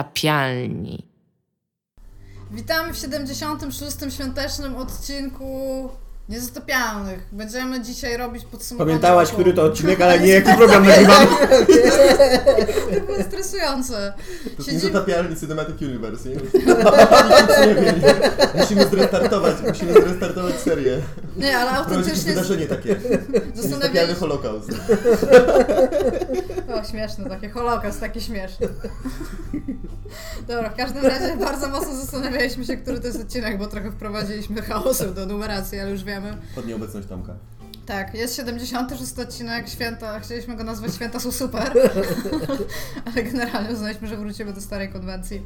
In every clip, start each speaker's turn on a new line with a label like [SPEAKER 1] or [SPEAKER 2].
[SPEAKER 1] Niezatapialni.
[SPEAKER 2] Witamy w 76. świątecznym odcinku Niezatopialnych. Będziemy dzisiaj robić podsumowanie.
[SPEAKER 3] Pamiętałaś,
[SPEAKER 2] roku.
[SPEAKER 3] który to odcinek, ale nie jaki program nagrywamy.
[SPEAKER 2] To było stresujące.
[SPEAKER 3] To jest
[SPEAKER 2] Siedzimy...
[SPEAKER 3] niezatapialny Cinematic Universe, nie? Nikt nic nie wie, nie? Musimy zrestartować, musimy zrestartować serię.
[SPEAKER 2] Nie, ale
[SPEAKER 3] Prowadzić
[SPEAKER 2] autentycznie
[SPEAKER 3] wydarzenie takie. Niezatapialny
[SPEAKER 2] zastanawialiśmy
[SPEAKER 3] holokaust.
[SPEAKER 2] O, śmieszne takie, holokaust taki śmieszny. Dobra, w każdym razie bardzo mocno zastanawialiśmy się, który to jest odcinek, bo trochę wprowadziliśmy chaosem do numeracji, ale już wiemy.
[SPEAKER 3] Pod nieobecność Tomka.
[SPEAKER 2] Tak, jest 76 odcinek święta, chcieliśmy go nazwać Święta są super, ale generalnie uznaliśmy, że wrócimy do starej konwencji.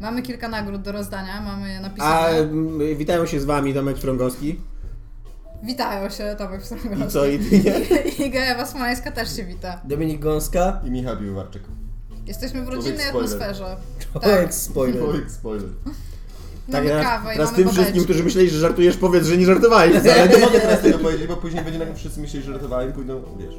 [SPEAKER 2] Mamy kilka nagród do rozdania, mamy je napisane.
[SPEAKER 3] A m, witają się z wami Tomek Frągowski.
[SPEAKER 2] Witają się Tomek
[SPEAKER 3] I
[SPEAKER 2] Wstrągowski.
[SPEAKER 3] co, i ty nie?
[SPEAKER 2] I Gaja Wasmańska też się wita.
[SPEAKER 4] Dominik Gąska.
[SPEAKER 3] I Michał Biłwarczyk.
[SPEAKER 2] Jesteśmy w rodzinnej
[SPEAKER 3] Człowiek spoiler.
[SPEAKER 2] atmosferze. Tak,
[SPEAKER 4] Człowiek spoiler.
[SPEAKER 3] Człowiek spoiler.
[SPEAKER 2] Mamy
[SPEAKER 3] teraz-
[SPEAKER 2] kawę i
[SPEAKER 3] teraz
[SPEAKER 2] mamy
[SPEAKER 3] tak, tym
[SPEAKER 2] babeczki.
[SPEAKER 3] wszystkim, którzy myśleli, że żartujesz, powiedz, że nie żartowałeś wcale.
[SPEAKER 4] Nie
[SPEAKER 3] Nie mogę teraz tego powiedzieć, bo później będzie nagle wszyscy myśleć, że żartowałem i pójdą, wiesz.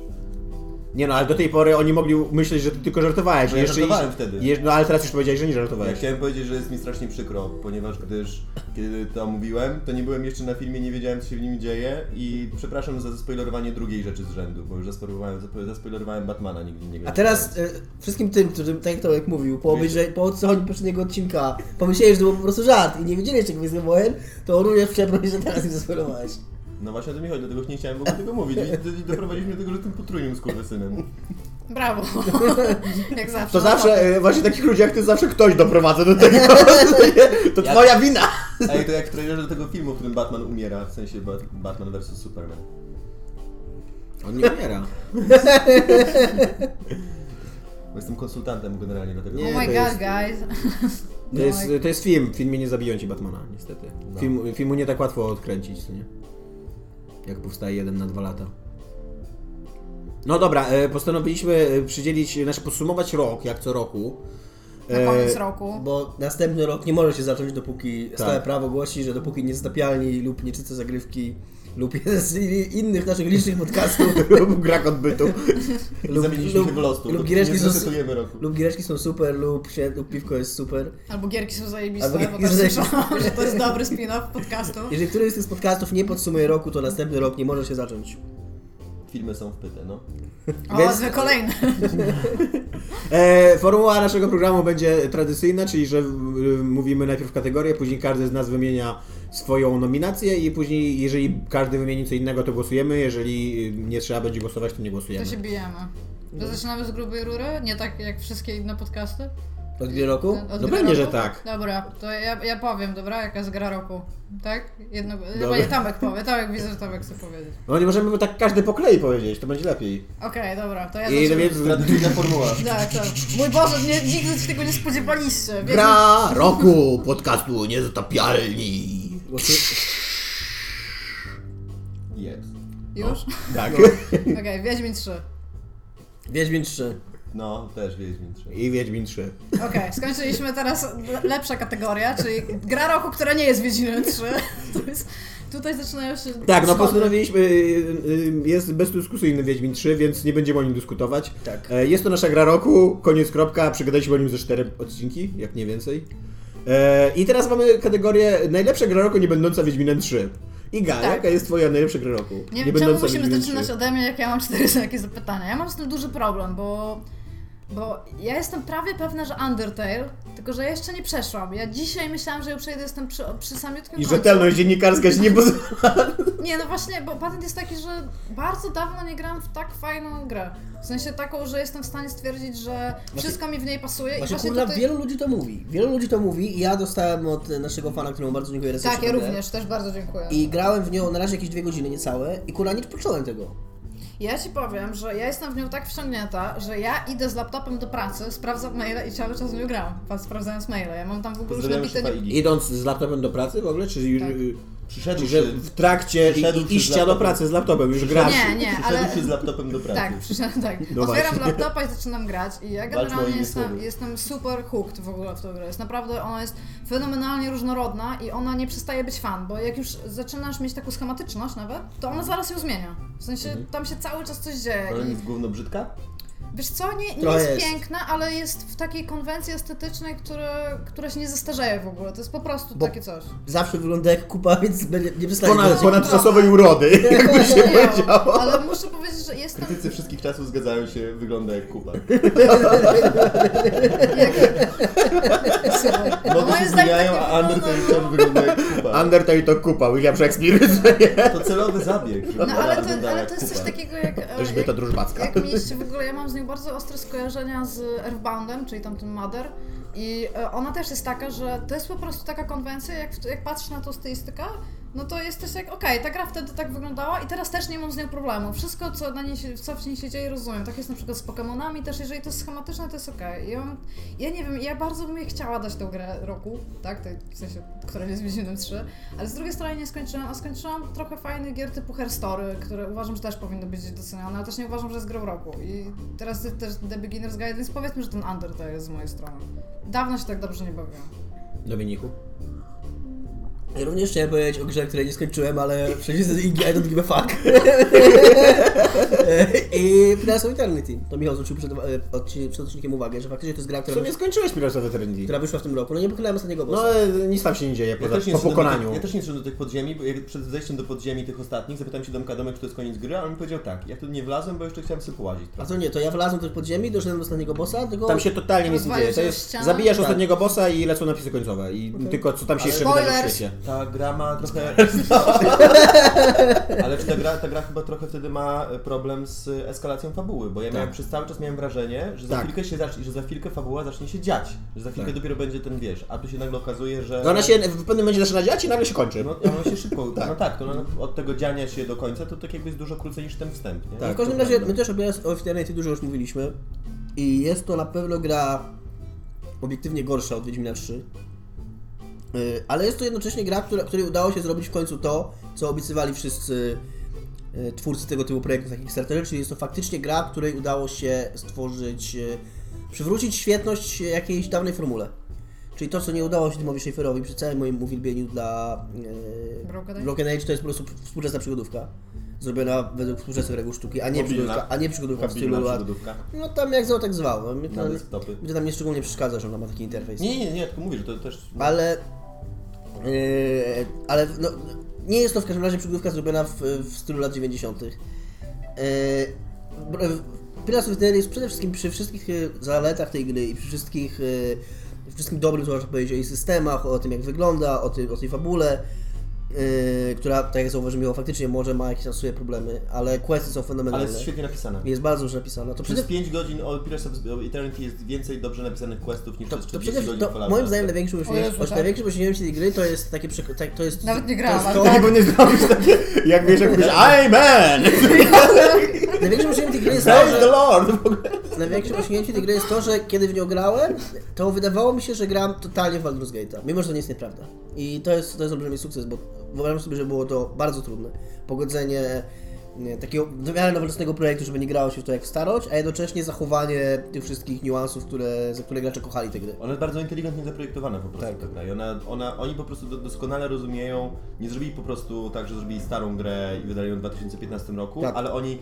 [SPEAKER 4] Nie no,
[SPEAKER 3] Ale do tej pory oni mogli myśleć, że ty tylko żartowałeś.
[SPEAKER 4] No
[SPEAKER 3] że
[SPEAKER 4] ja
[SPEAKER 3] jeszcze
[SPEAKER 4] żartowałem
[SPEAKER 3] iż-
[SPEAKER 4] wtedy.
[SPEAKER 3] jeż- no ale teraz już powiedziałeś, że nie
[SPEAKER 4] żartowałeś.
[SPEAKER 3] żartowałeś. Ja chciałem powiedzieć, że jest mi strasznie przykro, ponieważ gdyż kiedy to mówiłem, to nie byłem jeszcze na filmie, nie wiedziałem co się w nim dzieje i przepraszam za zaspoilerowanie drugiej rzeczy z rzędu, bo już zaspoilerowałem, zaspo- zaspoilerowałem Batmana, nigdy nie grałem.
[SPEAKER 4] A teraz e, wszystkim tym, którym, tak jak Tomek mówił, po,
[SPEAKER 3] Wiecie.
[SPEAKER 4] obejrze- po odsłuchaniu poprzedniego odcinka pomyśleli, że to był po prostu żart i nie wiedzieli czego jest Wojen, to również przeprosić, że teraz im zaspoilowałeś.
[SPEAKER 3] No właśnie o to mi chodzi, dlatego nie chciałem w ogóle tego mówić i, i doprowadziliśmy do tego, że tym potrójnym skurwysynem.
[SPEAKER 2] Brawo. Jak zawsze.
[SPEAKER 3] To
[SPEAKER 2] no
[SPEAKER 3] zawsze, e, właśnie takich ludzi jak ty, zawsze ktoś doprowadza do tego, to
[SPEAKER 4] Ja-
[SPEAKER 3] twoja wina. Ej, to jak w trailerze do tego filmu, w którym Batman umiera, w sensie Batman vs Superman.
[SPEAKER 4] On nie umiera.
[SPEAKER 3] Bo jestem konsultantem generalnie do tego.
[SPEAKER 2] Oh my god,
[SPEAKER 4] to jest-
[SPEAKER 2] guys.
[SPEAKER 4] To
[SPEAKER 2] No
[SPEAKER 4] jest,
[SPEAKER 2] i-
[SPEAKER 4] to jest film, w filmie nie zabiją ci Batmana, niestety.
[SPEAKER 3] No.
[SPEAKER 4] Film, filmu nie tak łatwo odkręcić, co nie? Jak powstaje jeden na dwa lata. No dobra, e, postanowiliśmy e, przydzielić, znaczy podsumować rok, jak co roku.
[SPEAKER 3] E,
[SPEAKER 2] Na koniec roku.
[SPEAKER 4] Bo następny rok nie może się zacząć, dopóki stałe
[SPEAKER 3] Tak.
[SPEAKER 4] prawo głosi, że dopóki niezatapialni lub nieczyste zagrywki lub jeden z i- innych naszych licznych podcastów
[SPEAKER 3] Lub brak odbytu.
[SPEAKER 4] lub,
[SPEAKER 3] Zamieniliśmy się w losu.
[SPEAKER 4] lub, giereczki
[SPEAKER 3] nie
[SPEAKER 4] są,
[SPEAKER 3] zresetujemy roku.
[SPEAKER 4] lub giereczki są super, lub, się, lub piwko jest super.
[SPEAKER 2] Albo gierki są zajebiste,
[SPEAKER 4] Albo
[SPEAKER 2] bo
[SPEAKER 4] gierki
[SPEAKER 2] tak
[SPEAKER 4] są zajebiste.
[SPEAKER 2] słyszałam, że to jest dobry spin-off podcastu.
[SPEAKER 4] Jeżeli któryś z tych podcastów nie podsumuje roku, to następny rok nie może się zacząć.
[SPEAKER 3] Filmy są w pytę, no.
[SPEAKER 2] O,
[SPEAKER 4] Więc-
[SPEAKER 2] zły kolejny.
[SPEAKER 4] E, formuła naszego programu będzie tradycyjna, czyli że y, mówimy najpierw kategorię, później każdy z nas wymienia swoją nominację i później jeżeli każdy wymieni co innego, to głosujemy, jeżeli y, nie trzeba będzie głosować, to nie
[SPEAKER 2] To
[SPEAKER 4] głosujemy.
[SPEAKER 2] się bijemy.
[SPEAKER 4] No.
[SPEAKER 2] To zaczynamy z grubej rury? Nie tak jak wszystkie inne podcasty?
[SPEAKER 4] Od wielu roku?
[SPEAKER 2] Od
[SPEAKER 4] No
[SPEAKER 2] gry
[SPEAKER 4] pewnie, że
[SPEAKER 2] roku?
[SPEAKER 4] tak.
[SPEAKER 2] Dobra, to ja, ja powiem, dobra, jaka jest gra roku. Tak? Jedno, chyba
[SPEAKER 4] Dobra.
[SPEAKER 2] nie Tomek powie, Tomek widzę, że Tomek chce powiedzieć.
[SPEAKER 4] No nie możemy tak każdy po kolei powiedzieć, to będzie lepiej.
[SPEAKER 2] Okej, dobra, to ja
[SPEAKER 4] I no
[SPEAKER 2] zaczynam.
[SPEAKER 4] więc
[SPEAKER 3] Tradycyjna formuła.
[SPEAKER 2] Tak, tak. Mój Boże, nie, nigdy się tego nie spodziewaliście. Wiedz-
[SPEAKER 4] Gra roku podcastu niezatapialni.
[SPEAKER 3] Jest. No.
[SPEAKER 2] Już?
[SPEAKER 4] Tak.
[SPEAKER 2] Okej, Wiedźmin 3.
[SPEAKER 4] Wiedźmin 3.
[SPEAKER 3] No, też Wiedźmin 3.
[SPEAKER 4] I Wiedźmin 3.
[SPEAKER 2] Okej, skończyliśmy teraz le- lepsza kategoria, czyli gra roku, która nie jest Wiedźminem 3. To jest, tutaj zaczynają się
[SPEAKER 4] Tak, no
[SPEAKER 2] schody.
[SPEAKER 4] postanowiliśmy, y, y, jest bezdyskusyjny Wiedźmin 3, więc nie będziemy o nim dyskutować.
[SPEAKER 3] Tak.
[SPEAKER 4] E, Jest to nasza gra roku, koniec kropka, przegadaliśmy o nim ze 4 odcinki, jak nie więcej. E, I teraz mamy kategorię najlepsza gra roku nie będąca Wiedźminem 3. Iga,
[SPEAKER 2] Tak.
[SPEAKER 4] jaka jest twoja najlepsza gra roku?
[SPEAKER 2] Nie wiem, czemu musimy
[SPEAKER 4] Wiedźminem
[SPEAKER 2] zaczynać
[SPEAKER 4] 3?
[SPEAKER 2] ode mnie, jak ja mam cztery takie zapytania. Ja mam z tym duży problem, bo, bo ja jestem prawie pewna, że Undertale, tylko że ja jeszcze nie przeszłam. Ja dzisiaj myślałam, że ją przejdę, jestem przy, przy samiutkim
[SPEAKER 4] I
[SPEAKER 2] końcu.
[SPEAKER 4] rzetelność dziennikarska się nie pozwala.
[SPEAKER 2] Nie, no właśnie, bo patent jest taki, że bardzo dawno nie grałam w tak fajną grę. W sensie taką, że jestem w stanie stwierdzić, że
[SPEAKER 4] Znaczy-
[SPEAKER 2] wszystko mi w niej pasuje i
[SPEAKER 1] Znaczy,
[SPEAKER 2] właśnie
[SPEAKER 4] Właśnie, kurna,
[SPEAKER 2] tutaj...
[SPEAKER 4] wielu ludzi to mówi. Wielu ludzi to mówi i ja dostałem od e, naszego fana, któremu bardzo dziękuję
[SPEAKER 2] Tak,
[SPEAKER 4] recenję.
[SPEAKER 2] ja również, też bardzo dziękuję.
[SPEAKER 4] I grałem w nią na razie jakieś dwie godziny niecałe i kurwa nie poczułem tego.
[SPEAKER 2] Ja ci powiem, że ja jestem w nią tak wciągnięta, że ja idę z laptopem do pracy, sprawdzam maile i cały czas w nią gram, pa- sprawdzając maile. Ja mam tam w ogóle już
[SPEAKER 3] Pozdrawiam
[SPEAKER 2] nabite...
[SPEAKER 3] szefa Igi.
[SPEAKER 4] Idąc z laptopem do pracy w ogóle, czy już...
[SPEAKER 2] Tak.
[SPEAKER 3] Przyszedł
[SPEAKER 4] Czyli,
[SPEAKER 3] się,
[SPEAKER 4] że w trakcie i,
[SPEAKER 3] Przyszedł
[SPEAKER 4] i,
[SPEAKER 3] przy
[SPEAKER 4] iścia do
[SPEAKER 3] laptopie.
[SPEAKER 4] pracy z laptopem, już grasz.
[SPEAKER 2] Nie, nie,
[SPEAKER 3] przyszedł
[SPEAKER 2] ale...
[SPEAKER 3] się z laptopem do pracy.
[SPEAKER 2] Tak, przyszedłem, tak.
[SPEAKER 4] No
[SPEAKER 2] Otwieram
[SPEAKER 4] właśnie.
[SPEAKER 2] laptopa i zaczynam grać. I ja generalnie
[SPEAKER 3] moimi
[SPEAKER 2] jestem,
[SPEAKER 3] słowy.
[SPEAKER 2] jestem super hooked w ogóle w tą grę. Jest naprawdę, ona jest fenomenalnie różnorodna i ona nie przestaje być fan, bo jak już zaczynasz mieć taką schematyczność nawet, to ona zaraz ją zmienia. W sensie tam się cały czas coś dzieje.
[SPEAKER 3] Mhm. Ale
[SPEAKER 2] I
[SPEAKER 3] jest gówno brzydka?
[SPEAKER 2] Wiesz co, nie, nie
[SPEAKER 4] Trochę
[SPEAKER 2] jest,
[SPEAKER 4] jest.
[SPEAKER 2] piękna, ale jest w takiej konwencji estetycznej, które, które się nie zestarzeje w ogóle. To jest po prostu
[SPEAKER 1] Bo-
[SPEAKER 2] takie coś.
[SPEAKER 1] Zawsze wygląda jak kupa, więc będzie, nie przestanie.
[SPEAKER 4] Ponad,
[SPEAKER 1] wyglądać.
[SPEAKER 4] ponadczasowej urody, jakby się
[SPEAKER 2] Nie wiem,
[SPEAKER 4] powiedziało.
[SPEAKER 2] Ale muszę powiedzieć, że jestem...
[SPEAKER 3] Krytycy wszystkich czasów zgadzają się, wygląda jak kupa.
[SPEAKER 2] No,
[SPEAKER 3] Mody
[SPEAKER 2] moim
[SPEAKER 3] się
[SPEAKER 2] zdaniem tak
[SPEAKER 3] zmieniają,
[SPEAKER 2] nie
[SPEAKER 3] a Undertale
[SPEAKER 2] wygląda.
[SPEAKER 3] wciąż wygląda jak kupa.
[SPEAKER 4] Undertale to kupa, William Shakespeare.
[SPEAKER 3] To celowy zabieg, żeby
[SPEAKER 2] No
[SPEAKER 3] ona
[SPEAKER 2] ale to,
[SPEAKER 3] wyglądała
[SPEAKER 2] ale
[SPEAKER 3] jak
[SPEAKER 2] to jest coś
[SPEAKER 3] kupa.
[SPEAKER 2] takiego jak... e,
[SPEAKER 4] Elżbieta
[SPEAKER 2] jak-
[SPEAKER 4] Drużbacka.
[SPEAKER 2] Jak mieliście w ogóle, ja mam z nią bardzo ostre skojarzenia z Earthboundem, czyli tamtym Mother. I e, ona też jest taka, że to jest po prostu taka konwencja, jak, w- jak patrzysz na tą stylistykę, no to jesteś jak, okej, ta gra wtedy tak wyglądała i teraz też nie mam z nią problemu. Wszystko, co, na niej się, co w niej się dzieje, rozumiem. Tak jest na przykład z Pokemonami też, jeżeli to jest schematyczne, to jest okej. Ja, mam- ja nie wiem, ja bardzo bym jej chciała dać tą grę roku, tak, tej, w sensie, która jest Wiedźminem 3, ale z drugiej strony nie skończyłam, a skończyłam trochę fajnych gier typu Herstory, które uważam, że też powinny być docenione, ale też nie uważam, że jest grą roku. I teraz jest też The Beginner's Guide, więc powiedzmy, że ten Undertale jest z mojej strony. Dawno się tak dobrze nie bawiłam.
[SPEAKER 4] Dominiku.
[SPEAKER 1] Ja również chciałem powiedzieć o grze, której nie skończyłem, ale przecież jest Iggy, I don't give a fuck. I Pirates of Eternity. To Michał zwrócił przed, e, odci- przed odcinkiem uwagę, że faktycznie to jest gra,
[SPEAKER 4] W
[SPEAKER 1] która,
[SPEAKER 4] sumie skończyłeś Pirates of Eternity.
[SPEAKER 1] która wyszła w tym roku. No nie pokonałem ostatniego bossa.
[SPEAKER 4] No, ale nic tam się nie dzieje
[SPEAKER 3] Ja
[SPEAKER 4] poza,
[SPEAKER 3] też, nie
[SPEAKER 4] po
[SPEAKER 3] szedłem Do,
[SPEAKER 4] pokonaniu.
[SPEAKER 3] tych- ja też nie szedłem do tych podziemi, bo jak przed zejściem do podziemi tych ostatnich zapytałem się Domka Domek, czy to jest koniec gry, a on mi powiedział tak, ja tu nie wlazłem, bo jeszcze chciałem sobie połazić
[SPEAKER 1] A
[SPEAKER 3] trochę.
[SPEAKER 1] to nie, to ja wlazłem też pod ziemi, doszedłem do ostatniego bossa, tylko...
[SPEAKER 4] Tam się totalnie nic nie
[SPEAKER 2] Rozwalił
[SPEAKER 4] dzieje. To
[SPEAKER 2] się
[SPEAKER 4] jest,
[SPEAKER 2] ściana.
[SPEAKER 4] zabijasz
[SPEAKER 1] Tak.
[SPEAKER 4] ostatniego bossa i lecą napisy końcowe. I tylko co tam się jeszcze wydarzy w
[SPEAKER 2] Spoilers.
[SPEAKER 4] świecie.
[SPEAKER 3] Ta gra ma trochę... Ale czy ta gra, ta gra chyba trochę wtedy ma e, problem z e, eskalacją fabuły, bo ja miałem
[SPEAKER 4] Tak.
[SPEAKER 3] przez cały czas miałem wrażenie, że za,
[SPEAKER 4] Tak.
[SPEAKER 3] chwilkę się zacznie, że za chwilkę fabuła zacznie się dziać, że za chwilkę
[SPEAKER 4] Tak.
[SPEAKER 3] dopiero będzie ten wiesz, a tu się nagle okazuje, że...
[SPEAKER 4] No ona się w pewnym momencie zaczyna dziać i nagle się kończy.
[SPEAKER 3] No, ono się szybko, no tak, to ono od tego dziania się do końca to tak jakby jest dużo krócej niż ten wstęp, nie?
[SPEAKER 1] No
[SPEAKER 4] Tak,
[SPEAKER 1] w każdym
[SPEAKER 4] to
[SPEAKER 1] razie,
[SPEAKER 4] prawda.
[SPEAKER 1] my też o Pirates of Eternity dużo już mówiliśmy i jest to na pewno gra obiektywnie gorsza od Wiedźmina 3, Yy, ale jest to jednocześnie gra, która, której udało się zrobić w końcu to, co obiecywali wszyscy yy, twórcy tego typu projektów, takich starterów, czyli jest to faktycznie gra, której udało się stworzyć, yy, przywrócić świetność jakiejś dawnej formule. Czyli to, co nie udało się Timowi Schaeferowi przy całym moim uwielbieniu dla yy,
[SPEAKER 2] Broken Age?
[SPEAKER 1] Broken Age, to jest po prostu współczesna przygodówka. Zrobiona według współczesnych reguł sztuki, a nie
[SPEAKER 3] Mobilna.
[SPEAKER 1] przygodówka, a nie przygodówka w stylu
[SPEAKER 3] Mobilna
[SPEAKER 1] lat.
[SPEAKER 3] przygodówka.
[SPEAKER 1] No tam jak zwał, tak zwał. Mnie
[SPEAKER 3] Na
[SPEAKER 1] to,
[SPEAKER 3] desktopy.
[SPEAKER 1] mnie to tam nie szczególnie przeszkadza, że ona ma taki interfejs.
[SPEAKER 3] Nie, nie, nie, tylko mówisz, to też... no,
[SPEAKER 1] Ale... Yy, ale no, nie jest to w każdym razie przygodówka zrobiona w, w stylu lat 90. Yy, br- Pirates of Eternity jest przede wszystkim przy wszystkich yy, zaletach tej gry i przy wszystkich... Yy, wszystkim dobrym, co można powiedzieć o jej systemach, o tym jak wygląda, o, tym, o tej fabule, yy, która, tak jak zauważyłem, Michał, faktycznie może ma jakieś tam swoje problemy, ale questy są
[SPEAKER 3] Ale
[SPEAKER 1] fenomenalne.
[SPEAKER 3] jest świetnie napisana.
[SPEAKER 1] Jest bardzo dobrze napisana. To przede,
[SPEAKER 3] Przez 5 godzin o Pirates of Eternity jest więcej dobrze napisanych questów niż
[SPEAKER 1] to,
[SPEAKER 3] przez
[SPEAKER 1] to
[SPEAKER 3] 40
[SPEAKER 1] przede
[SPEAKER 3] godzin
[SPEAKER 1] wszystkim, to
[SPEAKER 3] Fallouta.
[SPEAKER 1] moim zdaniem największym osiągnięciem,
[SPEAKER 2] Jezu, tak.
[SPEAKER 1] największym osiągnięciem tej gry to jest takie przek- tak, to jest...
[SPEAKER 2] Nawet nie
[SPEAKER 1] to
[SPEAKER 2] grałam,
[SPEAKER 1] jest
[SPEAKER 2] ale
[SPEAKER 1] to-
[SPEAKER 2] tak.
[SPEAKER 4] Bo nie zrobisz takie, jak wiesz, jak mówisz Amen!
[SPEAKER 1] Największym osiągnięciem tej gry jest to,
[SPEAKER 4] Praise the
[SPEAKER 1] że,
[SPEAKER 4] Lord! W ogóle.
[SPEAKER 1] największym osiągnięciem tej gry jest to, że kiedy w nią grałem, to wydawało mi się, że gram totalnie w Baldur's Gate'a, mimo że to nie jest nieprawda. I to jest, to jest olbrzymi sukces, bo wyobrażam sobie, że było to bardzo trudne. Pogodzenie nie, takiego w miarę nowoczesnego projektu, żeby nie grało się w to jak w starość, a jednocześnie zachowanie tych wszystkich niuansów, które, za które gracze kochali te gry.
[SPEAKER 3] Ona jest bardzo inteligentnie zaprojektowana po
[SPEAKER 1] Tak.
[SPEAKER 3] prostu ta gra. I ona, ona, oni po prostu do, doskonale rozumieją, nie zrobili po prostu tak, że zrobili starą grę i wydali ją w 2015 roku,
[SPEAKER 1] Tak.
[SPEAKER 3] ale oni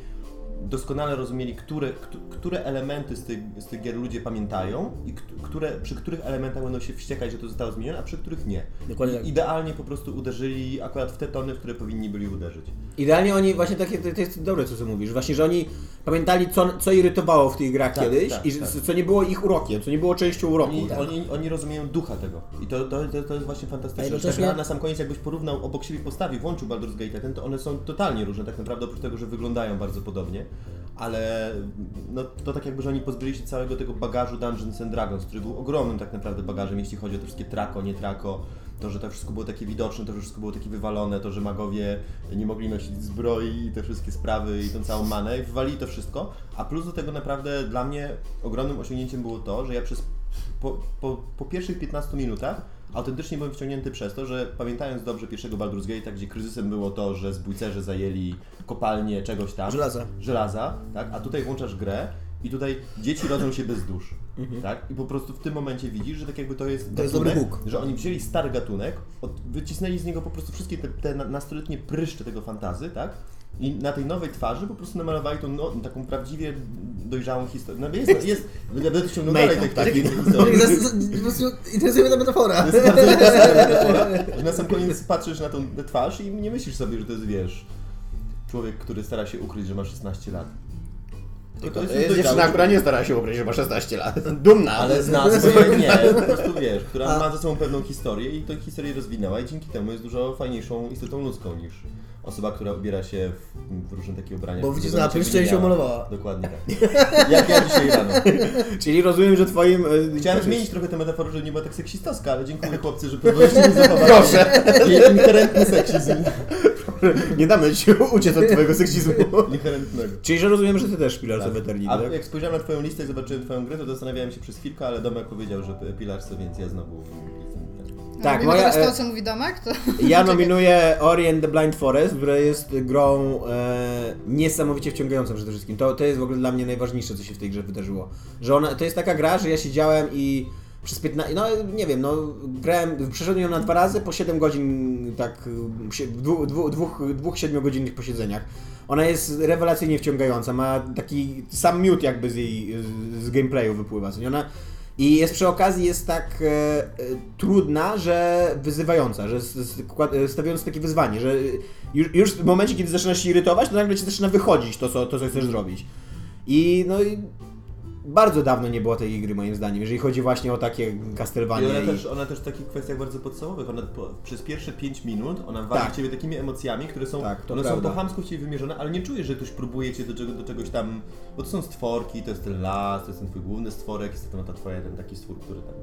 [SPEAKER 3] doskonale rozumieli, które, któ- które elementy z tych, z tych gier ludzie pamiętają i kt- które, przy których elementach będą się wściekać, że to zostało zmienione, a przy których nie.
[SPEAKER 1] Dokładnie tak.
[SPEAKER 3] Idealnie po prostu uderzyli akurat w te tony, w które powinni byli uderzyć.
[SPEAKER 4] Idealnie oni, właśnie takie, to to jest dobre co ty mówisz, właśnie, że oni pamiętali co, co irytowało w tych grach
[SPEAKER 3] Tak,
[SPEAKER 4] kiedyś
[SPEAKER 3] tak,
[SPEAKER 4] i że-
[SPEAKER 3] tak.
[SPEAKER 4] co nie było ich urokiem, co nie było częścią uroku. tak.
[SPEAKER 3] Oni, oni, oni rozumieją ducha tego. I to, to, to, to jest właśnie
[SPEAKER 1] A
[SPEAKER 3] fantastyczne. Że
[SPEAKER 1] jednocześnie-
[SPEAKER 3] gra na sam koniec jakbyś porównał obok siebie postawi, włączył Baldur's Gate, ten, to one są totalnie różne tak naprawdę, oprócz tego, że wyglądają bardzo podobnie. Ale no, to tak jakby, że oni pozbyli się całego tego bagażu Dungeons and Dragons, który był ogromnym tak naprawdę bagażem, jeśli chodzi o te wszystkie trako, nie trako, to, że to wszystko było takie widoczne, to, że wszystko było takie wywalone, to, że magowie nie mogli nosić zbroi i te wszystkie sprawy i tą całą manę, i wywalili to wszystko. A plus do tego naprawdę dla mnie ogromnym osiągnięciem było to, że ja przez po, po, po pierwszych 15 minutach autentycznie byłem wciągnięty przez to, że pamiętając dobrze pierwszego Baldur's Gate'a, gdzie kryzysem było to, że zbójcerze zajęli kopalnię czegoś tam.
[SPEAKER 1] Żelaza.
[SPEAKER 3] Żelaza, tak? A tutaj włączasz grę i tutaj dzieci rodzą się bez dusz. tak? I po prostu w tym momencie widzisz, że tak jakby to jest
[SPEAKER 1] Mhm. To jest dobry Bóg.
[SPEAKER 3] że oni wzięli stary gatunek, od, wycisnęli z niego po prostu wszystkie te, te na- nastoletnie pryszcze tego fantazy, tak? I na tej nowej twarzy po prostu namalowali tą no, taką prawdziwie dojrzałą historię. No jest, jest, będę ciągnął dalej tych takich historii.
[SPEAKER 1] Zas- zas- Po prostu interesuje mnie ta metafora.
[SPEAKER 3] tak? To jest bardzo ciekawa metafora, że na sam koniec patrzysz na tą tę twarz i nie myślisz sobie, że to jest, wiesz, człowiek, który stara się ukryć, że ma 16 lat. Tylko
[SPEAKER 5] To jest dziewczyna, która nie stara się ukryć, że ma 16 lat. Dumna!
[SPEAKER 3] Ale zna ze sobą, nie, po prostu wiesz, która
[SPEAKER 1] A-
[SPEAKER 3] ma ze sobą pewną historię i tę historię rozwinęła i dzięki temu jest dużo fajniejszą istotą ludzką niż osoba, która ubiera się w, w różne takie ubrania.
[SPEAKER 1] Bo
[SPEAKER 3] które
[SPEAKER 1] widzisz,
[SPEAKER 3] do
[SPEAKER 1] na
[SPEAKER 3] niczego
[SPEAKER 1] pryszcze
[SPEAKER 3] nie
[SPEAKER 1] się
[SPEAKER 3] miały.
[SPEAKER 1] umalowała.
[SPEAKER 3] Dokładnie tak. Jak ja dzisiaj rano.
[SPEAKER 4] Czyli rozumiem, że twoim... e,
[SPEAKER 5] znaczy,
[SPEAKER 3] Chciałem zmienić trochę tę metaforę, żeby nie była tak seksistowska, ale dziękuję chłopcy, że pozwoliliście mi zachować
[SPEAKER 5] Proszę!
[SPEAKER 3] jej inherentny seksizm.
[SPEAKER 5] Nie damy ci uciec od twojego seksizmu.
[SPEAKER 3] Inherentnego.
[SPEAKER 4] Czyli, że rozumiem, że ty też Pillars of Eternity,
[SPEAKER 3] A
[SPEAKER 4] tak?
[SPEAKER 3] jak spojrzałem na twoją listę i zobaczyłem twoją grę, to zastanawiałem się przez chwilkę, ale Domek powiedział, że Pilars, więc ja znowu...
[SPEAKER 4] Tak,
[SPEAKER 2] Robimy
[SPEAKER 4] moja-
[SPEAKER 2] teraz
[SPEAKER 4] e-
[SPEAKER 2] No, to, co mówi Domek, to...
[SPEAKER 4] Ja nominuję Ori and the Blind Forest, która jest grą e, niesamowicie wciągającą przede wszystkim. To, to jest w ogóle dla mnie najważniejsze, co się w tej grze wydarzyło. Że ona, to jest taka gra, że ja siedziałem i przez 15, no nie wiem, no grałem, przeszedłem ją na dwa razy po 7 godzin, tak, y, sie- dwu, dwu, dwóch, dwóch 7-godzinnych posiedzeniach. Ona jest rewelacyjnie wciągająca, ma taki sam miód jakby z jej, z, z gameplayu wypływa. co nie? Ona, i jest przy okazji jest tak e, e, trudna, że wyzywająca, że s- s- kła- e, stawiając takie wyzwanie, że już, już w momencie, kiedy zaczynasz się irytować, to nagle ci zaczyna wychodzić to, co, to, co chcesz zrobić. I no i bardzo dawno nie było tej gry moim zdaniem, jeżeli chodzi właśnie o takie
[SPEAKER 3] I
[SPEAKER 4] Castlevania.
[SPEAKER 3] ona
[SPEAKER 4] i-
[SPEAKER 3] też, ona też w takich kwestiach bardzo podstawowych, ona po, przez pierwsze 5 minut ona wali
[SPEAKER 4] Tak.
[SPEAKER 3] ciebie takimi emocjami, które są,
[SPEAKER 4] Tak, to
[SPEAKER 3] one są
[SPEAKER 4] prawda.
[SPEAKER 3] po chamsku w ciebie wymierzone, ale nie czujesz, że ktoś próbuje cię do, czego, do czegoś tam, bo to są stworki, to jest ten las, to jest ten twój główny stworek, jest to ta twoja, ten taki stwór, który tam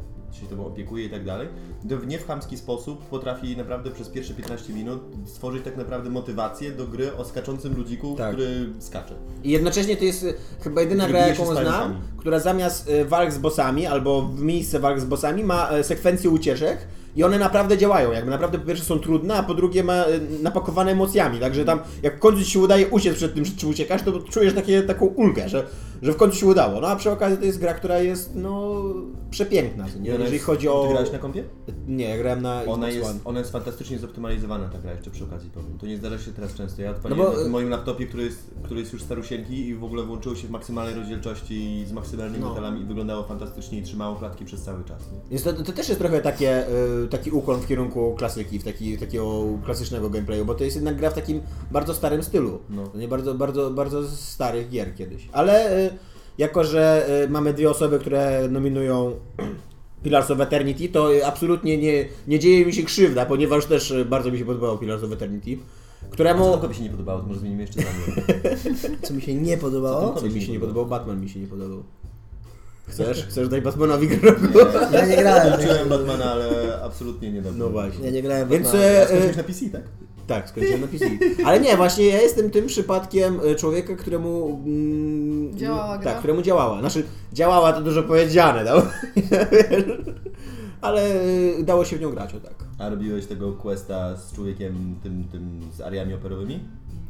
[SPEAKER 3] się tobą opiekuje i tak dalej. To w nie w chamski sposób potrafi naprawdę przez pierwsze 15 minut stworzyć tak naprawdę motywację do gry o skaczącym ludziku,
[SPEAKER 4] Tak.
[SPEAKER 3] który skacze.
[SPEAKER 4] I jednocześnie to jest y, chyba jedyna
[SPEAKER 3] Że
[SPEAKER 4] gra,
[SPEAKER 3] bije się
[SPEAKER 4] jaką
[SPEAKER 3] z
[SPEAKER 4] znam,
[SPEAKER 3] pająkami.
[SPEAKER 4] która zamiast y, walk z bossami albo w miejsce walk z bossami ma y, sekwencję ucieczek i one naprawdę działają. Jakby naprawdę po pierwsze są trudne, a po drugie ma y, napakowane emocjami. Także tam jak w końcu ci się udaje uciec przed tym, przed czym uciekasz, to czujesz takie, taką ulgę, że, że w końcu się udało. No a przy okazji to jest gra, która jest no przepiękna. co Nie?
[SPEAKER 3] Ona
[SPEAKER 4] Jeżeli
[SPEAKER 3] jest-
[SPEAKER 4] chodzi o...
[SPEAKER 3] Ty grałeś na kompie?
[SPEAKER 4] Nie, ja grałem na
[SPEAKER 3] Ona
[SPEAKER 4] Xbox One.
[SPEAKER 3] jest, ona jest fantastycznie zoptymalizowana ta gra, jeszcze przy okazji powiem. To nie zdarza się teraz często. Ja
[SPEAKER 1] No
[SPEAKER 3] odpaliłem
[SPEAKER 1] bo,
[SPEAKER 3] na
[SPEAKER 1] y-
[SPEAKER 3] tym moim laptopie, który jest, który jest już starusieńki i w ogóle włączyło się w maksymalnej rozdzielczości i z maksymalnymi
[SPEAKER 4] No.
[SPEAKER 3] detalami i wyglądało fantastycznie i trzymało klatki przez cały czas. Nie?
[SPEAKER 4] Więc to, to też jest trochę takie, y, taki ukłon w kierunku klasyki, w taki, takiego klasycznego gameplayu, bo to jest jednak gra w takim bardzo starym stylu.
[SPEAKER 3] No.
[SPEAKER 4] Nie bardzo, bardzo, bardzo starych gier kiedyś. Ale y, jako, że y, mamy dwie osoby, które nominują Pillars of Eternity, to y, absolutnie nie, nie dzieje mi się krzywda, ponieważ też y, bardzo mi się podobało Pillars of Eternity,
[SPEAKER 3] Co
[SPEAKER 4] któremu...
[SPEAKER 3] Tomkowi się nie podobało, to może zmienimy jeszcze zdanie.
[SPEAKER 1] Co mi się nie podobało?
[SPEAKER 4] Co mi się nie podobało? Batman mi się nie podobał. Chcesz? Chcesz dać Batmanowi grę?
[SPEAKER 1] Ja nie grałem.
[SPEAKER 3] Zobaczyłem Batmana, ale absolutnie nie
[SPEAKER 4] Tak.
[SPEAKER 3] dobrze.
[SPEAKER 4] No właśnie.
[SPEAKER 1] Ja nie grałem. w
[SPEAKER 4] Więc,
[SPEAKER 1] Batmana.
[SPEAKER 4] e,
[SPEAKER 3] A skończyłeś na PC, tak?
[SPEAKER 4] Tak, skończyłem na PC. Ale nie, właśnie ja jestem tym przypadkiem e, człowieka, któremu. Mm,
[SPEAKER 2] Działała gra?
[SPEAKER 4] Tak, któremu działała. Znaczy, działała to dużo powiedziane, no. Ale e, dało się w nią grać, o tak.
[SPEAKER 3] A robiłeś tego questa z człowiekiem, tym, tym z ariami operowymi?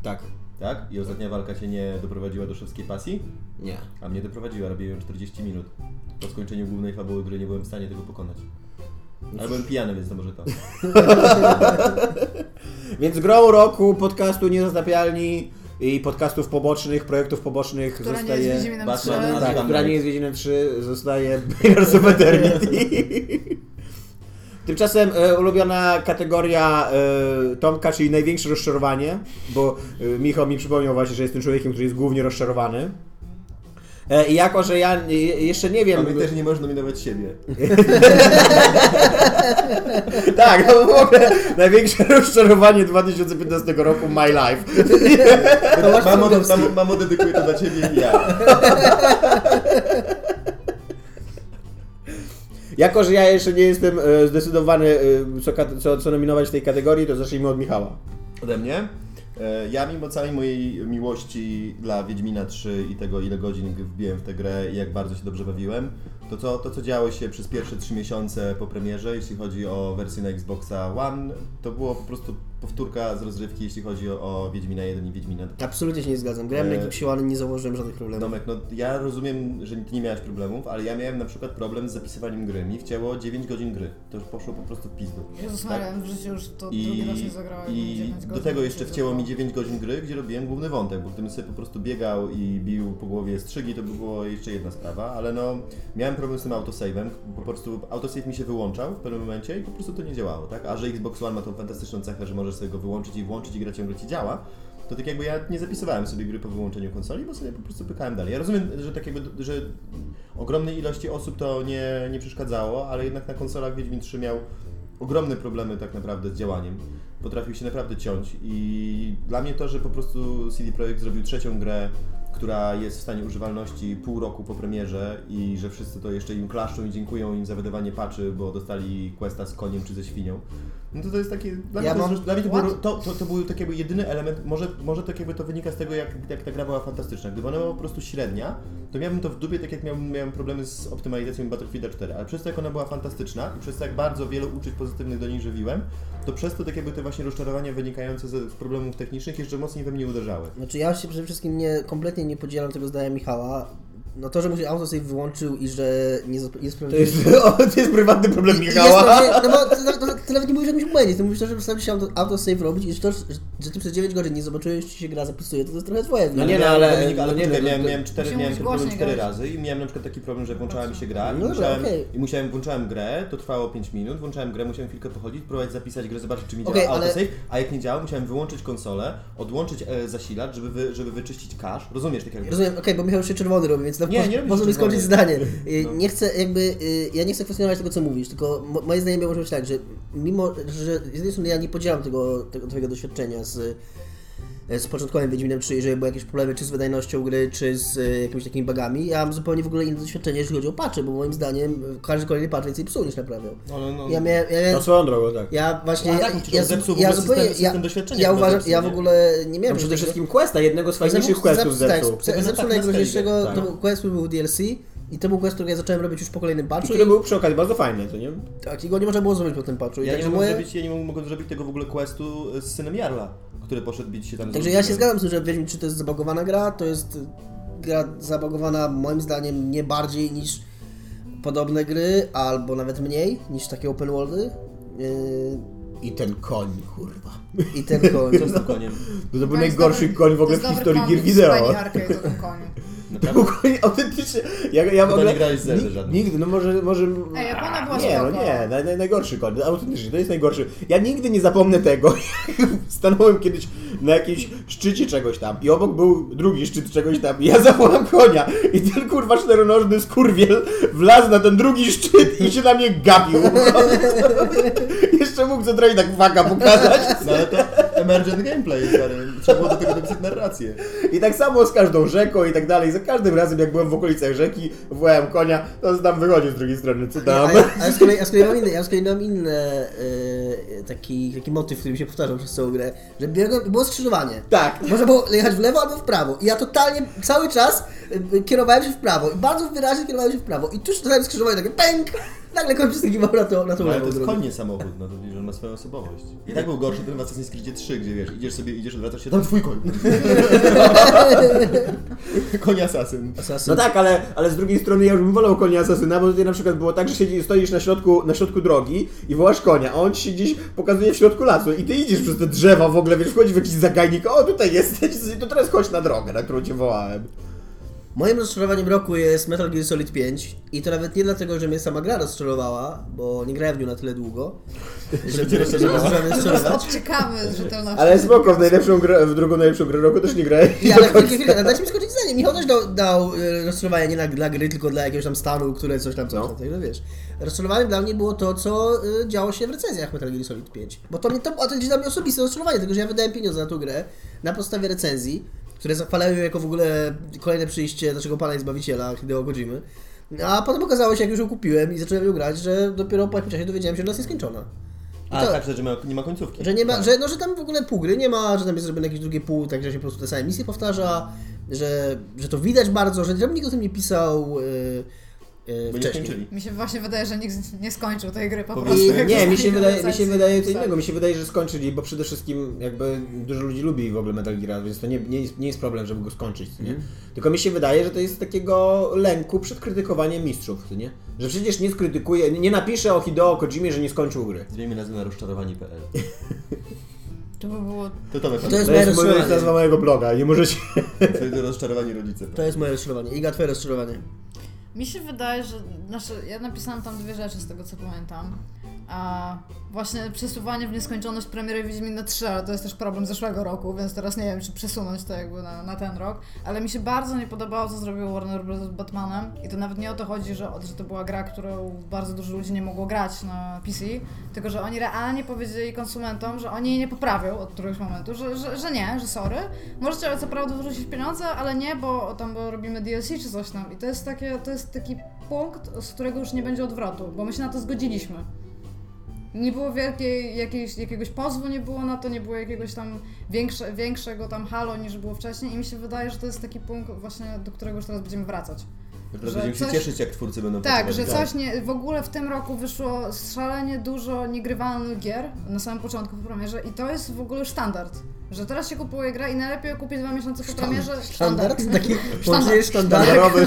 [SPEAKER 4] Tak,
[SPEAKER 3] Tak? I ostatnia walka cię nie doprowadziła do szewskiej pasji?
[SPEAKER 4] nie.
[SPEAKER 3] A mnie doprowadziła, robiłem ją 40 minut. Po skończeniu głównej fabuły, której nie byłem w stanie tego pokonać. Ale byłem pijany, więc to może to.
[SPEAKER 4] Więc grą roku podcastu Niezatapialni i podcastów pobocznych, projektów pobocznych
[SPEAKER 2] Która nie
[SPEAKER 4] zostaje.
[SPEAKER 2] jest Wiedźminem
[SPEAKER 3] Batman,
[SPEAKER 2] 3.
[SPEAKER 3] Batman.
[SPEAKER 4] tak,
[SPEAKER 3] Azkaban
[SPEAKER 4] która nie
[SPEAKER 3] Night.
[SPEAKER 4] jest Wiedźminem 3, zostaje Pillars of Eternity. Tymczasem e, ulubiona kategoria e, Tomka, czyli największe rozczarowanie, bo e, Michał mi przypomniał właśnie, że jestem człowiekiem, który jest głównie rozczarowany. E, I jako, że ja e, jeszcze nie wiem...
[SPEAKER 3] Tobie też nie można nominować siebie.
[SPEAKER 4] Tak, no w ogóle największe rozczarowanie 2015 roku My Life.
[SPEAKER 3] Mamo, mamo, mamo dedykuję to dla ciebie i ja.
[SPEAKER 4] Jako, że ja jeszcze nie jestem e, zdecydowany, e, co, kat- co, co nominować w tej kategorii, to zacznijmy od Michała.
[SPEAKER 3] Ode mnie? E, Ja mimo całej mojej miłości dla Wiedźmina 3 i tego ile godzin wbiłem w tę grę i jak bardzo się dobrze bawiłem, to co, to co działo się przez pierwsze 3 miesiące po premierze, jeśli chodzi o wersję na Xboxa One, to było po prostu powtórka z rozrywki, jeśli chodzi o, o Wiedźmina 1 i Wiedźmina 2.
[SPEAKER 1] Absolutnie się nie zgadzam.
[SPEAKER 4] e,
[SPEAKER 1] Grałem na
[SPEAKER 3] Eee.
[SPEAKER 1] ekip siłany, nie założyłem żadnych problemów.
[SPEAKER 3] Domek, no ja rozumiem, że ty nie miałeś problemów, ale ja miałem na przykład problem z zapisywaniem gry. Mi wcięło 9 godzin gry. To już poszło po prostu w pizdu.
[SPEAKER 2] Jezus
[SPEAKER 3] Tak?
[SPEAKER 2] Maria, w życiu już to drugi raz nie
[SPEAKER 3] I,
[SPEAKER 2] zagrałem.
[SPEAKER 3] i
[SPEAKER 2] dziewięć
[SPEAKER 3] do
[SPEAKER 2] godzin
[SPEAKER 3] tego
[SPEAKER 2] mi
[SPEAKER 3] jeszcze
[SPEAKER 2] się
[SPEAKER 3] wcięło mi
[SPEAKER 2] zerwało.
[SPEAKER 3] 9 godzin gry, gdzie robiłem główny wątek, bo gdybym sobie po prostu biegał i bił po głowie strzygi, to by było jeszcze jedna sprawa, ale no miałem problem z tym autosave'em, po prostu autosave mi się wyłączał w pewnym momencie i po prostu to nie działało, tak? A że Xbox One ma tą fantastyczną cechę, że możesz sobie go wyłączyć i włączyć i gra ciągle ci działa, to tak jakby ja nie zapisywałem sobie gry po wyłączeniu konsoli, bo sobie po prostu pykałem dalej. Ja rozumiem, że tak jakby, że ogromnej ilości osób to nie, nie przeszkadzało, ale jednak na konsolach Wiedźmin 3 miał ogromne problemy tak naprawdę z działaniem. Potrafił się naprawdę ciąć i dla mnie to, że po prostu CD Projekt zrobił trzecią grę, która jest w stanie używalności pół roku po premierze i że wszyscy to jeszcze im klaszczą i dziękują im za wydawanie patchy, bo dostali questa z koniem czy ze świnią. No to to jest takie... Dla
[SPEAKER 1] Ja
[SPEAKER 3] mnie, to,
[SPEAKER 1] mam-
[SPEAKER 3] jest- dla mnie to, było,
[SPEAKER 2] What?
[SPEAKER 3] to, to, to był tak jakby jedyny element, może, może tak jakby to wynika z tego, jak, jak ta gra była fantastyczna. Gdyby ona była po prostu średnia, to miałbym to w dupie, tak jak miałem, miałem problemy z optymalizacją Battlefielda 4, ale przez to jak ona była fantastyczna i przez to jak bardzo wiele uczuć pozytywnych do niej żywiłem, to przez to tak jakby te właśnie rozczarowania wynikające z z problemów technicznych jeszcze mocniej we mnie uderzały.
[SPEAKER 1] Znaczy ja się przede wszystkim nie, kompletnie nie podzielam tego zdania Michała. No to, że mu się autosave wyłączył i że nie, zap- nie
[SPEAKER 5] To
[SPEAKER 1] sprawdził...
[SPEAKER 5] jest, o, to jest prywatny problem
[SPEAKER 1] I
[SPEAKER 5] Michała.
[SPEAKER 1] Jest, to, że- no bo ty, nawet- nawet- ty nawet nie mówisz o jakimś błędzie, ty mówisz to, że wystarczy się auto- autosave robić i że, to, że, że ty przez 9 godzin nie zobaczyłeś, czy się gra zapisuje, to, to jest trochę twoje.
[SPEAKER 4] No nie, no,
[SPEAKER 3] miałem,
[SPEAKER 4] ale-
[SPEAKER 3] Dominik, ale
[SPEAKER 4] no nie,
[SPEAKER 3] poczekaj,
[SPEAKER 4] no,
[SPEAKER 3] miałem,
[SPEAKER 4] to-
[SPEAKER 3] miałem cztery,
[SPEAKER 2] Musimy
[SPEAKER 3] miałem
[SPEAKER 2] mówić
[SPEAKER 3] ten problem
[SPEAKER 2] głośniej,
[SPEAKER 3] cztery
[SPEAKER 2] gadać.
[SPEAKER 3] razy i miałem na przykład taki problem, że włączała mi się gra i,
[SPEAKER 1] No dobra,
[SPEAKER 3] musiałem,
[SPEAKER 1] okej.
[SPEAKER 3] i musiałem, włączałem grę, to trwało 5 minut, włączałem grę, musiałem chwilkę pochodzić, próbować zapisać grę, zobaczyć czy mi działa
[SPEAKER 1] Okej, ale-
[SPEAKER 3] autosave, a jak nie działa, musiałem wyłączyć konsolę, odłączyć e, zasilacz, żeby, wy, żeby wyczyścić cache, rozumiesz tak jakby?
[SPEAKER 1] Rozumiem, okej, bo Michał się czerwony robi, więc na
[SPEAKER 3] Nie, nie robi się
[SPEAKER 1] można mi skończyć
[SPEAKER 3] czerwony. No.
[SPEAKER 1] zdanie. Y, Nie chcę jakby, y, ja nie chcę kwestionować tego, co mówisz, tylko mo- moje zdanie może być tak, że mimo, że z jednej strony ja nie podzielam tego, tego twojego doświadczenia z, z początkowym Wiedźminem 3, jeżeli były jakieś problemy czy z wydajnością gry, czy z y, jakimiś takimi bugami, ja mam zupełnie w ogóle inne doświadczenie, jeżeli chodzi o patche, bo moim zdaniem y, każdy kolejny patch więcej psuł niż naprawiał.
[SPEAKER 3] Ale no-
[SPEAKER 1] Ja miałem, ja
[SPEAKER 4] No
[SPEAKER 1] miałem
[SPEAKER 4] swoją drogą, tak.
[SPEAKER 1] ja właśnie,
[SPEAKER 3] A
[SPEAKER 1] ja,
[SPEAKER 3] tak, przecież
[SPEAKER 1] ja,
[SPEAKER 3] on zepsuł w
[SPEAKER 1] ja
[SPEAKER 3] ogóle
[SPEAKER 1] zupełnie,
[SPEAKER 3] system-
[SPEAKER 1] ja,
[SPEAKER 3] system doświadczenia,
[SPEAKER 1] ja
[SPEAKER 3] który
[SPEAKER 1] uważam,
[SPEAKER 3] zepsuł,
[SPEAKER 1] ja w
[SPEAKER 3] nie?
[SPEAKER 1] ogóle nie miałem
[SPEAKER 4] No przede
[SPEAKER 1] żadnego-
[SPEAKER 4] wszystkim Questa, jednego z fajniejszych questów zepsuł.
[SPEAKER 1] tak,
[SPEAKER 3] No tak,
[SPEAKER 1] zepsuł
[SPEAKER 3] na
[SPEAKER 1] najgroźniejszego,
[SPEAKER 3] Skype'ie,
[SPEAKER 1] to
[SPEAKER 3] tak.
[SPEAKER 1] był quest, który był DLC i to był quest, który ja zacząłem robić już po kolejnym
[SPEAKER 4] I
[SPEAKER 1] patchu.
[SPEAKER 4] który
[SPEAKER 1] I,
[SPEAKER 4] był przy okazji bardzo fajny, to nie?
[SPEAKER 1] tak, i go nie można było zrobić po tym patchu. I
[SPEAKER 3] Ja nie,
[SPEAKER 1] także,
[SPEAKER 3] mogłem
[SPEAKER 1] moje,
[SPEAKER 3] zrobić, ja nie mogłem zrobić tego w ogóle questu e, z synem Jarla, który poszedł bić się tam z
[SPEAKER 1] także ja się zgadzam z tym, że Wiedźmin 3 to jest zabagowana gra, to jest y, gra zabagowana moim zdaniem nie bardziej niż podobne gry, albo nawet mniej niż takie open worldy. Yy,
[SPEAKER 4] I ten koń, kurwa.
[SPEAKER 1] I ten koń.
[SPEAKER 3] z tym koniem.
[SPEAKER 4] To, to był
[SPEAKER 2] To jest
[SPEAKER 4] najgorszy
[SPEAKER 2] dobry-
[SPEAKER 4] koń w ogóle
[SPEAKER 2] to
[SPEAKER 4] w
[SPEAKER 2] jest
[SPEAKER 4] historii
[SPEAKER 2] dobry
[SPEAKER 4] gier
[SPEAKER 2] kombin
[SPEAKER 4] wideo.
[SPEAKER 2] z Penny Arcade o tym koniu.
[SPEAKER 4] To był koń autentycznie. Ja, ja w
[SPEAKER 3] Chyba
[SPEAKER 4] ogóle...
[SPEAKER 3] nie grałeś w Zelda
[SPEAKER 4] Nig-
[SPEAKER 3] żadnej.
[SPEAKER 4] Nigdy, no może... może...
[SPEAKER 2] Ej, Japona była
[SPEAKER 4] Nie, no
[SPEAKER 2] spoko.
[SPEAKER 4] nie, naj, naj, najgorszy koń, autentycznie, to jest najgorszy. Ja nigdy nie zapomnę tego, jak stanąłem kiedyś na jakimś szczycie czegoś tam i obok był drugi szczyt czegoś tam i ja zawołam konia i ten kurwa czteronożny skurwiel wlazł na ten drugi szczyt i się na mnie gapił. Jeszcze mógł co trochę tak waga pokazać.
[SPEAKER 3] No ale to emergent gameplay, stary. Trzeba było do tego napisać narrację.
[SPEAKER 4] I tak samo z każdą rzeką i tak dalej. Za każdym razem, jak byłem w okolicach rzeki, wołałem konia, to tam wychodził z drugiej strony, co tam.
[SPEAKER 1] A ja, a ja z kolei, a z kolei mam inny, ja z kolei mam inny yy, taki, taki motyw, który mi się powtarzał przez całą grę, że biegłem, było skrzyżowanie.
[SPEAKER 4] Tak.
[SPEAKER 1] Można było jechać w lewo albo w prawo. I ja totalnie cały czas y, kierowałem się w prawo. I bardzo wyraźnie kierowałem się w prawo. I tuż na skrzyżowanie takie pęk! Nagle koń przesadziłam na tą, na tą
[SPEAKER 3] No, ale to
[SPEAKER 1] lewą
[SPEAKER 3] jest
[SPEAKER 1] drogę.
[SPEAKER 3] konnie samochód, no to widzisz, on ma swoją osobowość. I tak był gorszy ten w Assassin's Creed 3, gdzie wiesz, idziesz sobie, idziesz, odwracasz się, tam twój koń. koń asasyn.
[SPEAKER 1] Asasyn.
[SPEAKER 4] No tak, ale, ale z drugiej strony ja już bym wolał konia asasyna, bo tutaj na przykład było tak, że siedzi, stoisz na środku, na środku drogi i wołasz konia, a on ci się gdzieś pokazuje w środku lasu i ty idziesz przez te drzewa w ogóle, wiesz, wchodzisz w jakiś zagajnik, o tutaj jesteś, to teraz chodź na drogę, na którą cię wołałem.
[SPEAKER 1] Moim rozczarowaniem roku jest Metal Gear Solid 5. I to nawet nie dlatego, że mnie sama gra rozczarowała, bo nie grałem w nią na tyle długo, żeby, żeby, żeby, żeby rozczarować.
[SPEAKER 2] Ciekawy z rzetelnością.
[SPEAKER 4] Ale spoko, w najlepszą grę, w drugą najlepszą grę roku też nie grałem.
[SPEAKER 1] Ja, ale chwilkę, chwilkę, dajcie mi skończyć zdanie. Michał też dał, dał e, rozczarowanie nie na, dla gry, tylko dla jakiegoś tam stanu, które coś tam, coś tam, no. wiesz. Rozczarowaniem dla mnie było to, co e, działo się w recenzjach Metal Gear Solid 5. Bo to, mnie, to, a to jest dla mnie osobiste rozczarowanie, tylko że ja wydałem pieniądze na tą grę na podstawie recenzji, które zachwalają ją jako w ogóle kolejne przyjście naszego Pana i Zbawiciela, Hideo Kojimy. No, A potem okazało się, jak już ją kupiłem i zacząłem ją grać, że dopiero po jakimś czasie dowiedziałem się, że ona jest nieskończona.
[SPEAKER 3] A
[SPEAKER 1] To-
[SPEAKER 3] tak, że ma- nie ma końcówki.
[SPEAKER 1] Że nie ma, że, no, że tam w ogóle pół gry nie ma, że tam jest zrobione jakieś drugie pół, tak że się po prostu te same misje powtarza, że, że to widać bardzo, że żebym nikt o tym nie pisał. Yy,
[SPEAKER 3] Bo nie
[SPEAKER 1] e, wcześniej.
[SPEAKER 3] skończyli.
[SPEAKER 2] Mi się właśnie wydaje, że nikt z- nie skończył tej gry po
[SPEAKER 3] I-
[SPEAKER 2] prostu.
[SPEAKER 4] I
[SPEAKER 2] jak
[SPEAKER 4] nie, mi się
[SPEAKER 2] zostali
[SPEAKER 4] wydaje, mi się
[SPEAKER 2] wyrzuceni z
[SPEAKER 4] wydaje co
[SPEAKER 2] sali.
[SPEAKER 4] innego. Mi się wydaje, że skończyli, bo przede wszystkim jakby dużo ludzi lubi w ogóle Metal Gear, więc to nie, nie, jest, nie jest problem, żeby go skończyć, co nie?
[SPEAKER 3] Mhm.
[SPEAKER 4] Tylko mi się wydaje, że to jest takiego lęku przed krytykowaniem mistrzów, co nie? Że przecież nie skrytykuje, nie napisze o Hideo Kojimie, że nie skończył gry.
[SPEAKER 3] Zmieńmy nazwę na rozczarowani.pl.
[SPEAKER 2] To by było
[SPEAKER 3] To Tomek,
[SPEAKER 1] To jest
[SPEAKER 4] To
[SPEAKER 1] moje
[SPEAKER 4] jest, moja-
[SPEAKER 1] rozczarowanie.
[SPEAKER 4] nazwa mojego bloga, nie możecie...
[SPEAKER 3] wtedy rozczarowani rodzice.
[SPEAKER 1] To jest moje rozczarowanie. Iga, twoje rozczarowanie.
[SPEAKER 2] Mi się wydaje, że. Znaczy, ja napisałam tam dwie rzeczy z tego co pamiętam. A właśnie przesuwanie w nieskończoność premiery Wiedźmin na 3, ale to jest też problem zeszłego roku, więc teraz nie wiem, czy przesunąć to jakby na, na ten rok. Ale mi się bardzo nie podobało, co zrobił Warner Bros. z Batmanem. I to nawet nie o to chodzi, że, że to była gra, którą bardzo dużo ludzi nie mogło grać na PC, tylko że oni realnie powiedzieli konsumentom, że oni jej nie poprawią od któregoś momentu, że, że, że nie, że sorry. Możecie co prawda wyrzucić pieniądze, ale nie, bo tam bo robimy DLC czy coś tam. I to jest, takie, to jest taki punkt, z którego już nie będzie odwrotu, bo my się na to zgodziliśmy. Nie było wielkiej, jakiejś, jakiegoś pozwu nie było na to, nie było jakiegoś tam większe, większego tam halo niż było wcześniej i mi się wydaje, że to jest taki punkt właśnie, do którego już teraz będziemy wracać.
[SPEAKER 3] Teraz
[SPEAKER 2] że
[SPEAKER 3] będziemy się
[SPEAKER 2] coś-
[SPEAKER 3] cieszyć, jak twórcy będą
[SPEAKER 2] Tak,
[SPEAKER 3] pracować
[SPEAKER 2] że
[SPEAKER 3] dalej.
[SPEAKER 2] coś nie, w ogóle w tym roku wyszło szalenie dużo niegrywalnych gier na samym początku po premierze i to jest w ogóle standard. Że teraz się kupuje gra i najlepiej ją kupić dwa miesiące po premierze.
[SPEAKER 1] Standard? Taki połączenie sztandarek,
[SPEAKER 5] Sztandarowy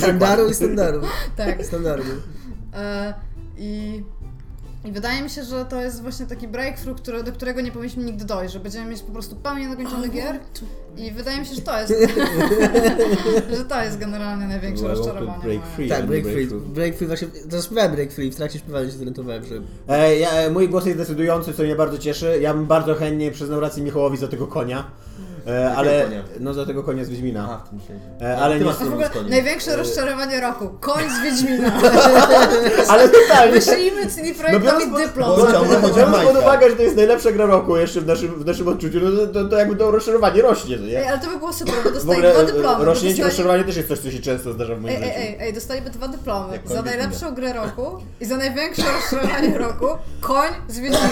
[SPEAKER 1] sztandaru i standardu.
[SPEAKER 2] Tak.
[SPEAKER 1] Standardu.
[SPEAKER 2] E, i, I wydaje mi się, że to jest właśnie taki breakthrough, który, do którego nie powinniśmy nigdy dojść, że będziemy mieć po prostu pełnię nakończonych gier i wydaje mi się, że to jest że to jest generalnie największe
[SPEAKER 4] Well, I want to
[SPEAKER 2] rozczarowanie.
[SPEAKER 4] break
[SPEAKER 2] moje.
[SPEAKER 4] free.
[SPEAKER 1] Tak,
[SPEAKER 4] Ani
[SPEAKER 1] Break
[SPEAKER 4] Break
[SPEAKER 1] Free.
[SPEAKER 4] Free.
[SPEAKER 1] Break Free właśnie, zaśpiewałem Break Free, w trakcie śpiewania się zorientowałem, że...
[SPEAKER 4] E, ja, e, mój głos jest decydujący, co mnie bardzo cieszy. Ja bym bardzo chętnie przyznał rację Michałowi za tego konia. E, ale.
[SPEAKER 3] konia?
[SPEAKER 4] No za tego konia z Wiedźmina.
[SPEAKER 3] Aha, w tym sensie.
[SPEAKER 4] E, ale
[SPEAKER 3] Ty
[SPEAKER 4] nie-
[SPEAKER 3] masz
[SPEAKER 2] A w
[SPEAKER 3] problem
[SPEAKER 2] ogóle
[SPEAKER 3] z koniem.
[SPEAKER 2] największe rozczarowanie roku. Koń z Wiedźmina.
[SPEAKER 4] Ale totalnie.
[SPEAKER 2] Wyślijmy CD Projektowi
[SPEAKER 4] biorąc pod-
[SPEAKER 2] dyplom.
[SPEAKER 3] bo- Chodzi o-
[SPEAKER 4] Biorąc
[SPEAKER 3] chodzi o
[SPEAKER 4] biorąc pod
[SPEAKER 3] Majka.
[SPEAKER 4] uwagę, że to jest najlepsza gra roku jeszcze w naszym, w naszym odczuciu, no to, to, to jakby to rozczarowanie rośnie, no
[SPEAKER 2] Ej,
[SPEAKER 4] nie?
[SPEAKER 2] ale to by było super, bo
[SPEAKER 4] W
[SPEAKER 2] dostali
[SPEAKER 4] ogóle
[SPEAKER 2] dwa
[SPEAKER 4] e,
[SPEAKER 2] dyplomy.
[SPEAKER 4] rośnięcie
[SPEAKER 2] Dostali-
[SPEAKER 4] rozczarowania też jest coś, co się często zdarza w moim
[SPEAKER 2] Ej,
[SPEAKER 4] życiu.
[SPEAKER 2] ej, ej, ej, dostaliby dwa dyplomy.
[SPEAKER 3] Jak koń
[SPEAKER 2] Za
[SPEAKER 3] Wiedźmina.
[SPEAKER 2] najlepszą grę roku i za największe rozczarowanie roku. Koń z Wiedźmina.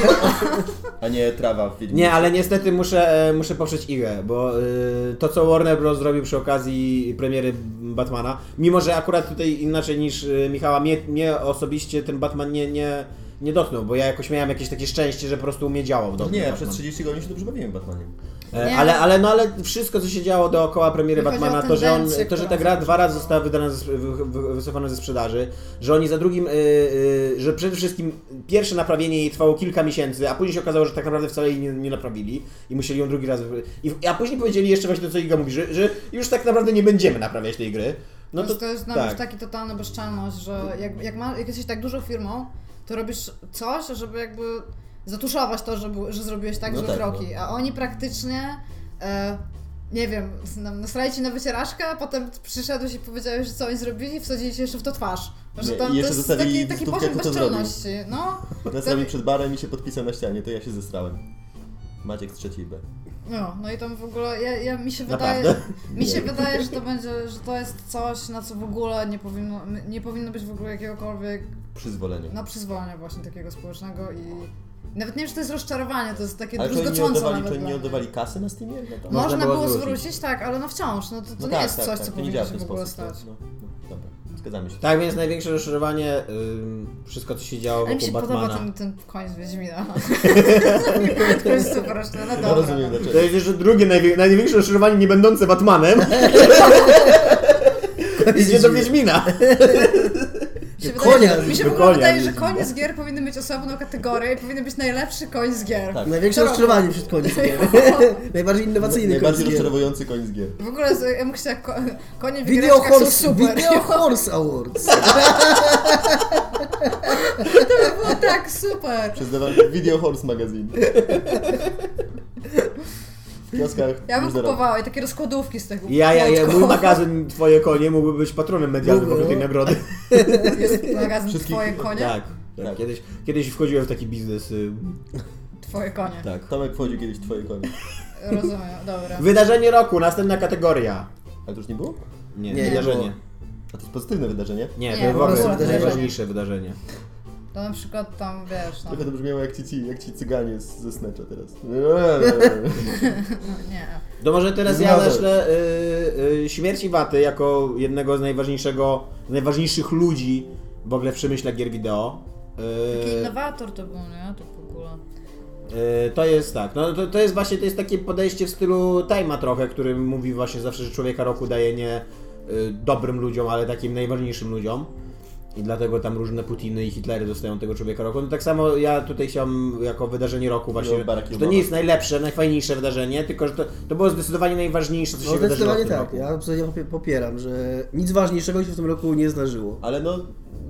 [SPEAKER 3] A nie trawa w Wiedźminie.
[SPEAKER 4] Nie, ale niestety muszę, e, muszę poprzeć Igę, bo y, to co Warner Bros. zrobił przy okazji premiery Batmana, mimo że akurat tutaj inaczej niż y, Michała, mnie, mnie osobiście ten Batman nie, nie, nie dotknął, bo ja jakoś miałem jakieś takie szczęście, że po prostu u mnie działał w domu.
[SPEAKER 3] Nie,
[SPEAKER 4] Batman.
[SPEAKER 3] przez 30 godzin się dobrze bawiłem Batmaniem.
[SPEAKER 4] E,
[SPEAKER 2] Nie.
[SPEAKER 4] Ale, ale, no, ale wszystko, co się działo dookoła premiery
[SPEAKER 2] Mi chodzi
[SPEAKER 4] Batmana,
[SPEAKER 2] o
[SPEAKER 4] to że, on,
[SPEAKER 2] tendencję,
[SPEAKER 4] to, że ta
[SPEAKER 2] która
[SPEAKER 4] gra
[SPEAKER 2] się
[SPEAKER 4] dwa razy została wydana, ze, wy, wy, wycofana ze sprzedaży, że oni za drugim, y, y, że przede wszystkim pierwsze naprawienie jej trwało kilka miesięcy, a później się okazało, że tak naprawdę wcale jej nie, nie naprawili i musieli ją drugi raz. wy- I, a później powiedzieli jeszcze właśnie to, co Iga mówi, że, że już tak naprawdę nie będziemy naprawiać tej gry. No to,
[SPEAKER 2] to, jest dla mnie
[SPEAKER 4] tak.
[SPEAKER 2] już taki totalna bezczelność, że jak, jak, ma, jak jesteś tak dużą firmą, to robisz coś, żeby jakby zatuszować to, że, był- że zrobiłeś tak
[SPEAKER 3] No
[SPEAKER 2] duże
[SPEAKER 3] tak,
[SPEAKER 2] kroki, a oni praktycznie, e, nie wiem, na- nasrali ci na wycieraczkę, a potem przyszedłeś i powiedziałeś, że co oni zrobili, wsadzili ci jeszcze w to twarz. Że
[SPEAKER 3] Nie,
[SPEAKER 2] tam,
[SPEAKER 3] i
[SPEAKER 2] to
[SPEAKER 3] jeszcze
[SPEAKER 2] jest
[SPEAKER 3] zostawili
[SPEAKER 2] taki, taki
[SPEAKER 3] listówkę,
[SPEAKER 2] poziom
[SPEAKER 3] kto to zrobił.
[SPEAKER 2] bezczelności. No,
[SPEAKER 3] Czasami przed barem i się podpisał na ścianie, to ja się zesrałem. Maciek z trzeciej B.
[SPEAKER 2] No, no i tam w ogóle, ja, ja mi się wydaje,
[SPEAKER 3] Naprawdę?
[SPEAKER 2] mi się
[SPEAKER 3] Nie.
[SPEAKER 2] wydaje, że to będzie, że to jest coś, na co w ogóle nie powinno, nie powinno być w ogóle jakiegokolwiek
[SPEAKER 3] Przyzwolenie.
[SPEAKER 2] no, przyzwolenia właśnie takiego społecznego i nawet nie wiem, czy to jest rozczarowanie, to jest takie
[SPEAKER 3] Ale czy oni nie
[SPEAKER 2] druzgoczące
[SPEAKER 3] oddawali,
[SPEAKER 2] nawet no.
[SPEAKER 3] czy oni
[SPEAKER 2] dla
[SPEAKER 3] nie
[SPEAKER 2] mnie.
[SPEAKER 3] oddawali kasy na Steamie? No to-
[SPEAKER 2] Można
[SPEAKER 4] Można
[SPEAKER 2] było
[SPEAKER 4] było
[SPEAKER 2] zwrócić.
[SPEAKER 4] zwrócić.
[SPEAKER 2] tak, ale no wciąż, no to, to
[SPEAKER 3] No
[SPEAKER 2] nie
[SPEAKER 3] tak,
[SPEAKER 2] jest
[SPEAKER 3] tak,
[SPEAKER 2] coś,
[SPEAKER 3] tak,
[SPEAKER 2] co
[SPEAKER 3] to nie
[SPEAKER 2] powinno
[SPEAKER 3] działa w
[SPEAKER 2] się
[SPEAKER 3] ten
[SPEAKER 2] w ogóle
[SPEAKER 3] sposób,
[SPEAKER 2] stać.
[SPEAKER 3] No, no, dobra, zgadzamy się.
[SPEAKER 4] Tak więc największe rozczarowanie, ym, wszystko co się działo
[SPEAKER 2] Ale mi
[SPEAKER 4] wokół
[SPEAKER 2] się podoba ten,
[SPEAKER 4] Batmana.
[SPEAKER 2] ten koniec Wiedźmina. to jest super, roczne, no
[SPEAKER 3] Ja
[SPEAKER 2] dobra.
[SPEAKER 3] rozumiem dlaczego.
[SPEAKER 4] To jest jeszcze drugie najwię- największe rozczarowanie nie będące Batmanem. Idzie do Wiedźmina.
[SPEAKER 2] Mi się
[SPEAKER 1] Konia,
[SPEAKER 2] wydaje, mi się w
[SPEAKER 4] do
[SPEAKER 2] ogóle
[SPEAKER 4] konia
[SPEAKER 2] wydaje, że
[SPEAKER 4] Wiedźmina.
[SPEAKER 2] konie z gier powinny mieć osobną kategorię i powinien być najlepszy koń z gier.
[SPEAKER 3] Tak.
[SPEAKER 1] Największe
[SPEAKER 2] Co
[SPEAKER 1] rozczarowanie przed końcem. Najbardziej innowacyjny
[SPEAKER 3] Najbardziej
[SPEAKER 1] koniec gier.
[SPEAKER 3] rozczarowujący koń z gier.
[SPEAKER 2] W ogóle z- ja bym chciała ko- konie w
[SPEAKER 1] Video
[SPEAKER 2] igreczkach są
[SPEAKER 1] Horse,
[SPEAKER 2] super.
[SPEAKER 1] Video Horse Awards.
[SPEAKER 2] To było tak super.
[SPEAKER 3] Przez dawany Video Horse magazine. W kioskach.
[SPEAKER 2] Ja bym
[SPEAKER 3] już zaraz.
[SPEAKER 2] kupowała i takie rozkładówki z tego.
[SPEAKER 4] Ja, ja, ja,
[SPEAKER 2] płotków.
[SPEAKER 4] mój magazyn Twoje konie mógłby być patronem medialnym
[SPEAKER 1] Mógłby,
[SPEAKER 4] wokół tej
[SPEAKER 1] no.
[SPEAKER 4] nagrody.
[SPEAKER 2] Jest magazyn
[SPEAKER 3] Wszystkich-
[SPEAKER 2] Twoje konie?
[SPEAKER 4] Tak,
[SPEAKER 3] Tak.
[SPEAKER 4] tak. Kiedyś, kiedyś wchodziłem w taki biznes. y,
[SPEAKER 2] Twoje konie.
[SPEAKER 4] Tak.
[SPEAKER 3] Tomek wchodził kiedyś w twoje konie.
[SPEAKER 2] Rozumiem, dobra.
[SPEAKER 4] Wydarzenie roku, następna kategoria.
[SPEAKER 3] Ale to już nie było?
[SPEAKER 4] Nie,
[SPEAKER 1] Nie,
[SPEAKER 4] wydarzenie.
[SPEAKER 1] bo-
[SPEAKER 3] A to jest pozytywne wydarzenie.
[SPEAKER 4] Nie,
[SPEAKER 2] Nie,
[SPEAKER 4] to jest
[SPEAKER 2] po
[SPEAKER 4] w ogóle
[SPEAKER 1] prostu wydarzenie.
[SPEAKER 4] najważniejsze wydarzenie.
[SPEAKER 2] To na przykład tam, wiesz, no,
[SPEAKER 3] Trochę to brzmiało jak ci, ci, jak ci cyganie z, ze Snatcha teraz.
[SPEAKER 2] no nie.
[SPEAKER 4] To może teraz ja
[SPEAKER 3] Zgadza.
[SPEAKER 4] zaślę y, y, śmierć Iwaty jako jednego z najważniejszego, z najważniejszych ludzi w ogóle w przemyśle gier wideo. Y,
[SPEAKER 2] Taki innowator to był, nie? Tak w ogóle.
[SPEAKER 4] Y, To jest tak, no to, to jest właśnie to jest takie podejście w stylu Time'a trochę, który mówi właśnie zawsze, że człowieka roku daje nie y, dobrym ludziom, ale takim najważniejszym ludziom. I dlatego tam różne Putiny i Hitlery dostają tego człowieka roku. No tak samo ja tutaj chciałem jako wydarzenie roku właśnie.
[SPEAKER 3] No, Barack
[SPEAKER 4] że to
[SPEAKER 3] Obama.
[SPEAKER 4] nie jest najlepsze, najfajniejsze wydarzenie, tylko że to, to było zdecydowanie najważniejsze, co się
[SPEAKER 1] No
[SPEAKER 4] wydarzyło.
[SPEAKER 1] zdecydowanie
[SPEAKER 4] W tym
[SPEAKER 1] tak,
[SPEAKER 4] roku.
[SPEAKER 1] ja absolutnie popie- popieram, że nic ważniejszego się w tym roku nie zdarzyło.
[SPEAKER 3] Ale no,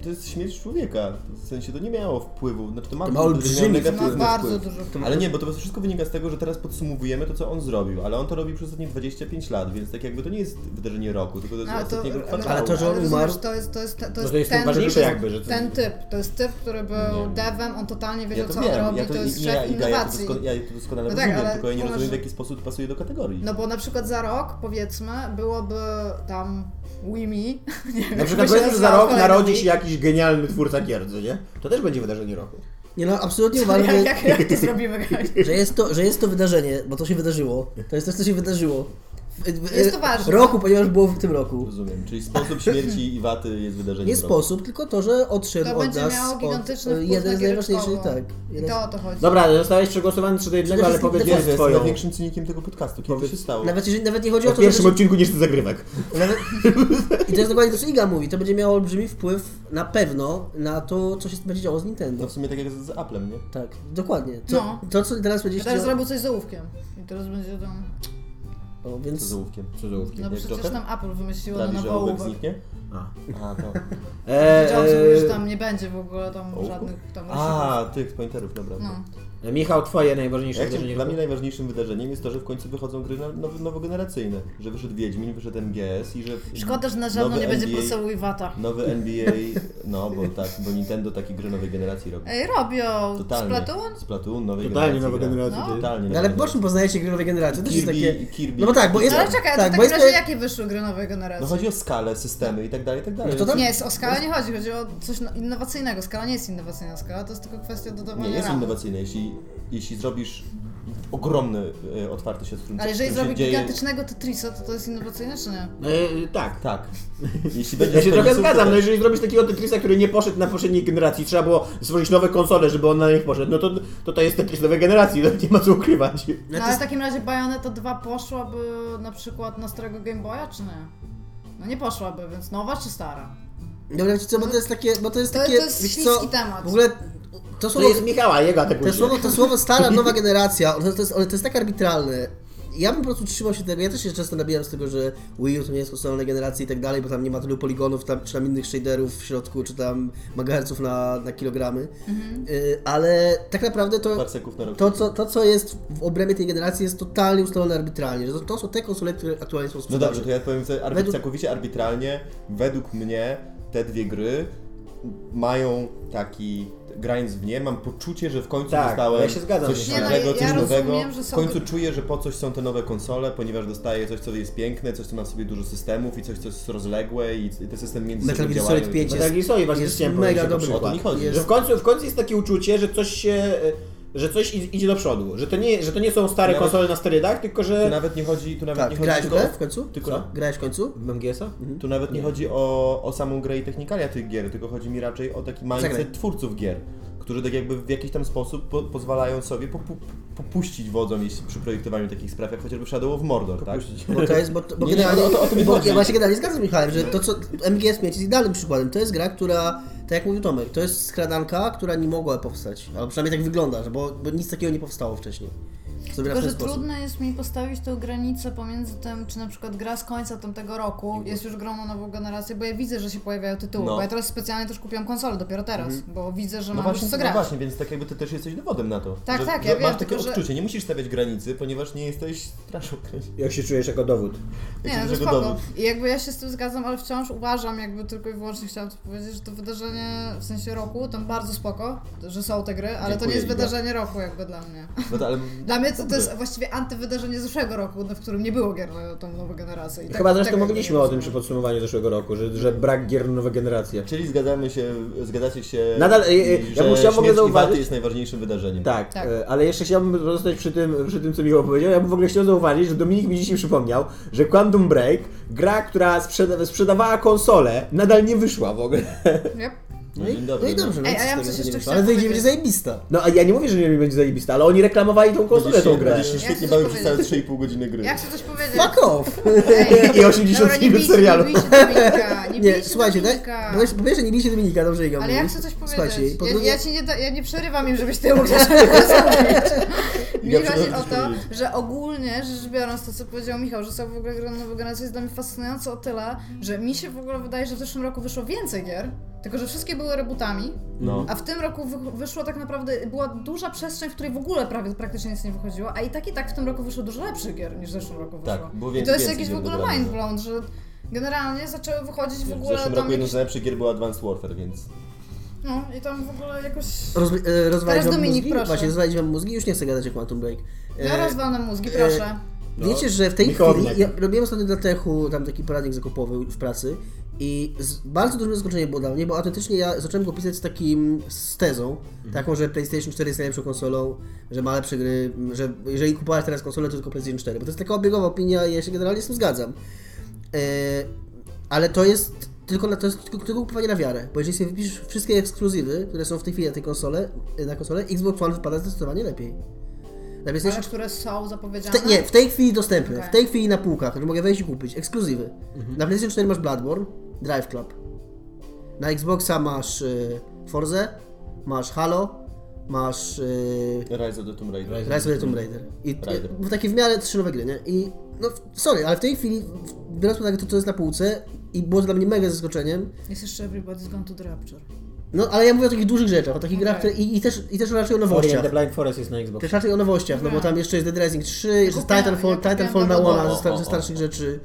[SPEAKER 3] to jest śmierć człowieka. W sensie to nie miało wpływu. Znaczy to ma,
[SPEAKER 1] To ma
[SPEAKER 3] miało
[SPEAKER 1] olbrzymi
[SPEAKER 2] To ma
[SPEAKER 3] negatywny
[SPEAKER 2] bardzo
[SPEAKER 3] wpływ.
[SPEAKER 2] dużo
[SPEAKER 3] Ale nie, bo to wszystko wynika z tego, że teraz podsumowujemy to, co on zrobił, ale on to robi przez ostatnie 25 lat, więc tak jakby to nie jest wydarzenie roku, tylko to jest
[SPEAKER 2] No, ale to-
[SPEAKER 3] ostatniego
[SPEAKER 2] ale-
[SPEAKER 3] kwartału.
[SPEAKER 1] Ale to, że on
[SPEAKER 2] ale rozumiesz,
[SPEAKER 1] umarł-
[SPEAKER 2] To jest, to jest, to
[SPEAKER 4] No
[SPEAKER 2] jest,
[SPEAKER 4] to jest
[SPEAKER 2] ten,
[SPEAKER 4] najważniejsze
[SPEAKER 2] to jest
[SPEAKER 4] jakby, że to-
[SPEAKER 2] ten typ. To jest typ, który był devem, on totalnie wiedział,
[SPEAKER 3] Ja to
[SPEAKER 2] co
[SPEAKER 3] wiem,
[SPEAKER 2] on robi,
[SPEAKER 3] ja
[SPEAKER 2] to,
[SPEAKER 3] to,
[SPEAKER 2] jest
[SPEAKER 3] ja,
[SPEAKER 2] szef
[SPEAKER 3] Iga, ja, to
[SPEAKER 2] innowacji.
[SPEAKER 3] dosko- ja to doskonale
[SPEAKER 2] No tak,
[SPEAKER 3] rozumiem,
[SPEAKER 2] ale
[SPEAKER 3] tylko ja nie
[SPEAKER 2] kumasz,
[SPEAKER 3] rozumiem, w
[SPEAKER 2] że-
[SPEAKER 3] jaki sposób pasuje do kategorii.
[SPEAKER 2] No bo na przykład za rok, powiedzmy, byłoby tam Wimi.
[SPEAKER 4] Na przykład powiedzmy, że za rok narodzi
[SPEAKER 1] no
[SPEAKER 4] się jakiś genialny twórca gierdzy, nie? To też będzie wydarzenie roku.
[SPEAKER 1] Nie no, absolutnie uważam,
[SPEAKER 2] Jak,
[SPEAKER 1] że,
[SPEAKER 2] jak, jak to zrobimy? Kaś?
[SPEAKER 1] że, jest to, że jest to wydarzenie, bo to się wydarzyło. To jest coś, co się wydarzyło. W, w,
[SPEAKER 2] Jest to ważne.
[SPEAKER 1] Roku, ponieważ było w tym roku.
[SPEAKER 3] Rozumiem, czyli sposób śmierci Iwaty jest wydarzeniem
[SPEAKER 1] Nie
[SPEAKER 3] roku.
[SPEAKER 1] sposób, tylko to, że odszedł
[SPEAKER 2] To
[SPEAKER 1] od
[SPEAKER 2] będzie
[SPEAKER 1] nas
[SPEAKER 2] miało gigantyczny
[SPEAKER 1] od,
[SPEAKER 2] wpływ
[SPEAKER 1] jeden
[SPEAKER 2] na
[SPEAKER 1] z najważniejszych,
[SPEAKER 2] giereczkowo.
[SPEAKER 1] tak.
[SPEAKER 2] I
[SPEAKER 1] Jeden,
[SPEAKER 2] to o to chodzi.
[SPEAKER 4] Dobra, zostałeś przegłosowany 3 do 1, ale
[SPEAKER 1] wszystkim
[SPEAKER 4] powiedz
[SPEAKER 1] to
[SPEAKER 3] Ja
[SPEAKER 4] jest
[SPEAKER 3] jestem
[SPEAKER 4] swoją.
[SPEAKER 3] największym cynikiem tego podcastu, kiedy to się stało.
[SPEAKER 1] nawet, jeżeli, nawet nie chodzi o
[SPEAKER 4] W
[SPEAKER 1] to, że...
[SPEAKER 4] pierwszym odcinku niż ty zagrywek.
[SPEAKER 1] Nawet, I to jest dokładnie to, co Iga mówi. To będzie miało olbrzymi wpływ na pewno na to, co się będzie działo z Nintendo.
[SPEAKER 3] No w sumie tak jak z, z Applem, nie?
[SPEAKER 1] Tak, dokładnie. To,
[SPEAKER 2] No.
[SPEAKER 1] to co teraz będzie
[SPEAKER 2] Ja
[SPEAKER 1] się
[SPEAKER 2] teraz
[SPEAKER 1] działo-
[SPEAKER 2] zrobił coś z ołówkiem. I teraz będzie tam...
[SPEAKER 1] O,
[SPEAKER 3] Co
[SPEAKER 1] więc
[SPEAKER 3] z ołówkiem.
[SPEAKER 4] Co za
[SPEAKER 2] No
[SPEAKER 3] jak
[SPEAKER 2] przecież
[SPEAKER 3] Joker?
[SPEAKER 2] tam Apple wymyśliło
[SPEAKER 3] Prawi,
[SPEAKER 2] na
[SPEAKER 3] że
[SPEAKER 2] nowy
[SPEAKER 3] ołówek
[SPEAKER 2] ołówek.
[SPEAKER 3] zniknie?
[SPEAKER 4] A.
[SPEAKER 3] A, to.
[SPEAKER 2] Wiedziałam,
[SPEAKER 1] E,
[SPEAKER 2] że
[SPEAKER 4] Eee,
[SPEAKER 2] tam nie będzie w ogóle tam
[SPEAKER 3] Ołówku?
[SPEAKER 2] żadnych tam...
[SPEAKER 3] A, tych pointerów, dobra.
[SPEAKER 2] No.
[SPEAKER 4] Michał, twoje najważniejsze
[SPEAKER 3] Jak
[SPEAKER 4] wydarzenie
[SPEAKER 3] dla mnie
[SPEAKER 4] roku?
[SPEAKER 3] najważniejszym wydarzeniem jest to, że w końcu wychodzą gry na- nowo- nowogeneracyjne. Że wyszedł Wiedźmin, wyszedł MGS i że...
[SPEAKER 2] Szkoda, że na żadną
[SPEAKER 3] nowy
[SPEAKER 2] nie będzie
[SPEAKER 3] NBA
[SPEAKER 2] poseł Iwata.
[SPEAKER 3] Nowy NBA, no bo tak, bo Nintendo takie gry nowej generacji robi.
[SPEAKER 2] Ej, robią
[SPEAKER 3] Totalnie.
[SPEAKER 2] Splatoon?
[SPEAKER 3] Splatoon, nowej
[SPEAKER 4] Totalnie
[SPEAKER 3] generacji.
[SPEAKER 4] nowa
[SPEAKER 3] gra.
[SPEAKER 4] generacja.
[SPEAKER 2] No.
[SPEAKER 4] ty.
[SPEAKER 3] Totalnie.
[SPEAKER 1] No ale po czym poznajecie gry nowej generacji? To też jest
[SPEAKER 3] Kirby,
[SPEAKER 1] takie...
[SPEAKER 3] Kirby.
[SPEAKER 1] No bo tak, bo jest...
[SPEAKER 2] No ale czekaj,
[SPEAKER 1] tak,
[SPEAKER 2] to w
[SPEAKER 1] bo
[SPEAKER 2] takim
[SPEAKER 1] jest...
[SPEAKER 2] razie jakie wyszły gry nowej generacji?
[SPEAKER 3] No chodzi o skalę, systemy i tak dalej, i tak dalej.
[SPEAKER 1] No to tam-
[SPEAKER 2] Nie, o skalę nie chodzi, chodzi o coś no- innowacyjnego. Skala nie jest innowacyjna, skala to jest tylko kwestia dodawania
[SPEAKER 3] Nie jest
[SPEAKER 2] ram.
[SPEAKER 3] innowacyjne, jeśli, jeśli zrobisz ogromny e, otwarty świat, w którym
[SPEAKER 2] Ale
[SPEAKER 3] w
[SPEAKER 2] jeżeli
[SPEAKER 3] którym
[SPEAKER 2] zrobi
[SPEAKER 3] się dzieje...
[SPEAKER 2] gigantycznego Tetrisa, to to jest innowacyjne czy nie?
[SPEAKER 4] Eee, tak.
[SPEAKER 3] Tak. Jeśli
[SPEAKER 4] Ja
[SPEAKER 3] będziesz
[SPEAKER 4] się trochę
[SPEAKER 3] końcówkę-
[SPEAKER 4] zgadzam, no jeżeli zrobisz takiego Tetrisa, który nie poszedł na poprzedniej generacji, trzeba było stworzyć nowe konsole, żeby on na nich poszedł, no to to, to jest Tetris nowej generacji, no, nie ma co ukrywać.
[SPEAKER 2] No ale w takim razie Bayonetta 2 poszłaby na przykład na starego Game Boya czy nie? No nie poszłaby, więc nowa czy stara?
[SPEAKER 1] Dobra, wiecie co, bo to jest takie... Bo to jest
[SPEAKER 2] To-
[SPEAKER 1] takie...
[SPEAKER 2] to jest
[SPEAKER 1] wiecie co,
[SPEAKER 2] śliski temat.
[SPEAKER 1] W ogóle... To
[SPEAKER 4] To
[SPEAKER 1] słowo...
[SPEAKER 4] jest Michała, jego atakuje.
[SPEAKER 1] To słowo, to słowo stara, nowa generacja, ono to jest, ono to jest tak arbitralne. Ja bym po prostu trzymał się tego, ja też się często nabijam z tego, że Wii U to nie jest konsola generacji i tak dalej, bo tam nie ma tylu poligonów, tam, czy tam innych shaderów w środku, czy tam megaherców na, na kilogramy.
[SPEAKER 2] Mhm.
[SPEAKER 1] Y, ale tak naprawdę to...
[SPEAKER 3] Parseków na rok.
[SPEAKER 1] To co, to, co jest w obrębie tej generacji, jest totalnie ustalone arbitralnie. że To, to są te konsole, które aktualnie są w
[SPEAKER 3] No
[SPEAKER 1] sprzedaży.
[SPEAKER 3] dobrze, to ja powiem sobie arbi-
[SPEAKER 1] Według-
[SPEAKER 3] całkowicie arbitralnie. Według mnie te dwie gry mają taki grając w nie, mam poczucie, że w końcu
[SPEAKER 4] Tak,
[SPEAKER 3] dostałem
[SPEAKER 4] ja się zgadzam.
[SPEAKER 3] coś
[SPEAKER 4] Nie, no,
[SPEAKER 3] świeżego,
[SPEAKER 2] ja-
[SPEAKER 3] coś
[SPEAKER 2] ja
[SPEAKER 3] nowego.
[SPEAKER 2] rozumiem, że są
[SPEAKER 3] W końcu
[SPEAKER 2] gry-
[SPEAKER 3] czuję, że po coś są te nowe konsole, ponieważ dostaję coś, co jest piękne, coś, co ma w sobie dużo systemów i coś, co jest rozległe i i te systemy między
[SPEAKER 1] Metal
[SPEAKER 3] sobą
[SPEAKER 1] Gear
[SPEAKER 3] działają.
[SPEAKER 1] Solid 5
[SPEAKER 4] tak, i Sony właśnie
[SPEAKER 1] jest
[SPEAKER 4] chciałem
[SPEAKER 1] mega
[SPEAKER 4] powiedzieć jako
[SPEAKER 1] dobry.
[SPEAKER 4] przykład.
[SPEAKER 3] O to mi chodzi.
[SPEAKER 4] Że w końcu, w końcu jest takie uczucie, że coś się, e, że coś id- idzie do przodu, że to nie, że to nie są stare
[SPEAKER 3] Nawet-
[SPEAKER 4] konsole na sterydach, tylko
[SPEAKER 3] Tu
[SPEAKER 4] że...
[SPEAKER 3] nawet nie chodzi, tu nawet
[SPEAKER 1] Tak,
[SPEAKER 3] nie
[SPEAKER 1] grałeś
[SPEAKER 3] chodzi
[SPEAKER 1] w
[SPEAKER 3] tylko,
[SPEAKER 1] grę w końcu?
[SPEAKER 3] tylko-
[SPEAKER 1] Co? Grałeś w końcu?
[SPEAKER 4] MGS-a?
[SPEAKER 3] tu nawet nie chodzi o, o samą grę i technikalia tych gier, tylko chodzi mi raczej o taki mindset
[SPEAKER 1] Zagraj.
[SPEAKER 3] twórców gier, którzy tak jakby w jakiś tam sposób po, pozwalają sobie popu, popuścić wodzą jeśli przy projektowaniu takich spraw, jak chociażby Shadow of Mordor, tak?
[SPEAKER 1] Bo to jest, bo, to, bo
[SPEAKER 3] Nie, nie,
[SPEAKER 1] generalnie,
[SPEAKER 3] o to- o to mi
[SPEAKER 1] bo
[SPEAKER 3] chodzi.
[SPEAKER 1] ja właśnie generalnie zgadzam się z Michałem, że to co MGS 5 jest idealnym przykładem. To jest gra, która, tak jak mówił Tomek, to jest skradanka, która nie mogła powstać. Albo przynajmniej tak wygląda, że bo, bo nic takiego nie powstało wcześniej.
[SPEAKER 2] Tylko,
[SPEAKER 1] Zrobiona w
[SPEAKER 2] że
[SPEAKER 1] ten sposób.
[SPEAKER 2] trudno jest mi postawić tą granicę pomiędzy tym, czy na przykład gra z końca tamtego roku jest już grą na nową generację, bo ja widzę, że się pojawiają tytuły,
[SPEAKER 3] No.
[SPEAKER 2] bo ja teraz specjalnie też kupiłam konsolę dopiero teraz, bo widzę, że
[SPEAKER 3] No
[SPEAKER 2] mam
[SPEAKER 3] właśnie,
[SPEAKER 2] już co
[SPEAKER 3] no
[SPEAKER 2] grać.
[SPEAKER 3] właśnie, więc tak jakby ty też jesteś dowodem na to.
[SPEAKER 2] Tak,
[SPEAKER 3] że,
[SPEAKER 2] tak,
[SPEAKER 3] że
[SPEAKER 2] ja
[SPEAKER 3] masz
[SPEAKER 2] wiem,
[SPEAKER 3] takie
[SPEAKER 2] tylko że-
[SPEAKER 3] odczucie, nie musisz stawiać granicy, ponieważ nie jesteś straszą granicy.
[SPEAKER 4] Jak się czujesz jako dowód?
[SPEAKER 2] Nie,
[SPEAKER 3] Jakiś
[SPEAKER 2] no to
[SPEAKER 3] tego
[SPEAKER 2] spoko.
[SPEAKER 3] dowód.
[SPEAKER 2] I jakby ja się z tym zgadzam, ale wciąż uważam, jakby tylko i wyłącznie chciałam to powiedzieć, że to wydarzenie w sensie roku, tam bardzo spoko, że są te gry, ale to
[SPEAKER 3] Dziękuję,
[SPEAKER 2] nie jest
[SPEAKER 3] Iga.
[SPEAKER 2] wydarzenie roku jakby dla mnie.
[SPEAKER 3] No to, ale
[SPEAKER 2] Dla mnie to, to jest właściwie antywydarzenie z zeszłego roku, no, w którym nie było gier na tą nową generację. I
[SPEAKER 4] Chyba zresztą
[SPEAKER 2] tego
[SPEAKER 4] mówiliśmy
[SPEAKER 2] Tak, nie
[SPEAKER 4] o tym przy
[SPEAKER 2] rozumiem.
[SPEAKER 4] podsumowaniu zeszłego roku, że, że brak gier nowe generacje.
[SPEAKER 3] Czyli zgadzamy się, zgadzacie się,
[SPEAKER 4] Nadal, e, e, ja bym
[SPEAKER 3] że
[SPEAKER 4] chciał w ogóle
[SPEAKER 3] śmierć
[SPEAKER 4] zauważyć-
[SPEAKER 3] Iwaty jest najważniejszym wydarzeniem.
[SPEAKER 4] Tak,
[SPEAKER 2] Tak.
[SPEAKER 4] e, ale jeszcze chciałbym pozostać przy tym, przy tym, co Michał powiedział. Ja bym w ogóle chciał zauważyć, że Dominik mi dzisiaj przypomniał, że Quantum Break, gra, która sprzeda sprzedawała konsole, nadal nie wyszła w ogóle.
[SPEAKER 2] Yep.
[SPEAKER 3] No, dzień dobry.
[SPEAKER 1] No i dobrze, no
[SPEAKER 2] Ej,
[SPEAKER 1] nic
[SPEAKER 2] a ja
[SPEAKER 1] z
[SPEAKER 2] bym coś
[SPEAKER 1] tego, że nie
[SPEAKER 2] jeszcze
[SPEAKER 1] wyszło.
[SPEAKER 2] chciała
[SPEAKER 1] Ale wyjdzie, będzie
[SPEAKER 2] powiedzieć.
[SPEAKER 1] zajebista.
[SPEAKER 4] No a ja nie mówię, że nie będzie zajebista, ale oni reklamowali tą konsolę, tą grę.
[SPEAKER 3] Będziesz się
[SPEAKER 2] Ja chcę
[SPEAKER 3] świetnie
[SPEAKER 2] coś
[SPEAKER 3] bawił przez całe
[SPEAKER 2] powiedzieć.
[SPEAKER 3] 3,5 godziny gry.
[SPEAKER 2] Ja chcę coś powiedzieć.
[SPEAKER 1] Fuck off!
[SPEAKER 2] Ej,
[SPEAKER 4] I 80
[SPEAKER 2] dobra, nie
[SPEAKER 4] minut
[SPEAKER 2] bijcie,
[SPEAKER 4] serialu.
[SPEAKER 2] Nie bijcie Dominika, nie,
[SPEAKER 1] Nie,
[SPEAKER 2] bijcie
[SPEAKER 1] słuchajcie, daj,
[SPEAKER 2] Dominika.
[SPEAKER 1] powiesz, powiesz, że nie bijcie Dominika, dobrze Iga
[SPEAKER 2] Ale
[SPEAKER 1] mówi.
[SPEAKER 2] ja chcę coś
[SPEAKER 1] Słuchajcie,
[SPEAKER 2] powiedzieć.
[SPEAKER 1] po
[SPEAKER 2] Ja,
[SPEAKER 1] drugie,
[SPEAKER 2] ja, ci nie, da, ja nie przerywam im, żebyś ty umiał rozumieć. Mi
[SPEAKER 3] Ja
[SPEAKER 2] chodzi
[SPEAKER 3] przerywam
[SPEAKER 2] o
[SPEAKER 3] ci
[SPEAKER 2] to,
[SPEAKER 3] powiedzieć.
[SPEAKER 2] że ogólnie rzecz biorąc to, co powiedział Michał, że są w ogóle gry nowej generacji jest dla mnie fascynujące o tyle, że mi się w ogóle wydaje, że w zeszłym roku wyszło więcej gier, tylko że wszystkie były rebootami,
[SPEAKER 3] No.
[SPEAKER 2] a w tym roku wy, wyszło tak naprawdę, była duża przestrzeń, w której w ogóle prawie praktycznie nic nie wychodziło, a i tak i tak w tym roku wyszło dużo lepszych gier niż w zeszłym roku wyszło.
[SPEAKER 3] Tak, było
[SPEAKER 2] I
[SPEAKER 3] więcej-
[SPEAKER 2] to jest
[SPEAKER 3] więcej
[SPEAKER 2] jakiś w
[SPEAKER 3] gier
[SPEAKER 2] ogóle
[SPEAKER 3] wybranych.
[SPEAKER 2] mind blown, że generalnie zaczęły wychodzić w
[SPEAKER 3] W
[SPEAKER 2] ogóle
[SPEAKER 3] zeszłym
[SPEAKER 2] tam
[SPEAKER 3] roku jedną
[SPEAKER 2] jakieś...
[SPEAKER 3] z najlepszych gier była Advanced Warfare, więc...
[SPEAKER 2] No i tam w ogóle jakoś...
[SPEAKER 1] roz, e, rozwalić
[SPEAKER 2] Teraz
[SPEAKER 1] wam
[SPEAKER 2] Dominik,
[SPEAKER 1] mózgi?
[SPEAKER 2] proszę. No,
[SPEAKER 1] Właśnie, rozwalić wam mózgi? Już nie chcę gadać o Quantum Break. E,
[SPEAKER 2] Ja rozwalam mózgi, proszę.
[SPEAKER 1] Wiecie, że w tej
[SPEAKER 4] Michał
[SPEAKER 1] chwili,
[SPEAKER 4] Ornek.
[SPEAKER 1] ja robiłem ostatnio dla Techu tam taki poradnik zakupowy w pracy i z, bardzo dużym zaskoczeniem było dla mnie, bo autentycznie ja zacząłem go pisać z takim, z tezą, taką, że PlayStation 4 jest najlepszą konsolą, że ma lepsze gry, m, że jeżeli kupowałeś teraz konsolę, to tylko PlayStation 4, bo to jest taka obiegowa opinia i ja się generalnie z tym zgadzam. E, ale to jest tylko, na, to jest tylko, tylko kupowanie na wiarę, bo jeżeli sobie wypisz wszystkie ekskluzywy, które są w tej chwili na tej konsole, na konsolę, Xbox One wypada zdecydowanie lepiej. Na PlayStation
[SPEAKER 2] Ale które są zapowiedziane?
[SPEAKER 1] te, nie, w tej chwili dostępne.
[SPEAKER 2] Okej.
[SPEAKER 1] W tej chwili na półkach, że mogę wejść i kupić. Ekskluzywy. Na PlayStation 4 masz Bloodborne, Drive Club. Na Xboxa masz y, Forzę, masz Halo, masz y,
[SPEAKER 3] Rise of the Tomb Raider.
[SPEAKER 1] Rise of the Tomb Raider. I t-
[SPEAKER 3] Raider.
[SPEAKER 1] w takie w miarę trzy nowe gry, nie? I no, w- sorry, ale w tej chwili, w- biorąc pod uwagę to, co jest na półce, i było to dla mnie mega zaskoczeniem,
[SPEAKER 2] Jest jeszcze Everybody's Gone to the Rapture.
[SPEAKER 1] no ale ja mówię o takich dużych rzeczach, o takich
[SPEAKER 2] Okej.
[SPEAKER 1] grach, które, i, i, też, i też raczej o
[SPEAKER 4] Orient
[SPEAKER 1] nowościach.
[SPEAKER 4] The Blind Forest jest na Xbox.
[SPEAKER 1] Też raczej o nowościach, no bo
[SPEAKER 2] Dobra.
[SPEAKER 1] tam jeszcze jest Dead Rising 3, jeszcze jest
[SPEAKER 2] kupiłam-
[SPEAKER 1] Titanfall,
[SPEAKER 2] ja kupiłam
[SPEAKER 1] Titanfall na
[SPEAKER 2] Dawoda.
[SPEAKER 1] łama ze,
[SPEAKER 3] O,
[SPEAKER 1] star-
[SPEAKER 3] o,
[SPEAKER 1] ze
[SPEAKER 3] o.
[SPEAKER 1] starszych rzeczy.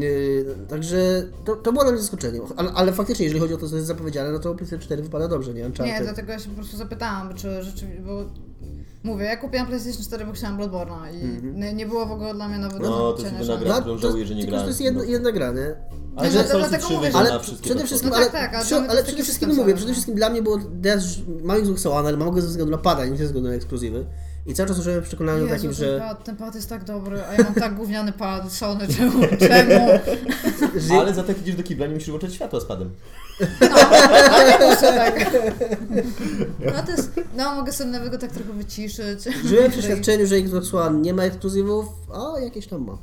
[SPEAKER 1] Yy, także to, to było dla mnie zaskoczenie, ale, ale faktycznie, jeżeli chodzi o to, co jest zapowiedziane, no to PlayStation 4 wypada dobrze, nie? Uncharted.
[SPEAKER 2] Nie, tak- dlatego ja się po prostu zapytałam, czy rzeczywiście, bo... Mówię, ja kupiłam PlayStation 4, bo chciałam Bloodborne'a i nie, nie było w ogóle dla mnie nawet
[SPEAKER 3] Mhm. No, to jest
[SPEAKER 2] odcienia
[SPEAKER 3] jedyna
[SPEAKER 2] żadnego.
[SPEAKER 3] gra.
[SPEAKER 1] No,
[SPEAKER 3] którą żałuję, że nie
[SPEAKER 1] tylko,
[SPEAKER 3] grałem.
[SPEAKER 1] To jest jedna,
[SPEAKER 3] No.
[SPEAKER 1] jedna gra, nie?
[SPEAKER 3] Ale
[SPEAKER 2] No,
[SPEAKER 3] Dark
[SPEAKER 2] to
[SPEAKER 3] Souls
[SPEAKER 2] dlatego
[SPEAKER 3] 3
[SPEAKER 2] mówię,
[SPEAKER 3] wyszedł na
[SPEAKER 1] Ale
[SPEAKER 3] wszystkie
[SPEAKER 1] przede wszystkim,
[SPEAKER 2] No
[SPEAKER 1] ale,
[SPEAKER 2] tak, tak, ale
[SPEAKER 1] przy,
[SPEAKER 2] mamy
[SPEAKER 1] ale
[SPEAKER 2] taki
[SPEAKER 1] przede
[SPEAKER 2] system
[SPEAKER 1] wszystkim mówię,
[SPEAKER 2] cały,
[SPEAKER 1] przede
[SPEAKER 2] no.
[SPEAKER 1] wszystkim dla mnie było, ja już mam Xbox One, ale mam go ze względu na pada, nie ze względu na ekskluzywy. I cały czas żyłem w przekonaniu
[SPEAKER 2] Jezu,
[SPEAKER 1] takim,
[SPEAKER 2] ten,
[SPEAKER 1] że...
[SPEAKER 2] pad, ten pad jest tak dobry, a ja mam tak gówniany pad, Sony, czemu, czemu?
[SPEAKER 1] że-
[SPEAKER 3] Ale za to jak idziesz do kibla, nie musisz włączać światła z padem.
[SPEAKER 2] Muszę tak. No to jest, no mogę sobie nawet go tak trochę wyciszyć.
[SPEAKER 1] Żyłem w przeświadczeniu, że Xbox One nie ma ekskluzywów, a jakieś tam ma.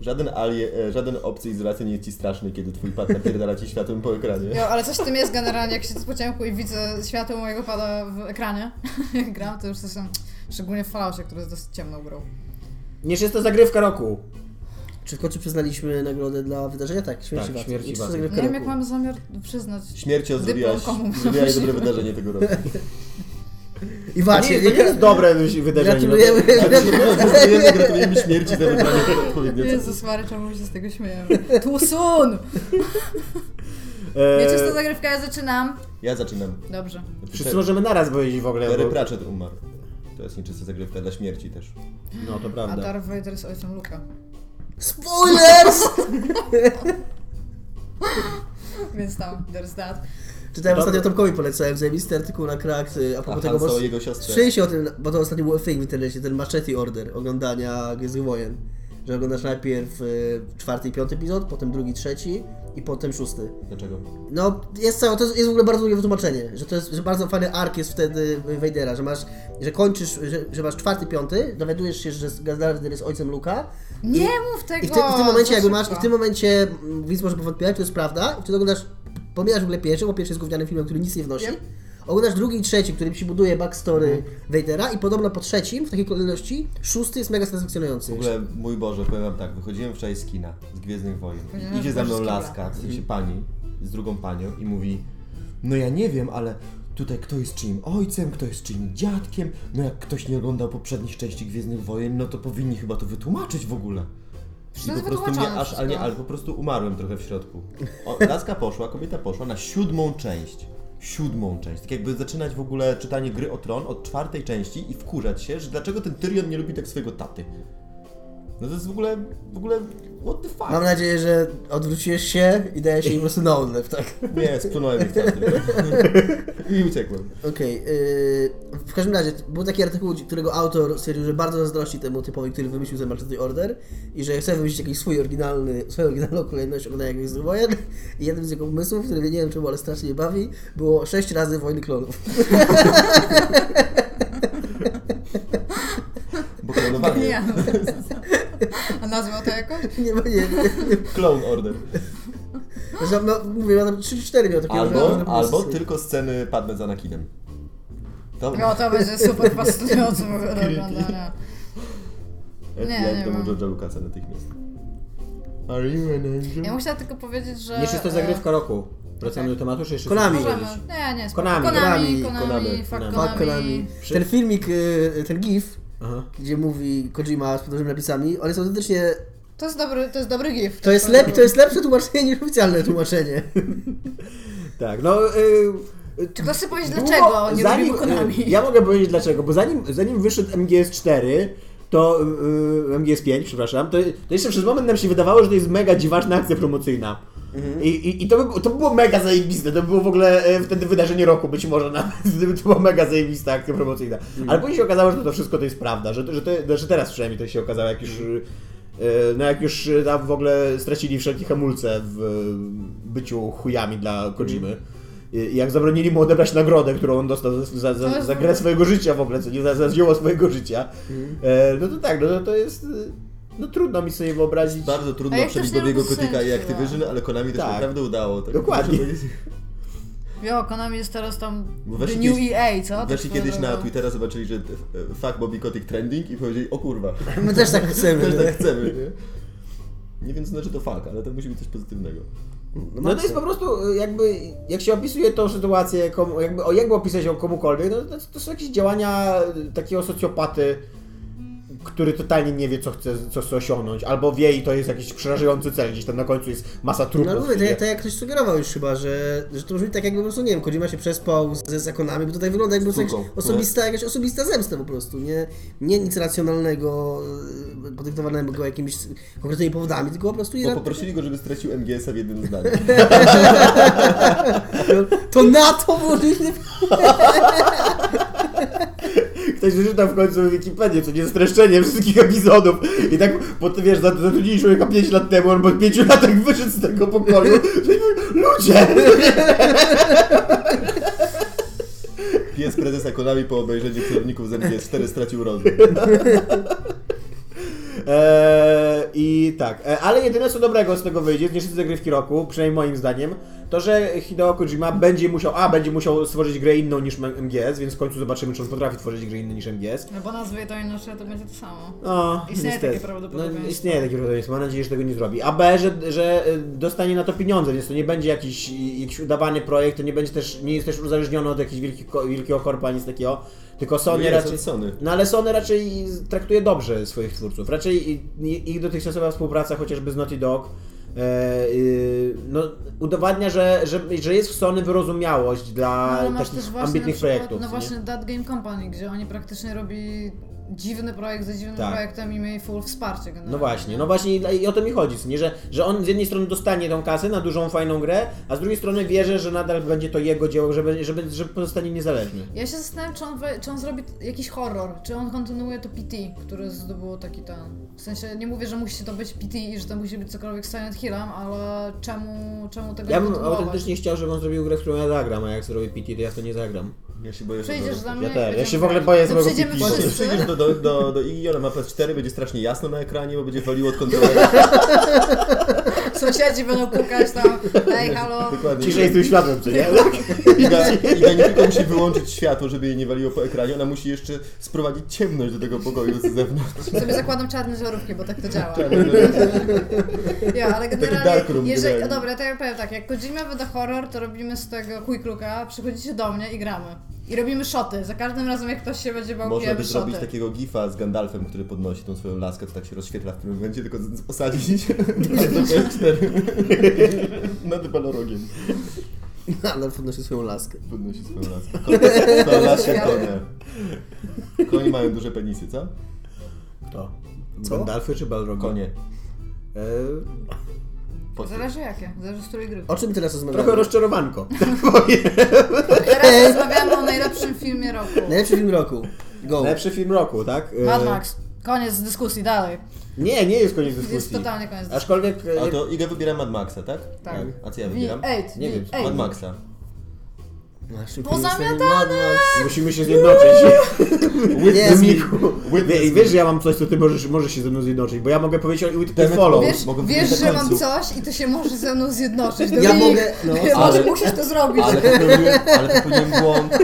[SPEAKER 3] Żaden alie, e, żaden obcy izolacja nie jest ci straszny, kiedy twój pad napierdala ci światłem po ekranie.
[SPEAKER 2] Jo, ale coś w tym jest generalnie, jak się z pociągu i widzę światło mojego pada w ekranie, jak gram, to już jestem, szczególnie w Falloutie, który jest dosyć ciemną grą.
[SPEAKER 4] Niż jest to zagrywka roku.
[SPEAKER 1] Czy w końcu przyznaliśmy nagrodę dla wydarzenia? Tak, śmierci
[SPEAKER 4] Tak,
[SPEAKER 1] Wacy.
[SPEAKER 4] śmierci
[SPEAKER 1] I to
[SPEAKER 4] Wacy.
[SPEAKER 1] zagrywka
[SPEAKER 2] No, Nie wiem, jak
[SPEAKER 1] roku.
[SPEAKER 2] mamy zamiar przyznać.
[SPEAKER 3] Śmiercią
[SPEAKER 2] Dyplom
[SPEAKER 3] zrobiłaś,
[SPEAKER 2] komu
[SPEAKER 3] zrobiłaś
[SPEAKER 2] nosisz?
[SPEAKER 3] dobre wydarzenie tego roku.
[SPEAKER 1] I
[SPEAKER 4] To nie,
[SPEAKER 1] właśnie,
[SPEAKER 4] to nie jest dobre wydarzenie. no.
[SPEAKER 1] gratulujemy.
[SPEAKER 3] Gratulujemy, gratulujemy śmierci za wybranie odpowiedniego.
[SPEAKER 2] Jezus Mary, czemu się z tego śmiejemy? Tusun!
[SPEAKER 4] E,
[SPEAKER 2] Wiecie, co zagrywka ja zaczynam?
[SPEAKER 3] Ja zaczynam.
[SPEAKER 2] Dobrze.
[SPEAKER 4] Wszyscy możemy naraz powiedzieć w ogóle.
[SPEAKER 3] Terry
[SPEAKER 4] bo-
[SPEAKER 3] Pratchett umarł. To jest nieczysta zagrywka dla śmierci też.
[SPEAKER 4] No to
[SPEAKER 2] A
[SPEAKER 4] prawda.
[SPEAKER 2] Darth Vader jest ojcem Luka.
[SPEAKER 1] Spoilers!
[SPEAKER 2] Więc tam, there's that.
[SPEAKER 1] Czytałem ostatnio Tomkowi polecałem zajebisty artykuł na Cracked y, a
[SPEAKER 3] A
[SPEAKER 1] propos tego,
[SPEAKER 3] Han
[SPEAKER 1] bo
[SPEAKER 3] Solo i Tak, jego siostrze.
[SPEAKER 1] słyszeliście o tym, bo to ostatnio był thing w internecie, ten Machete Order oglądania Gwiezdnych Wojen. Że oglądasz najpierw y, czwarty i piąty epizod, potem drugi, trzeci i potem szósty.
[SPEAKER 3] Dlaczego?
[SPEAKER 1] No, jest całe, to jest, jest w ogóle bardzo długie wytłumaczenie, że to jest, że bardzo fajny ark jest wtedy Vadera, że masz, że kończysz, że, że masz czwarty, piąty, dowiadujesz się, że Darth Vader jest ojcem Luka
[SPEAKER 2] Nie mów tego!
[SPEAKER 1] i w, tym- i w tym momencie
[SPEAKER 2] za
[SPEAKER 1] jakby masz, i
[SPEAKER 2] szybko.
[SPEAKER 1] w tym momencie mm, widz może powątpiewać, to jest prawda, i wtedy oglądasz, pomijasz w ogóle pierwszy, bo pierwszy jest gównianym filmem, który nic nie wnosi,
[SPEAKER 2] Yep.
[SPEAKER 1] oglądasz drugi i trzeci, który ci buduje backstory
[SPEAKER 3] Mhm.
[SPEAKER 1] Vadera i podobno po trzecim, w takiej kolejności, szósty jest mega satysfakcjonujący.
[SPEAKER 3] W ogóle, mój Boże, powiem wam tak, wychodziłem wczoraj z kina, z Gwiezdnych Wojen.
[SPEAKER 2] Powiedziałem,
[SPEAKER 3] Idzie
[SPEAKER 2] że
[SPEAKER 3] za mną
[SPEAKER 2] z kina.
[SPEAKER 3] laska, w sensie pani, z drugą panią i mówi No ja nie wiem, ale tutaj kto jest czyim ojcem, kto jest czyim dziadkiem, no jak ktoś nie oglądał poprzednich części Gwiezdnych Wojen, no to powinni chyba to wytłumaczyć w ogóle.
[SPEAKER 2] Przecież
[SPEAKER 3] I
[SPEAKER 2] to
[SPEAKER 3] po
[SPEAKER 2] jest
[SPEAKER 3] prostu mnie
[SPEAKER 2] wytłumaczone
[SPEAKER 3] aż, ale, nie,
[SPEAKER 2] wszystko.
[SPEAKER 3] ale po prostu umarłem trochę w środku. O, laska poszła, kobieta poszła na siódmą część. siódmą część. Tak jakby zaczynać w ogóle czytanie gry o tron od czwartej części i wkurzać się, że dlaczego ten Tyrion nie lubi tak swojego taty. No to jest w ogóle, w ogóle, what the fuck?
[SPEAKER 1] Mam nadzieję, że odwróciłeś się i dajesz jej po prostu na odlew, tak?
[SPEAKER 3] Nie, splunąłem ich tamtym. I uciekłem.
[SPEAKER 1] Okej, yy, w każdym razie t- był taki artykuł, którego autor stwierdził, że bardzo zazdrości temu typowi, który wymyślił ten Majesty Order i że chce wymyślić jakiś swój oryginalny, swoją oryginalną kolejność oglądania jakichś z wojen i jednym z jego pomysłów, który nie wiem czemu, ale strasznie mnie bawi, było sześć razy Wojny Klonów.
[SPEAKER 3] Bo klonowanie.
[SPEAKER 2] Nie. no, A nazwał to jakoś?
[SPEAKER 1] nie ma, nie, nie.
[SPEAKER 3] Clone Order.
[SPEAKER 1] Zresztą, no, mówię, ja tam 3-4 miał takie oryginalne
[SPEAKER 3] Albo, albo
[SPEAKER 1] pomysły.
[SPEAKER 3] tylko sceny Padme z Anakinem. To,
[SPEAKER 2] No to będzie super fascynujące w ogóle do oglądania.
[SPEAKER 3] jak
[SPEAKER 2] nie,
[SPEAKER 3] jak
[SPEAKER 2] nie
[SPEAKER 3] to
[SPEAKER 2] mam.
[SPEAKER 3] może Lucasa natychmiast. Are you an angel?
[SPEAKER 2] Ja musiałam tylko powiedzieć, że...
[SPEAKER 4] Jeszcze jest to
[SPEAKER 2] e,
[SPEAKER 4] zagrywka roku. Wracamy do tematu, czy jeszcze...
[SPEAKER 1] Konami.
[SPEAKER 2] Eee, Możemy. Nie, nie, spoko.
[SPEAKER 4] Konami,
[SPEAKER 2] Konami,
[SPEAKER 1] Konami,
[SPEAKER 2] Konami, fuck
[SPEAKER 4] Konami.
[SPEAKER 1] Fuck
[SPEAKER 2] Konami.
[SPEAKER 1] Konami. Ten filmik, yy, ten gif,
[SPEAKER 4] Aha.
[SPEAKER 1] gdzie mówi Kojima z podróżnymi napisami, on jest autentycznie
[SPEAKER 2] To jest dobry, to jest dobry gift.
[SPEAKER 1] To jest, lep, to jest lepsze tłumaczenie niż oficjalne tłumaczenie.
[SPEAKER 4] Tak, no... Y,
[SPEAKER 2] Czy ktoś chce powiedzieć
[SPEAKER 4] Było-
[SPEAKER 2] dlaczego nie
[SPEAKER 4] zanim-
[SPEAKER 2] lubimy Konami?
[SPEAKER 4] Ja mogę powiedzieć dlaczego, bo zanim, zanim wyszedł MGS4, to yy, MGS5, przepraszam, to, to jeszcze przez moment nam się wydawało, że to jest mega dziwaczna akcja promocyjna. I, i, i to, by, było- to było mega zajebiste, to było w ogóle e, wtedy wydarzenie roku być może nawet, to była mega zajebista akcja promocyjna. Ale później się okazało, że to wszystko to jest prawda, że, to- że, to, że teraz przynajmniej to się okazało, jak już, e, no jak już e, tam w ogóle stracili wszelkie hamulce w e, byciu chujami dla Kojimy. I Jak zabronili mu odebrać nagrodę, którą on dostał za, za,
[SPEAKER 2] To
[SPEAKER 4] za,
[SPEAKER 2] jest
[SPEAKER 4] za grę swojego życia w ogóle, co nie za, za dzieło swojego życia,
[SPEAKER 1] Mhm.
[SPEAKER 4] e, no to tak, no to, to jest. e, No trudno mi sobie wyobrazić.
[SPEAKER 3] Bardzo
[SPEAKER 2] A
[SPEAKER 3] trudno
[SPEAKER 2] jak
[SPEAKER 3] przebić
[SPEAKER 2] ktoś nie
[SPEAKER 3] Bobiego
[SPEAKER 2] lubi
[SPEAKER 3] Kotyka i
[SPEAKER 2] sensu, no.
[SPEAKER 3] Activision, ale Konami to się
[SPEAKER 4] Tak.
[SPEAKER 3] naprawdę udało. Tak
[SPEAKER 4] Dokładnie.
[SPEAKER 3] muszę powiedzieć.
[SPEAKER 2] Jo, Konami jest teraz tam
[SPEAKER 3] Bo
[SPEAKER 2] the
[SPEAKER 3] weszli
[SPEAKER 2] new
[SPEAKER 3] kiedyś-
[SPEAKER 2] EA, co?
[SPEAKER 3] Weszli
[SPEAKER 2] Tak
[SPEAKER 3] kiedyś na
[SPEAKER 2] nazywa.
[SPEAKER 3] Twittera, zobaczyli, że e, fuck Bobby Kotyk trending i powiedzieli, o kurwa,
[SPEAKER 1] My też tak chcemy.
[SPEAKER 3] też
[SPEAKER 1] nie?
[SPEAKER 3] tak chcemy, nie? Nie wiem, co znaczy to fuck, ale to musi być coś pozytywnego.
[SPEAKER 4] No to jest po prostu e, jakby, jak się opisuje tą sytuację, komu, jakby, o, jakby opisać ją komukolwiek, no to, to są jakieś działania e, takiego socjopaty, który totalnie nie wie, co chce, co chce osiągnąć, albo wie i to jest jakiś przerażający cel, gdzieś tam na końcu jest masa trupów.
[SPEAKER 1] No mówię, to,
[SPEAKER 4] nie?
[SPEAKER 1] jak- to jak ktoś sugerował już chyba, że, że to brzmi tak jakby po prostu, nie wiem, Kojima się przespał ze zakonami, bo tutaj wygląda jakby po prostu
[SPEAKER 3] Suką, no.
[SPEAKER 1] jakaś osobista, jakaś osobista zemsta po prostu, nie, nie nic racjonalnego, y, podyktowanego jakimiś konkretnymi powodami, tylko po prostu...
[SPEAKER 3] Bo
[SPEAKER 1] ira-
[SPEAKER 3] poprosili go, żeby stracił MGS-a w jednym zdaniu.
[SPEAKER 1] To na to włożyliśmy
[SPEAKER 4] Ktoś wyczytał w końcu Wikipedię, co nie streszczenie wszystkich epizodów. I tak, bo ty wiesz, zatrudnili człowieka 5 lat temu, on po 5 latach wyszedł z tego pokoju. Ludzie!
[SPEAKER 3] Pies prezesa Konami po obejrzeniu kierowników z MGS4 stracił rozum.
[SPEAKER 4] Eee, I tak, e, ale jedyne co dobrego z tego wyjdzie, z nieszczęsnej zagrywki roku, przynajmniej moim zdaniem, to że Hideo Kojima będzie musiał, a będzie musiał stworzyć grę inną niż M- MGS, więc w końcu zobaczymy, czy on potrafi tworzyć grę inną niż MGS.
[SPEAKER 2] No bo nazwie to inaczej, to będzie to samo.
[SPEAKER 4] No,
[SPEAKER 2] Istnieje
[SPEAKER 4] niestety.
[SPEAKER 2] takie prawdopodobieństwo.
[SPEAKER 4] No, istnieje takie prawdopodobieństwo. Mam nadzieję, że tego nie zrobi. A B, że, że y, dostanie na to pieniądze, więc to nie będzie jakiś, i- jakiś udawany projekt, to nie będzie też, nie jest też uzależniony od jakiegoś wielkich, ko- wielkiego korpa, nic takiego. Tylko Sony
[SPEAKER 3] Nie, są
[SPEAKER 4] raczej.
[SPEAKER 3] Sony.
[SPEAKER 4] No ale Sony raczej traktuje dobrze swoich twórców. Raczej i- i- ich dotychczasowa współpraca chociażby z Naughty Dog e, y, no, udowadnia, że, że, że jest w Sony wyrozumiałość
[SPEAKER 2] No,
[SPEAKER 4] dla
[SPEAKER 2] ale masz też
[SPEAKER 4] takich
[SPEAKER 2] właśnie na
[SPEAKER 4] ambitnych
[SPEAKER 2] przykład,
[SPEAKER 4] projektów.
[SPEAKER 2] no
[SPEAKER 4] nie?
[SPEAKER 2] właśnie That Game Company, gdzie oni praktycznie robi dziwny projekt za dziwnym
[SPEAKER 4] Tak.
[SPEAKER 2] projektem i mieli full wsparcie generalnie.
[SPEAKER 4] No właśnie,
[SPEAKER 2] nie?
[SPEAKER 4] no właśnie i i o to mi chodzi, co nie? Że, że on z jednej strony dostanie tą kasę na dużą, fajną grę, a z drugiej strony wierzę, że nadal będzie to jego dzieło, że, będzie- że, będzie- że pozostanie niezależny.
[SPEAKER 2] Ja się zastanawiam, czy on, we, czy on zrobi t- jakiś horror, czy on kontynuuje to PT, które zdobyło taki ten... W sensie, nie mówię, że musi to być PT i że to musi być cokolwiek z Silent Hillem, ale czemu, czemu tego
[SPEAKER 4] Ja
[SPEAKER 2] nie
[SPEAKER 4] bym
[SPEAKER 2] kontynuować?
[SPEAKER 4] autentycznie chciał, żeby on zrobił grę, w którą ja zagram, a jak zrobi PT, to ja w to nie zagram.
[SPEAKER 3] Ja się boję, że
[SPEAKER 2] Przyjdziesz za mnie i
[SPEAKER 4] też. Ja
[SPEAKER 2] będziemy
[SPEAKER 4] się w ogóle
[SPEAKER 2] grać.
[SPEAKER 4] boję
[SPEAKER 2] To
[SPEAKER 4] złego
[SPEAKER 2] przyjdziemy
[SPEAKER 4] pipi.
[SPEAKER 3] Właśnie,
[SPEAKER 2] wszyscy.
[SPEAKER 3] przyjdziesz do, do, do, do Igiona ma PS4, będzie strasznie jasno na ekranie, bo będzie waliło od kontrolera.
[SPEAKER 2] Sąsiedzi będą pukać tam, ej, halo.
[SPEAKER 3] Dokładnie.
[SPEAKER 4] Ciszej z tym światłem, czy nie?
[SPEAKER 3] Iga, Iga nie tylko musi wyłączyć światło, żeby jej nie waliło po ekranie, ona musi jeszcze sprowadzić ciemność do tego pokoju z zewnątrz.
[SPEAKER 2] Sobie zakładam czarne żarówki, bo tak to działa.
[SPEAKER 3] Czarno-
[SPEAKER 2] Ja, ale generalnie,
[SPEAKER 3] darkroom
[SPEAKER 2] jeżeli,
[SPEAKER 3] generalnie.
[SPEAKER 2] dobra, to ja powiem tak, jak Kojima wyda horror, to robimy z tego kujkluka, przychodzicie do mnie i gramy. I robimy szoty, za każdym razem jak ktoś się będzie bał,
[SPEAKER 3] Można by
[SPEAKER 2] bijemy
[SPEAKER 3] zrobić
[SPEAKER 2] szoty.
[SPEAKER 3] takiego gifa z Gandalfem, który podnosi tą swoją laskę, to tak się rozświetla w tym momencie, tylko z- z- osadzić na PS4 nad balorogiem.
[SPEAKER 1] Nadal podnosi No, swoją laskę.
[SPEAKER 3] Podnosi swoją laskę. Konia- To lasie konia. Konie mają duże penisy, co?
[SPEAKER 4] To.
[SPEAKER 1] Co?
[SPEAKER 4] Gandalfy czy Balrogowie?
[SPEAKER 3] Konie.
[SPEAKER 4] E,
[SPEAKER 2] Zależy jakie, zależy z której gry.
[SPEAKER 1] O czym teraz rozmawiamy?
[SPEAKER 4] trochę rozczarowanko.
[SPEAKER 2] Teraz rozmawiamy o najlepszym filmie roku.
[SPEAKER 1] Najlepszy film roku. Go.
[SPEAKER 4] Lepszy film roku, tak? E,
[SPEAKER 2] Mad Max. Koniec dyskusji, dalej.
[SPEAKER 4] Nie, nie jest koniec dyskusji.
[SPEAKER 2] Jest totalnie koniec dyskusji.
[SPEAKER 4] Aczkolwiek... e,
[SPEAKER 3] A to Iga wybiera Mad Maxa, tak?
[SPEAKER 2] Tak.
[SPEAKER 3] A co ja wybieram?
[SPEAKER 2] V8,
[SPEAKER 4] Nie wiem,
[SPEAKER 2] V8.
[SPEAKER 3] Mad Maxa.
[SPEAKER 1] Naszym
[SPEAKER 2] Pozamiatane!
[SPEAKER 1] filmem jest Mad Max.
[SPEAKER 4] Musimy się zjednoczyć.
[SPEAKER 1] Jest mi-
[SPEAKER 4] Wie, wiesz, że ja mam coś, co ty możesz, możesz się ze mną zjednoczyć, bo ja mogę powiedzieć o With
[SPEAKER 3] Demet,
[SPEAKER 4] Follow.
[SPEAKER 2] Wiesz,
[SPEAKER 3] Mogę
[SPEAKER 2] wiesz
[SPEAKER 3] wyjść na
[SPEAKER 2] że mam
[SPEAKER 3] końcu.
[SPEAKER 2] coś i ty się możesz ze mną zjednoczyć.
[SPEAKER 1] Ja
[SPEAKER 2] Dominik.
[SPEAKER 1] mogę- no,
[SPEAKER 2] Ty
[SPEAKER 3] ale-
[SPEAKER 2] możesz, musisz to zrobić.
[SPEAKER 3] Ale popełniłem, ale popełniłem błąd.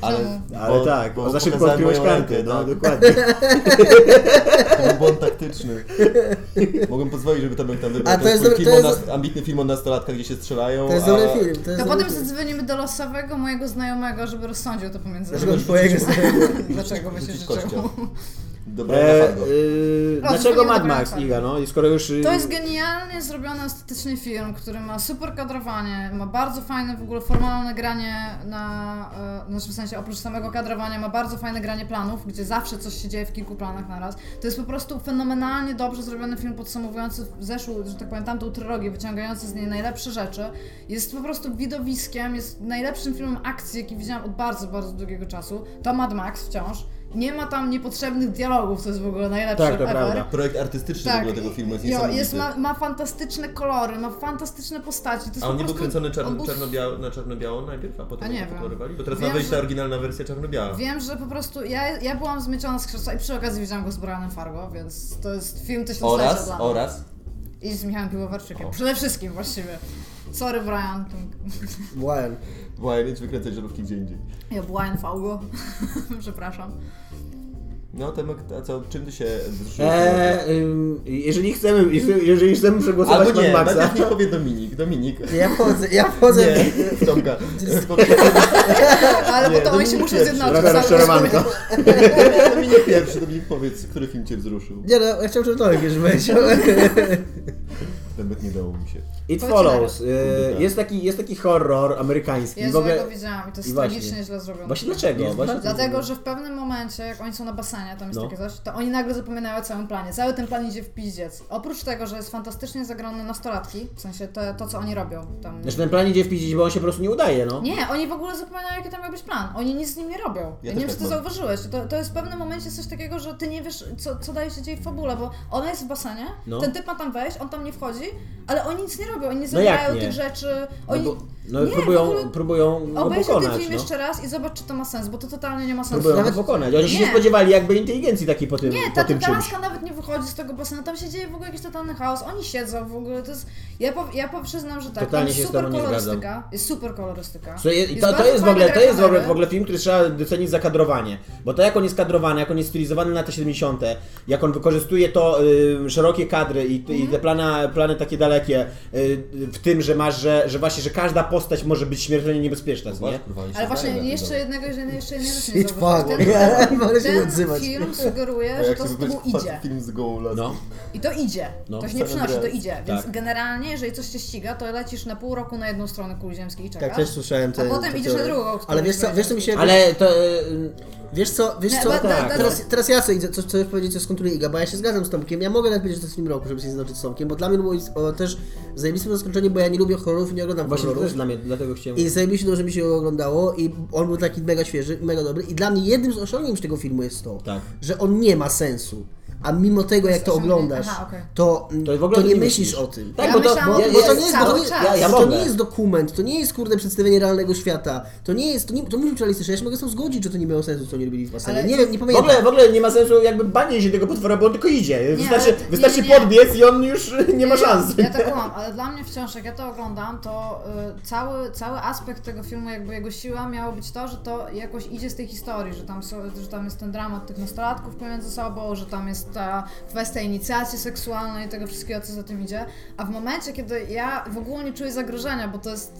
[SPEAKER 3] Ale,
[SPEAKER 4] Ale tak, bo za szybko
[SPEAKER 3] pokazałem
[SPEAKER 4] odkryłeś
[SPEAKER 3] moją rękę,
[SPEAKER 4] kartę, no
[SPEAKER 3] tak.
[SPEAKER 4] dokładnie.
[SPEAKER 3] To był błąd taktyczny. Mogłem pozwolić, żeby to był tam wybrał.
[SPEAKER 1] A
[SPEAKER 3] To,
[SPEAKER 1] to
[SPEAKER 3] jest,
[SPEAKER 1] jest
[SPEAKER 3] mój
[SPEAKER 1] dobry-
[SPEAKER 3] film
[SPEAKER 1] to
[SPEAKER 3] o
[SPEAKER 1] jest-
[SPEAKER 3] nas, ambitny film o nastolatkach, gdzie się strzelają.
[SPEAKER 1] To jest
[SPEAKER 3] a...
[SPEAKER 1] dobry film. To jest
[SPEAKER 2] To
[SPEAKER 1] dobry
[SPEAKER 2] No potem
[SPEAKER 1] film.
[SPEAKER 2] zadzwonimy do losowego mojego znajomego, żeby rozsądził to pomiędzy
[SPEAKER 1] Dlaczego twojego znajomego?
[SPEAKER 2] Dlaczego by się
[SPEAKER 3] Rzucić kością.
[SPEAKER 2] życzyło?
[SPEAKER 3] Dobra,
[SPEAKER 4] E,
[SPEAKER 3] Fargo.
[SPEAKER 4] y, dlaczego
[SPEAKER 2] zupełnie
[SPEAKER 4] Mad
[SPEAKER 2] dobra
[SPEAKER 4] Max,
[SPEAKER 2] farba.
[SPEAKER 4] Iga, no? I skoro już... y,
[SPEAKER 2] To jest genialnie zrobiony estetyczny film, który ma super kadrowanie, ma bardzo fajne w ogóle formalne granie na, e, znaczy w sensie oprócz samego kadrowania ma bardzo fajne granie planów, gdzie zawsze coś się dzieje w kilku planach naraz. To jest po prostu fenomenalnie dobrze zrobiony film podsumowujący zeszłą, że tak powiem, tamtą trylogię, wyciągający z niej najlepsze rzeczy. Jest po prostu widowiskiem, jest najlepszym filmem akcji, jaki widziałam od bardzo, bardzo długiego czasu. To Mad Max wciąż. Nie ma tam niepotrzebnych dialogów, co jest w ogóle najlepsze
[SPEAKER 4] Tak, to
[SPEAKER 2] ever.
[SPEAKER 4] prawda.
[SPEAKER 3] Projekt artystyczny w
[SPEAKER 1] tak,
[SPEAKER 3] ogóle tego filmu jest
[SPEAKER 2] Tak. jo,
[SPEAKER 3] niesamowity.
[SPEAKER 2] jest ma, ma fantastyczne kolory, ma fantastyczne postaci. To jest
[SPEAKER 3] A on
[SPEAKER 2] po
[SPEAKER 3] nie był
[SPEAKER 2] prostu-
[SPEAKER 3] kręcony czarno,
[SPEAKER 2] on był-
[SPEAKER 3] czarno-białą- na czarno-białą najpierw, a potem
[SPEAKER 2] A nie
[SPEAKER 3] go
[SPEAKER 2] wiem.
[SPEAKER 3] pokolorowali? Bo teraz
[SPEAKER 2] Wiem,
[SPEAKER 3] ma wyjść ta
[SPEAKER 2] że-
[SPEAKER 3] oryginalna wersja czarno-biała.
[SPEAKER 2] Wiem, że po prostu ja, ja byłam zmieciona z krzesła i przy okazji widziałam go z Brianem Fargo, więc to jest film tysiąclecia
[SPEAKER 3] Oraz,
[SPEAKER 2] dla mnie.
[SPEAKER 3] oraz,
[SPEAKER 2] I z Michałem Piłowarczykiem.
[SPEAKER 3] O.
[SPEAKER 2] Przede wszystkim właściwie. Sorry Brian,
[SPEAKER 1] Brian.
[SPEAKER 3] Właśnie, więc wykręcać żarówki gdzie indziej.
[SPEAKER 2] ja Brian Fargo, przepraszam.
[SPEAKER 3] No, Temek, a co, czym ty się wzruszyłeś?
[SPEAKER 4] E, ym, jeżeli chcemy, jeżeli chcemy przegłosować
[SPEAKER 3] Albo nie,
[SPEAKER 4] Mad Maxa...
[SPEAKER 3] najpierw nie powie Dominik, Dominik.
[SPEAKER 1] Ja wchodzę, ja wchodzę.
[SPEAKER 3] Nie, Tomka. Spokojnie,
[SPEAKER 2] Ale
[SPEAKER 3] Nie,
[SPEAKER 2] bo to oni się
[SPEAKER 3] Dominik
[SPEAKER 2] muszą
[SPEAKER 3] pierwszy.
[SPEAKER 2] zjednoczyć. tak,
[SPEAKER 4] Trochę
[SPEAKER 2] cały czas.
[SPEAKER 4] rozczarowanko.
[SPEAKER 3] Dominik pierwszy, Dominik powiedz, który film cię wzruszył?
[SPEAKER 1] Nie no, ja chciałem przeczytać, już wejść.
[SPEAKER 3] Nawet nie dało mi się.
[SPEAKER 4] It
[SPEAKER 2] Chodź
[SPEAKER 4] Follows.
[SPEAKER 3] Tak.
[SPEAKER 4] Y, jest, taki, jest taki horror amerykański.
[SPEAKER 2] Ja
[SPEAKER 4] w ogóle...
[SPEAKER 2] złego widziałam i to
[SPEAKER 4] I
[SPEAKER 2] jest
[SPEAKER 4] właśnie.
[SPEAKER 2] tragicznie źle zrobione.
[SPEAKER 4] Właśnie dlaczego?
[SPEAKER 1] Jest
[SPEAKER 4] Właśnie
[SPEAKER 1] bardzo-
[SPEAKER 2] Dlatego, że w pewnym momencie, jak oni są na basenie, tam jest
[SPEAKER 4] No.
[SPEAKER 2] takie coś, to oni nagle zapominają o całym planie. Cały ten plan idzie w pizdziec. Oprócz tego, że jest fantastycznie zagrane nastolatki, w sensie to, to co oni robią tam.
[SPEAKER 4] Znaczy ten plan idzie wpicić, bo on się po prostu nie udaje, no.
[SPEAKER 2] Nie, oni w ogóle zapominają, jaki tam miał być plan. Oni nic z nim nie robią. Ja,
[SPEAKER 3] też
[SPEAKER 2] nie wiem,
[SPEAKER 3] tak
[SPEAKER 2] czy ty
[SPEAKER 3] mam.
[SPEAKER 2] zauważyłeś. To, to jest w pewnym momencie coś takiego, że ty nie wiesz, co, co daje się dzieje w fabule, bo ona jest w basenie,
[SPEAKER 4] No.
[SPEAKER 2] ten typ ma tam wejść, on tam nie wchodzi, ale oni nic nie robią. Oni nie
[SPEAKER 4] No jak
[SPEAKER 2] zabierają
[SPEAKER 4] nie?
[SPEAKER 2] tych rzeczy.
[SPEAKER 4] No,
[SPEAKER 2] Oni...
[SPEAKER 4] bo, no
[SPEAKER 2] nie, w
[SPEAKER 4] próbują,
[SPEAKER 2] ogóle-
[SPEAKER 4] próbują go
[SPEAKER 2] Obejrzyj ten
[SPEAKER 4] pokonać,
[SPEAKER 2] film
[SPEAKER 4] no.
[SPEAKER 2] jeszcze raz i zobacz, czy to ma sens, bo to totalnie nie ma sensu.
[SPEAKER 4] Próbują go pokonać. Oni się
[SPEAKER 2] Nie.
[SPEAKER 4] nie spodziewali jakby inteligencji takiej po tym,
[SPEAKER 2] Nie,
[SPEAKER 4] po
[SPEAKER 2] ta
[SPEAKER 4] tym czymś.
[SPEAKER 2] tytanaska nawet nie wychodzi z tego basenu, tam się dzieje w ogóle jakiś totalny chaos, oni siedzą w ogóle, to jest... Ja, po, ja po, przyznam, że tak,
[SPEAKER 4] Totalnie
[SPEAKER 2] tam
[SPEAKER 4] się
[SPEAKER 2] jest
[SPEAKER 4] z
[SPEAKER 2] super
[SPEAKER 4] tobą nie
[SPEAKER 2] kolorystyka, jest super kolorystyka.
[SPEAKER 4] Co je, i to, to,
[SPEAKER 2] bardzo
[SPEAKER 4] jest w ogóle,
[SPEAKER 2] fajne
[SPEAKER 4] to jest w ogóle,
[SPEAKER 2] grafikowe.
[SPEAKER 4] w ogóle film, który trzeba docenić za kadrowanie. Bo to jak on jest kadrowany, jak on jest stylizowany na te 70., jak on wykorzystuje to y, szerokie kadry i, i
[SPEAKER 2] Mhm.
[SPEAKER 4] te plana, plany takie dalekie, y, w tym, że masz, że, że właśnie, że każda postać może być śmiertelnie niebezpieczna, nie?
[SPEAKER 2] Ale właśnie jeszcze jednego, jeszcze jednego, jeszcze jednego jeszcze nie
[SPEAKER 1] Shit, fuck.
[SPEAKER 2] zauważyłam. Ten,
[SPEAKER 1] Wolę się nie
[SPEAKER 2] ten
[SPEAKER 1] odzywać.
[SPEAKER 2] film sugeruje, że to z tobą idzie.
[SPEAKER 3] film z gołą laską.
[SPEAKER 4] No.
[SPEAKER 2] I to idzie.
[SPEAKER 4] No.
[SPEAKER 2] to się nie przynosi, to
[SPEAKER 3] Andreas.
[SPEAKER 2] idzie. Więc
[SPEAKER 4] Tak.
[SPEAKER 2] generalnie, jeżeli coś cię ściga, to lecisz na pół roku na jedną stronę kuli ziemskiej i czekasz.
[SPEAKER 1] Tak, też słyszałem te,
[SPEAKER 2] A potem
[SPEAKER 1] te
[SPEAKER 2] idziesz na
[SPEAKER 1] teorie.
[SPEAKER 2] drugą, no,
[SPEAKER 1] Ale wiesz co, wiesz co mi się...
[SPEAKER 4] Ale to... Y,
[SPEAKER 1] Wiesz co, wiesz
[SPEAKER 2] Nie, no,
[SPEAKER 1] co, tak,
[SPEAKER 2] ba- da-
[SPEAKER 4] da-
[SPEAKER 1] teraz, teraz ja sobie idę, coś, coś powiedzieć z kontury Iga, bo ja się zgadzam z Tomkiem, ja mogę nawet powiedzieć, że to jest film roku, żeby się zjednoczyć z Tomkiem, bo dla mnie to było o, też zajebiste zaskoczenie, bo ja nie lubię horrorów i nie oglądam
[SPEAKER 4] właśnie to
[SPEAKER 1] horrorów.
[SPEAKER 4] też dla mnie, dlatego chciałem...
[SPEAKER 1] I zajebiście dobrze mi się go oglądało i on był taki mega świeży, mega dobry i dla mnie jednym z osiągnięć tego filmu jest to,
[SPEAKER 4] Tak.
[SPEAKER 1] że on nie ma sensu, a mimo tego jak to
[SPEAKER 2] osiągnięcie-
[SPEAKER 1] oglądasz,
[SPEAKER 2] Aha, okej.
[SPEAKER 1] to, mm,
[SPEAKER 4] To
[SPEAKER 1] to,
[SPEAKER 4] w ogóle o tym
[SPEAKER 1] nie
[SPEAKER 4] nie
[SPEAKER 1] myślisz
[SPEAKER 4] myślisz.
[SPEAKER 1] o tym.
[SPEAKER 4] Tak,
[SPEAKER 2] Ja
[SPEAKER 4] bo to,
[SPEAKER 2] myślałam
[SPEAKER 4] bo,
[SPEAKER 2] o
[SPEAKER 4] ja,
[SPEAKER 2] tym
[SPEAKER 1] Bo to
[SPEAKER 2] Jest
[SPEAKER 1] nie jest, bo
[SPEAKER 2] cały
[SPEAKER 1] to nie,
[SPEAKER 2] czas.
[SPEAKER 4] ja, ja
[SPEAKER 1] to
[SPEAKER 4] mogę.
[SPEAKER 1] nie jest dokument, to nie jest kurde przedstawienie realnego świata. To nie jest, to, nie, to musi być realistyczne. Ja się mogę z tym zgodzić, że to nie miało sensu, co nie robili w basenie.
[SPEAKER 2] Ale-
[SPEAKER 1] Nie wiem, nie
[SPEAKER 4] W
[SPEAKER 1] pamiętam.
[SPEAKER 4] ogóle, w ogóle nie ma sensu jakby banie się tego potwora, bo on tylko idzie. Wystarczy,
[SPEAKER 2] ale- nie,
[SPEAKER 4] wystarczy
[SPEAKER 2] nie, nie.
[SPEAKER 4] podbiec i on już y, nie ma szans.
[SPEAKER 2] Ja tak mam, ale dla mnie wciąż, jak ja to oglądam, to y, cały, cały aspekt tego filmu, jakby jego siła miało być to, że to jakoś idzie z tej historii, że tam, są, że tam jest ten dramat tych nastolatków pomiędzy sobą, że tam jest ta kwestia inicjacji seksualnej i tego wszystkiego, co za tym idzie. A w momencie, kiedy ja w ogóle nie czuję zagrożenia, bo to jest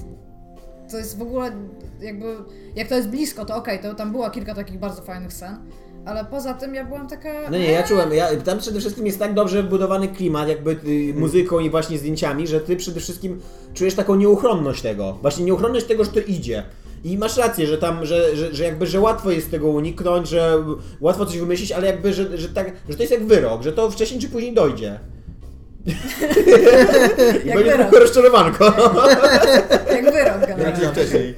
[SPEAKER 2] to jest w ogóle jakby, jak to jest blisko, to okej, to tam było kilka takich bardzo fajnych scen, ale poza tym ja byłam taka... "Eee",
[SPEAKER 4] No nie, ja czułem, ja, tam przede wszystkim jest tak dobrze wbudowany klimat, jakby y, muzyką i właśnie zdjęciami, że ty przede wszystkim czujesz taką nieuchronność tego, właśnie nieuchronność tego, że to idzie. I masz rację, że tam, że, że, że jakby, że łatwo jest tego uniknąć, że łatwo coś wymyślić, ale jakby, że, że tak, że to jest jak wyrok, że to wcześniej czy później dojdzie. I
[SPEAKER 2] Jak
[SPEAKER 4] będzie
[SPEAKER 2] wyrok. Tak.
[SPEAKER 4] tylko rozczarowanko.
[SPEAKER 2] Jak wyrok, generalnie.
[SPEAKER 3] Raczej wcześniej.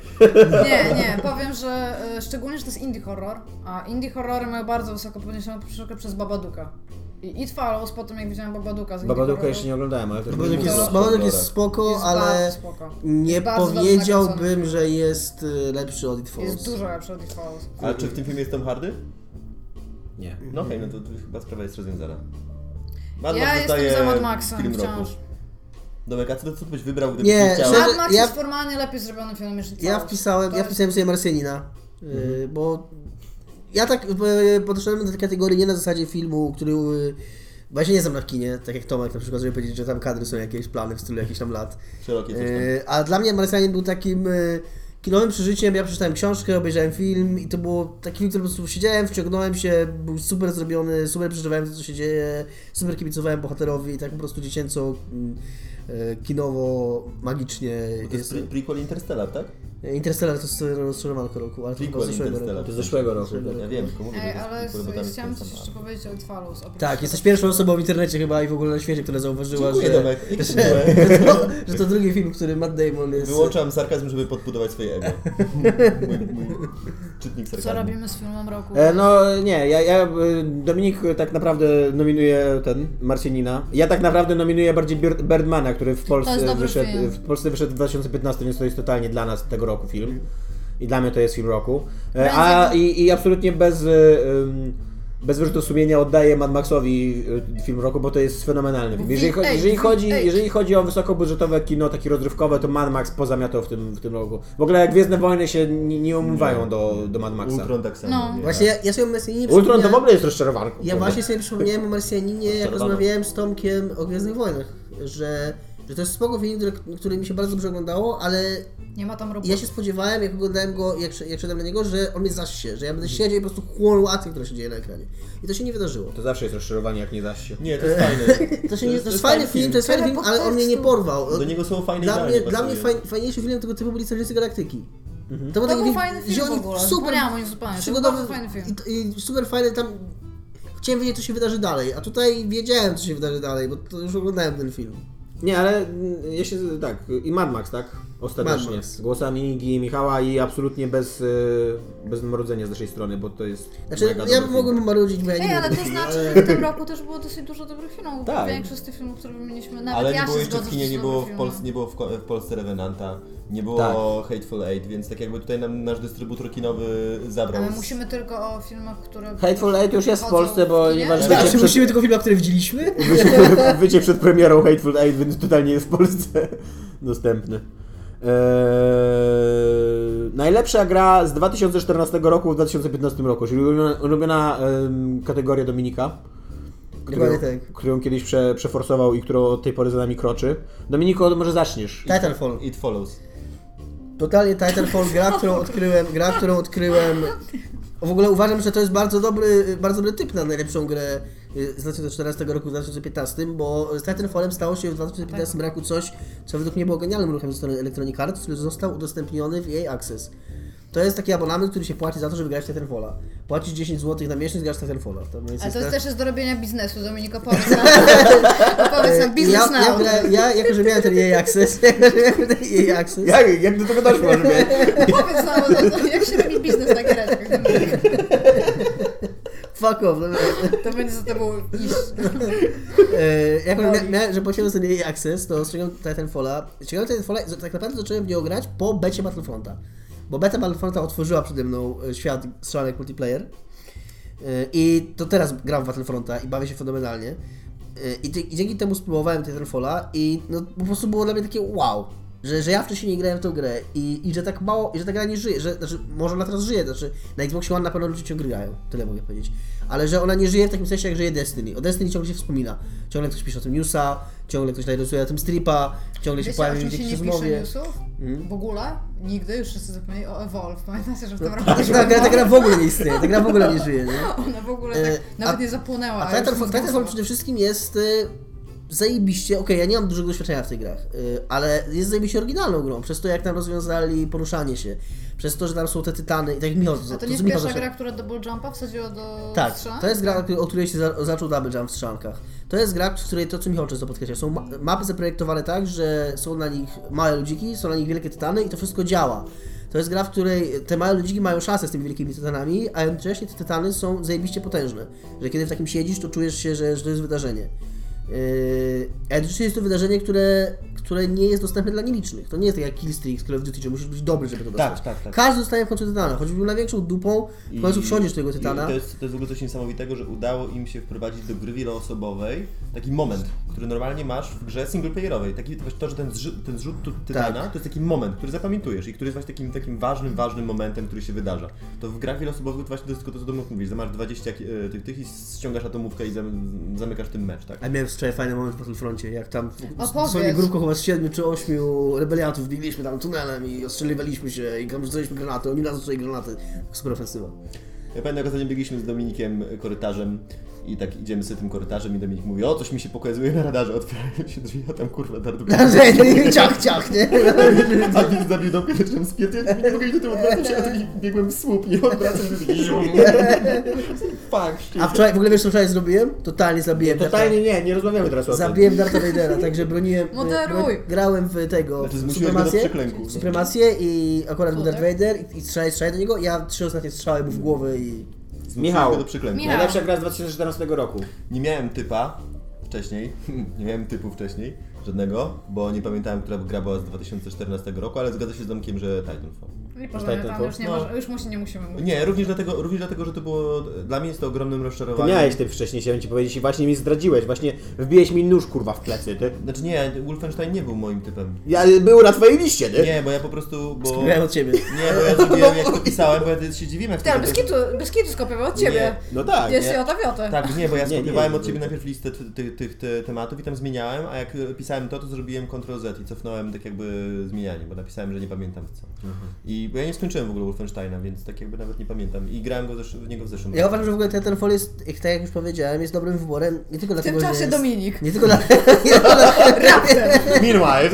[SPEAKER 2] Nie, nie, powiem, że e, szczególnie, że to jest indie horror, a indie horrory mają bardzo wysoko podniesioną poprzeczkę przez Babaduka. I It Follows po tym, jak widziałam Babaduka z indie
[SPEAKER 4] Babaduka
[SPEAKER 2] horroru,
[SPEAKER 4] jeszcze nie oglądałem, ale też
[SPEAKER 1] Babadook
[SPEAKER 4] będzie
[SPEAKER 1] jest,
[SPEAKER 4] miło.
[SPEAKER 1] Babadook jest spoko,
[SPEAKER 2] jest
[SPEAKER 1] No, ale
[SPEAKER 2] bardzo spoko.
[SPEAKER 1] nie
[SPEAKER 2] Jest bardzo dobrze
[SPEAKER 1] powiedziałbym,
[SPEAKER 2] nakręcony.
[SPEAKER 1] że jest y, lepszy od It Follows.
[SPEAKER 2] Jest dużo lepszy od It Follows.
[SPEAKER 3] A czy w tym filmie jest Tom Hardy?
[SPEAKER 4] Nie.
[SPEAKER 3] No okej, no to, to chyba sprawa jest rozwiązana. Mad
[SPEAKER 2] Ja
[SPEAKER 3] Max
[SPEAKER 2] jestem
[SPEAKER 3] zostaje
[SPEAKER 2] za Mad Maxem
[SPEAKER 3] film roku.
[SPEAKER 2] wciąż.
[SPEAKER 3] Domek, a co, co byś wybrał, gdybyś
[SPEAKER 1] Nie,
[SPEAKER 3] nie chciał?
[SPEAKER 1] szczerze-
[SPEAKER 2] Mad Max
[SPEAKER 1] ja-
[SPEAKER 2] jest formalnie lepiej zrobiony film niż It
[SPEAKER 1] Ja
[SPEAKER 2] Follows.
[SPEAKER 1] wpisałem,
[SPEAKER 2] To
[SPEAKER 1] ja
[SPEAKER 2] jest-
[SPEAKER 1] wpisałem sobie Marsjanina, y,
[SPEAKER 3] Mhm.
[SPEAKER 1] bo ja tak y, podszedłem do tej kategorii nie na zasadzie filmu, który y, właśnie nie znam na kinie, tak jak Tomek na przykład, żeby powiedzieć, że tam kadry są jakieś plany w stylu jakichś tam lat.
[SPEAKER 3] Szerokie coś tam.
[SPEAKER 1] Y, A dla mnie Marsjanin był takim y, kinowym przeżyciem, ja przeczytałem książkę, obejrzałem film i to było taki film, który po prostu siedziałem, wciągnąłem się, był super zrobiony, super przeżywałem to, co się dzieje, super kibicowałem bohaterowi i tak po prostu dziecięco, y, y, kinowo, magicznie.
[SPEAKER 3] To jest pre- prequel Interstellar, tak?
[SPEAKER 1] Interstellar to jest rozczarowanko roku, ale to chyba
[SPEAKER 3] Prequel
[SPEAKER 1] zeszłego roku.
[SPEAKER 3] Interstellar.
[SPEAKER 4] To z zeszłego roku.
[SPEAKER 1] Zeszłego.
[SPEAKER 3] Ja wiem, tylko mówię,
[SPEAKER 2] Ej,
[SPEAKER 3] że to
[SPEAKER 2] ale
[SPEAKER 3] jest prequel, bo tam
[SPEAKER 2] z,
[SPEAKER 3] jest
[SPEAKER 2] chciałam
[SPEAKER 3] ten
[SPEAKER 2] coś
[SPEAKER 3] sam.
[SPEAKER 2] jeszcze powiedzieć o It Follows. oprócz
[SPEAKER 1] Tak,
[SPEAKER 2] tego.
[SPEAKER 1] jesteś pierwszą osobą w internecie chyba i w ogóle na świecie, która zauważyła,
[SPEAKER 3] Dziękuję,
[SPEAKER 1] że,
[SPEAKER 3] Tomek. Dziękuję.
[SPEAKER 1] że, to, że to drugi film, który Matt Damon jest...
[SPEAKER 3] Wyłączam sarkazm, żeby podbudować swoje ego. Mój, mój czytnik
[SPEAKER 2] Co
[SPEAKER 1] Tak.
[SPEAKER 3] sarkazmu.
[SPEAKER 2] robimy z filmem roku?
[SPEAKER 4] E, No nie, ja, ja y, Dominik y, tak naprawdę nominuje ten Marcinina. Ja tak naprawdę nominuję bardziej Bir- Birdmana, który w
[SPEAKER 2] jest
[SPEAKER 4] Polsce
[SPEAKER 2] dobry
[SPEAKER 4] wyszedł
[SPEAKER 2] film.
[SPEAKER 4] w Polsce wyszedł w 2015, więc to jest totalnie dla nas tego roku film. I dla mnie to jest film roku. E,
[SPEAKER 2] Bez-
[SPEAKER 4] A i, i absolutnie bez y, ym, bez wyrzutu sumienia oddaję Mad Maxowi y, film roku, bo to jest fenomenalny film. Jeżeli, cho-
[SPEAKER 2] Ej,
[SPEAKER 4] jeżeli, chodzi,
[SPEAKER 2] ej.
[SPEAKER 4] jeżeli chodzi o wysokobudżetowe kino, takie rozrywkowe, to Mad Max pozamiatał w tym, w tym roku. W ogóle Gwiezdne Wojny się nie, nie umywają do, do Mad Maxa.
[SPEAKER 3] Ultron tak samo.
[SPEAKER 2] No.
[SPEAKER 3] nie?
[SPEAKER 1] Właśnie ja, ja sobie o Marsjaninie
[SPEAKER 4] Ultron to w
[SPEAKER 1] przypomniałem-
[SPEAKER 4] ogóle jest rozczarowanką.
[SPEAKER 1] Ja właśnie sobie przypomniałem o Marsjaninie, jak
[SPEAKER 3] Rozczarowany.
[SPEAKER 1] rozmawiałem z Tomkiem o Gwiezdnych Wojnach, że, że to jest spoko film, który, który mi się bardzo dobrze oglądało, ale
[SPEAKER 2] Nie ma tam roboty.
[SPEAKER 1] ja się spodziewałem, jak oglądałem go, jak, sz- jak szedłem na niego, że on mnie zasie, że ja będę siedział i po prostu chłonął akcję, która się dzieje na ekranie. I to się nie wydarzyło.
[SPEAKER 4] To zawsze jest rozczarowanie, jak nie dasz się.
[SPEAKER 3] Nie, to jest fajne.
[SPEAKER 1] To,
[SPEAKER 3] To
[SPEAKER 1] się nie,
[SPEAKER 3] jest- No
[SPEAKER 1] to jest fajny film, to jest fajny film, ale on mnie nie porwał.
[SPEAKER 3] Do niego są fajne
[SPEAKER 1] Dla
[SPEAKER 3] idealnie
[SPEAKER 1] mnie, dla mnie
[SPEAKER 3] pasuje.
[SPEAKER 1] faj, fajniejszym filmem tego typu byli Strażnicy Galaktyki.
[SPEAKER 4] Mhm.
[SPEAKER 1] To,
[SPEAKER 2] To był
[SPEAKER 1] film,
[SPEAKER 2] fajny film
[SPEAKER 1] że
[SPEAKER 2] w
[SPEAKER 1] oni
[SPEAKER 2] ogóle.
[SPEAKER 1] Super,
[SPEAKER 2] Zapomniałam o nim zupełnie. To był
[SPEAKER 1] przygodowy
[SPEAKER 2] bardzo fajny film.
[SPEAKER 1] I, i super fajny tam. Chciałem wiedzieć, co się wydarzy dalej, a tutaj wiedziałem, co się wydarzy dalej, bo to już oglądałem ten film.
[SPEAKER 4] Nie, ale mm, ja się tak. I Mad Max, tak?
[SPEAKER 1] Mad
[SPEAKER 4] Ostatecznie.
[SPEAKER 1] Max.
[SPEAKER 4] Z głosami Igi i Michała i absolutnie bez, y, bez mrodzenia z naszej strony, bo to jest.
[SPEAKER 1] Znaczy,
[SPEAKER 4] mega
[SPEAKER 1] ja
[SPEAKER 4] dobry
[SPEAKER 1] mogłem marudzić, bo ja nie
[SPEAKER 2] Ej,
[SPEAKER 1] wiem,
[SPEAKER 2] ale to znaczy, że w tym roku też było dosyć dużo dobrych filmów. bo
[SPEAKER 4] Tak.
[SPEAKER 2] Większość z tych filmów, które wymieniliśmy, nawet
[SPEAKER 3] Ale
[SPEAKER 2] ja
[SPEAKER 3] nie było
[SPEAKER 2] się
[SPEAKER 3] jeszcze w
[SPEAKER 2] zgodzę,
[SPEAKER 3] kinie,
[SPEAKER 2] że
[SPEAKER 3] nie
[SPEAKER 2] są
[SPEAKER 3] było
[SPEAKER 2] dobre
[SPEAKER 3] w,
[SPEAKER 2] filmy.
[SPEAKER 3] Polsce, nie było w, ko- w Polsce Revenanta, nie było Hateful Eight, więc tak jakby tutaj nam nasz dystrybutor kinowy zabrał.
[SPEAKER 2] Ale
[SPEAKER 3] z-
[SPEAKER 2] musimy tylko o filmach, które...
[SPEAKER 4] film. Hateful Eight już jest w
[SPEAKER 2] Chodzą
[SPEAKER 4] Polsce,
[SPEAKER 2] w
[SPEAKER 4] bo
[SPEAKER 2] kinie?
[SPEAKER 4] nieważne.
[SPEAKER 1] Tak,
[SPEAKER 4] Wycie
[SPEAKER 1] czy
[SPEAKER 4] przed,
[SPEAKER 1] musimy tego filmu, który widzieliśmy?
[SPEAKER 4] wycie, wycie przed premierą Hateful Eight, więc totalnie jest w Polsce dostępny. Eee, najlepsza gra z 2014 roku w 2015 roku, czyli ulubiona, ulubiona em, kategoria Dominika. którą,
[SPEAKER 1] Dokładnie tak.
[SPEAKER 4] którą kiedyś prze, przeforsował i którą od tej pory za nami kroczy. Dominiku, może zaczniesz.
[SPEAKER 1] Tak. Titanfall.
[SPEAKER 3] It Follows.
[SPEAKER 1] Totalnie Titanfall, gra, którą odkryłem, gra, którą odkryłem. W ogóle uważam, że to jest bardzo dobry, bardzo dobry typ na najlepszą grę y, z 2014 roku w 2015, bo z Titanfallem stało się w 2015
[SPEAKER 2] Tak.
[SPEAKER 1] roku coś, co według mnie było genialnym ruchem ze strony Electronic Arts, który został udostępniony w EA Access. To jest taki abonament, który się płaci za to, żeby grać w Titanfalla. Płacisz 10 zł na miesiąc, grasz w Titanfalla. To jest
[SPEAKER 2] Ale to
[SPEAKER 1] tak-
[SPEAKER 2] jest też jest do robienia biznesu, Dominiko, powiedz nam. powiedz nam, biznes
[SPEAKER 1] ja,
[SPEAKER 2] now.
[SPEAKER 1] ja, gra- ja, jako że miałem ten EA Access, jako że miałem ten EA Access,
[SPEAKER 4] Jak, jak do tego doszło, żeby...
[SPEAKER 2] Powiedz nam, no, jak się robi biznes na giereczkach, Dominiko.
[SPEAKER 1] fuck off. no.
[SPEAKER 2] To będzie za tobą iść.
[SPEAKER 1] E, jak
[SPEAKER 2] Boli.
[SPEAKER 1] mia, mia, że posiadłem sobie jej Access, to ściągnąłem Titanfalla. Ściągnąłem Titanfalla i tak naprawdę zacząłem w niego grać po becie Battlefronta. Bo beta Battlefronta otworzyła przede mną e, świat strzelanek multiplayer. E, I to teraz gram w Battlefronta i bawię się fenomenalnie. E, I, ty, I dzięki temu spróbowałem Titanfalla i no, po prostu było dla mnie takie wow. Że, że ja wcześniej nie grałem w tą grę i, i że tak mało, i że ta gra nie żyje, że, znaczy może ona teraz żyje, znaczy na Xbox One na pewno ludzie ciągle grają, tyle mogę powiedzieć. Ale że ona nie żyje w takim sensie, jak żyje Destiny. O Destiny ciągle się wspomina. Ciągle ktoś pisze o tym newsa, ciągle ktoś narysuje o tym stripa, ciągle się
[SPEAKER 2] Wiecie,
[SPEAKER 1] pojawia
[SPEAKER 2] o
[SPEAKER 1] w
[SPEAKER 2] czym się
[SPEAKER 1] jakiejś
[SPEAKER 2] nie pisze
[SPEAKER 1] rozmowie.
[SPEAKER 2] newsów?
[SPEAKER 1] Mm.
[SPEAKER 2] W ogóle? Nigdy? Już wszyscy zapomnieli o Evolve. Pamiętacie, że w tym roku
[SPEAKER 1] Ta,
[SPEAKER 2] też
[SPEAKER 1] ta, gra- ta
[SPEAKER 2] Evolve?
[SPEAKER 1] gra w ogóle nie istnieje, ta gra w ogóle nie żyje, nie?
[SPEAKER 2] Ona w ogóle
[SPEAKER 1] tak E,
[SPEAKER 2] tak
[SPEAKER 1] a-
[SPEAKER 2] nawet nie zapłonęła.
[SPEAKER 1] A
[SPEAKER 2] już
[SPEAKER 1] Titanfall,
[SPEAKER 2] nie
[SPEAKER 1] Titanfall
[SPEAKER 2] zdążyła.
[SPEAKER 1] przede wszystkim jest y, zajebiście, okej, ja nie mam dużego doświadczenia w tych grach, y, ale jest zajebiście oryginalną grą, przez to jak tam rozwiązali poruszanie się, przez to, że tam są te tytany i tak jak Michał,
[SPEAKER 2] A to
[SPEAKER 1] z
[SPEAKER 2] nie jest
[SPEAKER 1] Michał
[SPEAKER 2] pierwsza
[SPEAKER 1] zaczął.
[SPEAKER 2] gra, która double jumpa wsadziła do
[SPEAKER 1] Tak,
[SPEAKER 2] strzału?
[SPEAKER 1] to jest gra, o której się za, zaczął Double Jump w strzankach. To jest gra, w której to, co Michał często podkreśla, są ma- mapy zaprojektowane tak, że są na nich małe ludziki, są na nich wielkie tytany i to wszystko działa. To jest gra, w której te małe ludziki mają szansę z tymi wielkimi tytanami, a jednocześnie te tytany są zajebiście potężne. Że kiedy w takim siedzisz, to czujesz się, że, że to jest wydarzenie. Yy, a jednocześnie jest to wydarzenie, które, które nie jest dostępne dla nielicznych. To nie jest tak jak Killstreak, które w Duty, że musisz być dobry, żeby to dostać.
[SPEAKER 3] tak, tak.
[SPEAKER 1] Każdy dostaje w końcu tytana, choćby był największą dupą, w końcu
[SPEAKER 3] I-
[SPEAKER 1] wsiądziesz do tego tytana.
[SPEAKER 3] i To jest, to jest w ogóle coś niesamowitego, że udało im się wprowadzić do gry wieloosobowej taki moment, który normalnie masz w grze singleplayerowej. Taki właśnie to, że ten, zrzy, ten zrzut tu, tytana
[SPEAKER 1] Tak.
[SPEAKER 3] to jest taki moment, który zapamiętujesz i który jest właśnie takim, takim ważnym, ważnym momentem, który się wydarza. To w grach wieloosobowych właśnie to jest tylko to, co ty mówisz, że masz 20 ki- e, tych, tych i ściągasz atomówkę i zam- zamykasz tym mecz, tak?
[SPEAKER 1] A miałem wczoraj fajny moment w Battlefroncie, jak tam w
[SPEAKER 2] Opowiedz.
[SPEAKER 1] sobie grupką chyba z siedmiu czy ośmiu rebeliantów biegliśmy tam tunelem i ostrzeliwaliśmy się i tam rzucaliśmy granaty, oni nas rzucali granaty. Super ofensywa.
[SPEAKER 3] Ja pamiętam, jak ostatnio biegliśmy z Dominikiem korytarzem i tak idziemy sobie tym korytarzem i Dominik mówi, o coś mi się pokazuje na radarze, otwierają się drzwi, a tam kurwa dardu.
[SPEAKER 2] Tak,
[SPEAKER 1] ciach, ciach, nie?
[SPEAKER 3] A więc zabił do pierwszym z piety, nie mogę iść do tego odwracać, ja taki biegłem w słup, nie odwracam się. Fuck, shit.
[SPEAKER 1] A wczoraj, w ogóle wiesz co wczoraj zrobiłem? Totalnie zabiłem
[SPEAKER 4] Totalnie nie, nie rozmawiamy teraz o
[SPEAKER 1] Darth,
[SPEAKER 4] tym.
[SPEAKER 1] zabiłem Darth Vadera, także broniłem...
[SPEAKER 2] Moderuj.
[SPEAKER 1] e, Grałem w tego,
[SPEAKER 3] Znaczy
[SPEAKER 1] w
[SPEAKER 3] zmusiłem go do
[SPEAKER 1] supremację.
[SPEAKER 3] przeklęku.
[SPEAKER 1] Supremację i akurat był
[SPEAKER 2] O,
[SPEAKER 1] Darth
[SPEAKER 2] tak?
[SPEAKER 1] Vader i- i strzelaj, strzelaj do niego, ja trzy ostatnie strzały mu w głowę i...
[SPEAKER 3] Zmusiłem go
[SPEAKER 4] Michał,
[SPEAKER 3] do przyklęku.
[SPEAKER 2] Michał.
[SPEAKER 4] najlepsza gra z 2014 roku.
[SPEAKER 3] Nie miałem typa wcześniej, nie miałem typu wcześniej, żadnego, bo nie pamiętałem, która gra była z 2014 roku, ale zgadza się z Domkiem, że Titanfall.
[SPEAKER 2] Nie pożegnaj tam,
[SPEAKER 4] Titanfall?
[SPEAKER 2] już, nie
[SPEAKER 3] No.
[SPEAKER 2] może, już mu się nie musimy mówić.
[SPEAKER 3] Nie, również dlatego, również dlatego, że to było, dla mnie jest to ogromnym
[SPEAKER 4] Ty
[SPEAKER 3] rozczarowaniem.
[SPEAKER 4] miałeś ty wcześniej, chciałem ci powiedzieć i właśnie mi zdradziłeś, właśnie wbiłeś mi nóż kurwa w plecy, ty.
[SPEAKER 3] Znaczy nie, Wolfenstein nie był moim typem.
[SPEAKER 4] Ja y, był na twojej liście, ty.
[SPEAKER 3] Nie, bo ja po prostu, bo...
[SPEAKER 1] Grałem od ciebie.
[SPEAKER 3] Nie, bo ja zrobiłem, jak to pisałem, bo ja się dziwiłem, jak
[SPEAKER 2] Ty, ale
[SPEAKER 3] to-
[SPEAKER 2] bez kitu, bez kitu skopiował od
[SPEAKER 3] Nie.
[SPEAKER 2] ciebie.
[SPEAKER 4] No tak.
[SPEAKER 2] Jest
[SPEAKER 3] nie.
[SPEAKER 2] jota wiota.
[SPEAKER 3] Tak, nie, bo ja
[SPEAKER 4] Nie, nie,
[SPEAKER 3] skopiowałem
[SPEAKER 4] nie,
[SPEAKER 3] od
[SPEAKER 4] nie.
[SPEAKER 3] Ciebie najpierw listę ty- ty- tych te- tematów i tam zmieniałem, a jak e, pisałem to, to zrobiłem Ctrl Z i cofnąłem tak jakby zmienianie, bo napisałem, że nie pamiętam w co.
[SPEAKER 4] Mhm.
[SPEAKER 3] I bo ja nie skończyłem w ogóle Wolfensteina, więc tak jakby nawet nie pamiętam i grałem go zesz- w niego w zeszłym
[SPEAKER 1] Ja uważam, że w ogóle Titanfall jest, jak- tak jak już powiedziałem, jest dobrym wyborem, nie tylko
[SPEAKER 2] W tym
[SPEAKER 1] dlatego, że
[SPEAKER 2] czasie
[SPEAKER 1] jest...
[SPEAKER 2] Dominik.
[SPEAKER 1] Nie tylko, dla... nie, tylko dla...
[SPEAKER 4] Meanwhile.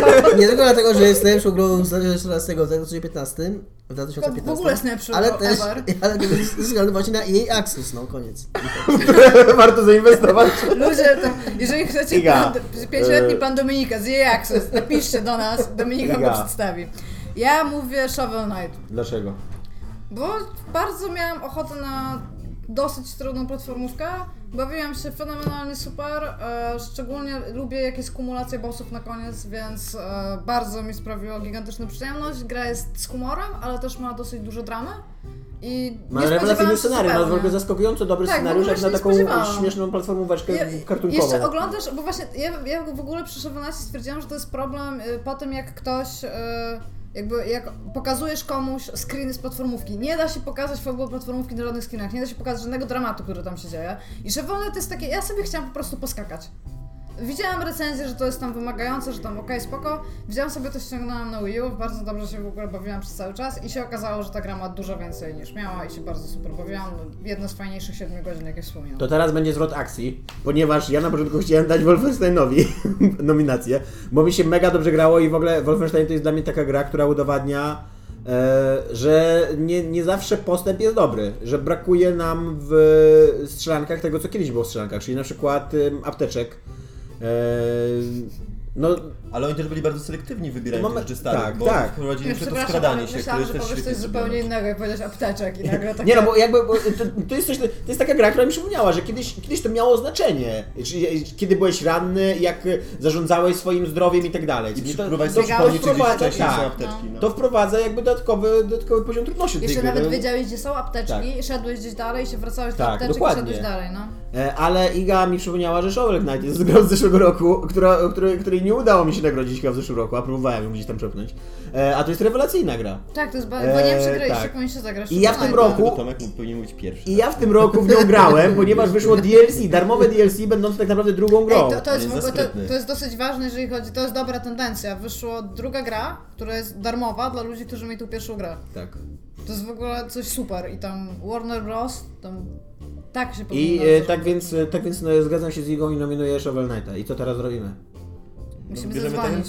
[SPEAKER 1] nie tylko dlatego, że jest najlepszą grą z 2014, w 2015, w 2015.
[SPEAKER 2] W ogóle jest najlepszą
[SPEAKER 1] ale
[SPEAKER 2] grą
[SPEAKER 1] też,
[SPEAKER 2] ever.
[SPEAKER 1] ale też ze względu właśnie na jej Access, no koniec.
[SPEAKER 4] Warto zainwestować.
[SPEAKER 2] Ludzie, to, jeżeli chcecie
[SPEAKER 4] Iga,
[SPEAKER 2] plan, pięcioletni
[SPEAKER 4] e,
[SPEAKER 2] plan Dominika z jej Access, napiszcie do nas, Dominika go
[SPEAKER 4] Iga.
[SPEAKER 2] przedstawi. Ja mówię Shovel Knight,
[SPEAKER 4] Dlaczego?
[SPEAKER 2] bo bardzo miałam ochotę na dosyć trudną platformówkę. Bawiłam się fenomenalnie super, e, szczególnie lubię jakieś kumulacje bossów na koniec, więc e, bardzo mi sprawiło gigantyczną przyjemność. Gra jest z humorem, ale też ma dosyć dużo dramy. I nie
[SPEAKER 4] Ma
[SPEAKER 2] spodziewałam
[SPEAKER 4] rewelacyjny
[SPEAKER 2] się
[SPEAKER 4] scenariusz, ma w
[SPEAKER 2] zupełnie.
[SPEAKER 4] ogóle zaskakująco dobry
[SPEAKER 2] Tak, w
[SPEAKER 4] scenariusz,
[SPEAKER 2] ogóle
[SPEAKER 4] jak
[SPEAKER 2] się
[SPEAKER 4] na
[SPEAKER 2] nie
[SPEAKER 4] taką
[SPEAKER 2] spodziewałam.
[SPEAKER 4] śmieszną platformóweczkę kartunkową.
[SPEAKER 2] Jeszcze oglądasz, bo właśnie ja, ja w ogóle przy 17 stwierdziłam, że to jest problem y, po tym, jak ktoś. Y, jakby jak pokazujesz komuś screeny z platformówki. Nie da się pokazać w ogóle platformówki na żadnych screenach, nie da się pokazać żadnego dramatu, który tam się dzieje. I Chevalnet jest takie, ja sobie chciałam po prostu poskakać. Widziałam recenzję, że to jest tam wymagające, że tam okej, spoko. Widziałam sobie to, ściągnęłam na Wii U, bardzo dobrze się w ogóle bawiłam przez cały czas i się okazało, że ta gra ma dużo więcej niż miała i się bardzo super bawiłam. Jedna z fajniejszych 7 godzin, jakie wspominam.
[SPEAKER 4] To teraz będzie zwrot akcji, ponieważ ja na początku chciałem dać Wolfensteinowi nominację, bo mi się mega dobrze grało i w ogóle Wolfenstein to jest dla mnie taka gra, która udowadnia, e, że nie, nie zawsze postęp jest dobry, że brakuje nam w strzelankach tego, co kiedyś było w strzelankach, czyli na przykład em, apteczek. E, no,
[SPEAKER 3] Ale oni też byli bardzo selektywni wybierając
[SPEAKER 4] To mamy-
[SPEAKER 3] mamy... rzeczy starych,
[SPEAKER 4] tak,
[SPEAKER 3] bo
[SPEAKER 4] tak.
[SPEAKER 3] wprowadzili
[SPEAKER 2] Nie,
[SPEAKER 3] jeszcze to
[SPEAKER 2] przepraszam, ale
[SPEAKER 3] skradanie się, które
[SPEAKER 2] myślałam,
[SPEAKER 3] jest
[SPEAKER 2] że
[SPEAKER 3] też
[SPEAKER 2] powiesz
[SPEAKER 3] świetnie
[SPEAKER 2] coś zupełnie
[SPEAKER 3] zrobione.
[SPEAKER 2] innego, jak powiedziałeś apteczek i nagle tak.
[SPEAKER 4] Nie no, bo jakby bo to, to jest coś, to jest taka gra, która mi przypomniała, że kiedyś, kiedyś to miało znaczenie. Czyli, kiedy byłeś ranny, jak zadządzałeś swoim zdrowiem i tak dalej.
[SPEAKER 3] I
[SPEAKER 4] Czyli to-
[SPEAKER 3] próbowałeś
[SPEAKER 4] to
[SPEAKER 3] sobie przypomnieć, czy gdzieś
[SPEAKER 4] wprowadza-
[SPEAKER 3] wcześniej są
[SPEAKER 4] tak.
[SPEAKER 3] apteczki. No.
[SPEAKER 4] To wprowadza jakby dodatkowy, dodatkowy poziom trudności do tej
[SPEAKER 2] Jeszcze
[SPEAKER 4] gry.
[SPEAKER 2] nawet
[SPEAKER 4] no.
[SPEAKER 2] wiedziałeś, gdzie są apteczki, szedłeś gdzieś dalej, się wracałeś do
[SPEAKER 4] Tak,
[SPEAKER 2] apteczek
[SPEAKER 4] dokładnie.
[SPEAKER 2] i szedłeś dalej, no.
[SPEAKER 4] E, Ale Iga mi przypomniała, że Shovel Knight jest grą z zeszłego roku, która, której, której nie nie udało mi się nagrodzić chyba w zeszłym roku, a próbowałem ją gdzieś tam przepchnąć. E, a to jest rewelacyjna gra.
[SPEAKER 2] Tak, to jest bardzo, bo
[SPEAKER 4] Eee,
[SPEAKER 2] nie przegraliście,
[SPEAKER 4] tak.
[SPEAKER 2] powinien się No, zagrać.
[SPEAKER 4] I ja w
[SPEAKER 2] Fortnite'a.
[SPEAKER 4] tym roku-
[SPEAKER 3] Tylko Tomek mógł- powinien mówić pierwszy.
[SPEAKER 4] I ja w tym roku w nią grałem, ponieważ wyszło DLC, darmowe DLC, będące tak naprawdę drugą
[SPEAKER 2] Ej,
[SPEAKER 4] grą.
[SPEAKER 2] E, to, to,
[SPEAKER 3] on
[SPEAKER 2] jest
[SPEAKER 3] jest
[SPEAKER 2] w ogóle, to,
[SPEAKER 3] zasprytny.
[SPEAKER 2] to jest dosyć ważne, jeżeli chodzi, to jest dobra tendencja. Wyszła druga gra, która jest darmowa dla ludzi, którzy mieli tu pierwszą grę.
[SPEAKER 4] Tak.
[SPEAKER 2] To jest w ogóle coś super i tam Warner Bros. tam tak się
[SPEAKER 4] I
[SPEAKER 2] powinno
[SPEAKER 4] e,
[SPEAKER 2] coś-
[SPEAKER 4] tak więc, e, tak więc no, zgadzam się z Igą i nominuję Shovel Knighta. I co teraz robimy?
[SPEAKER 2] Musimy
[SPEAKER 3] Bierzemy
[SPEAKER 2] zadzwonić.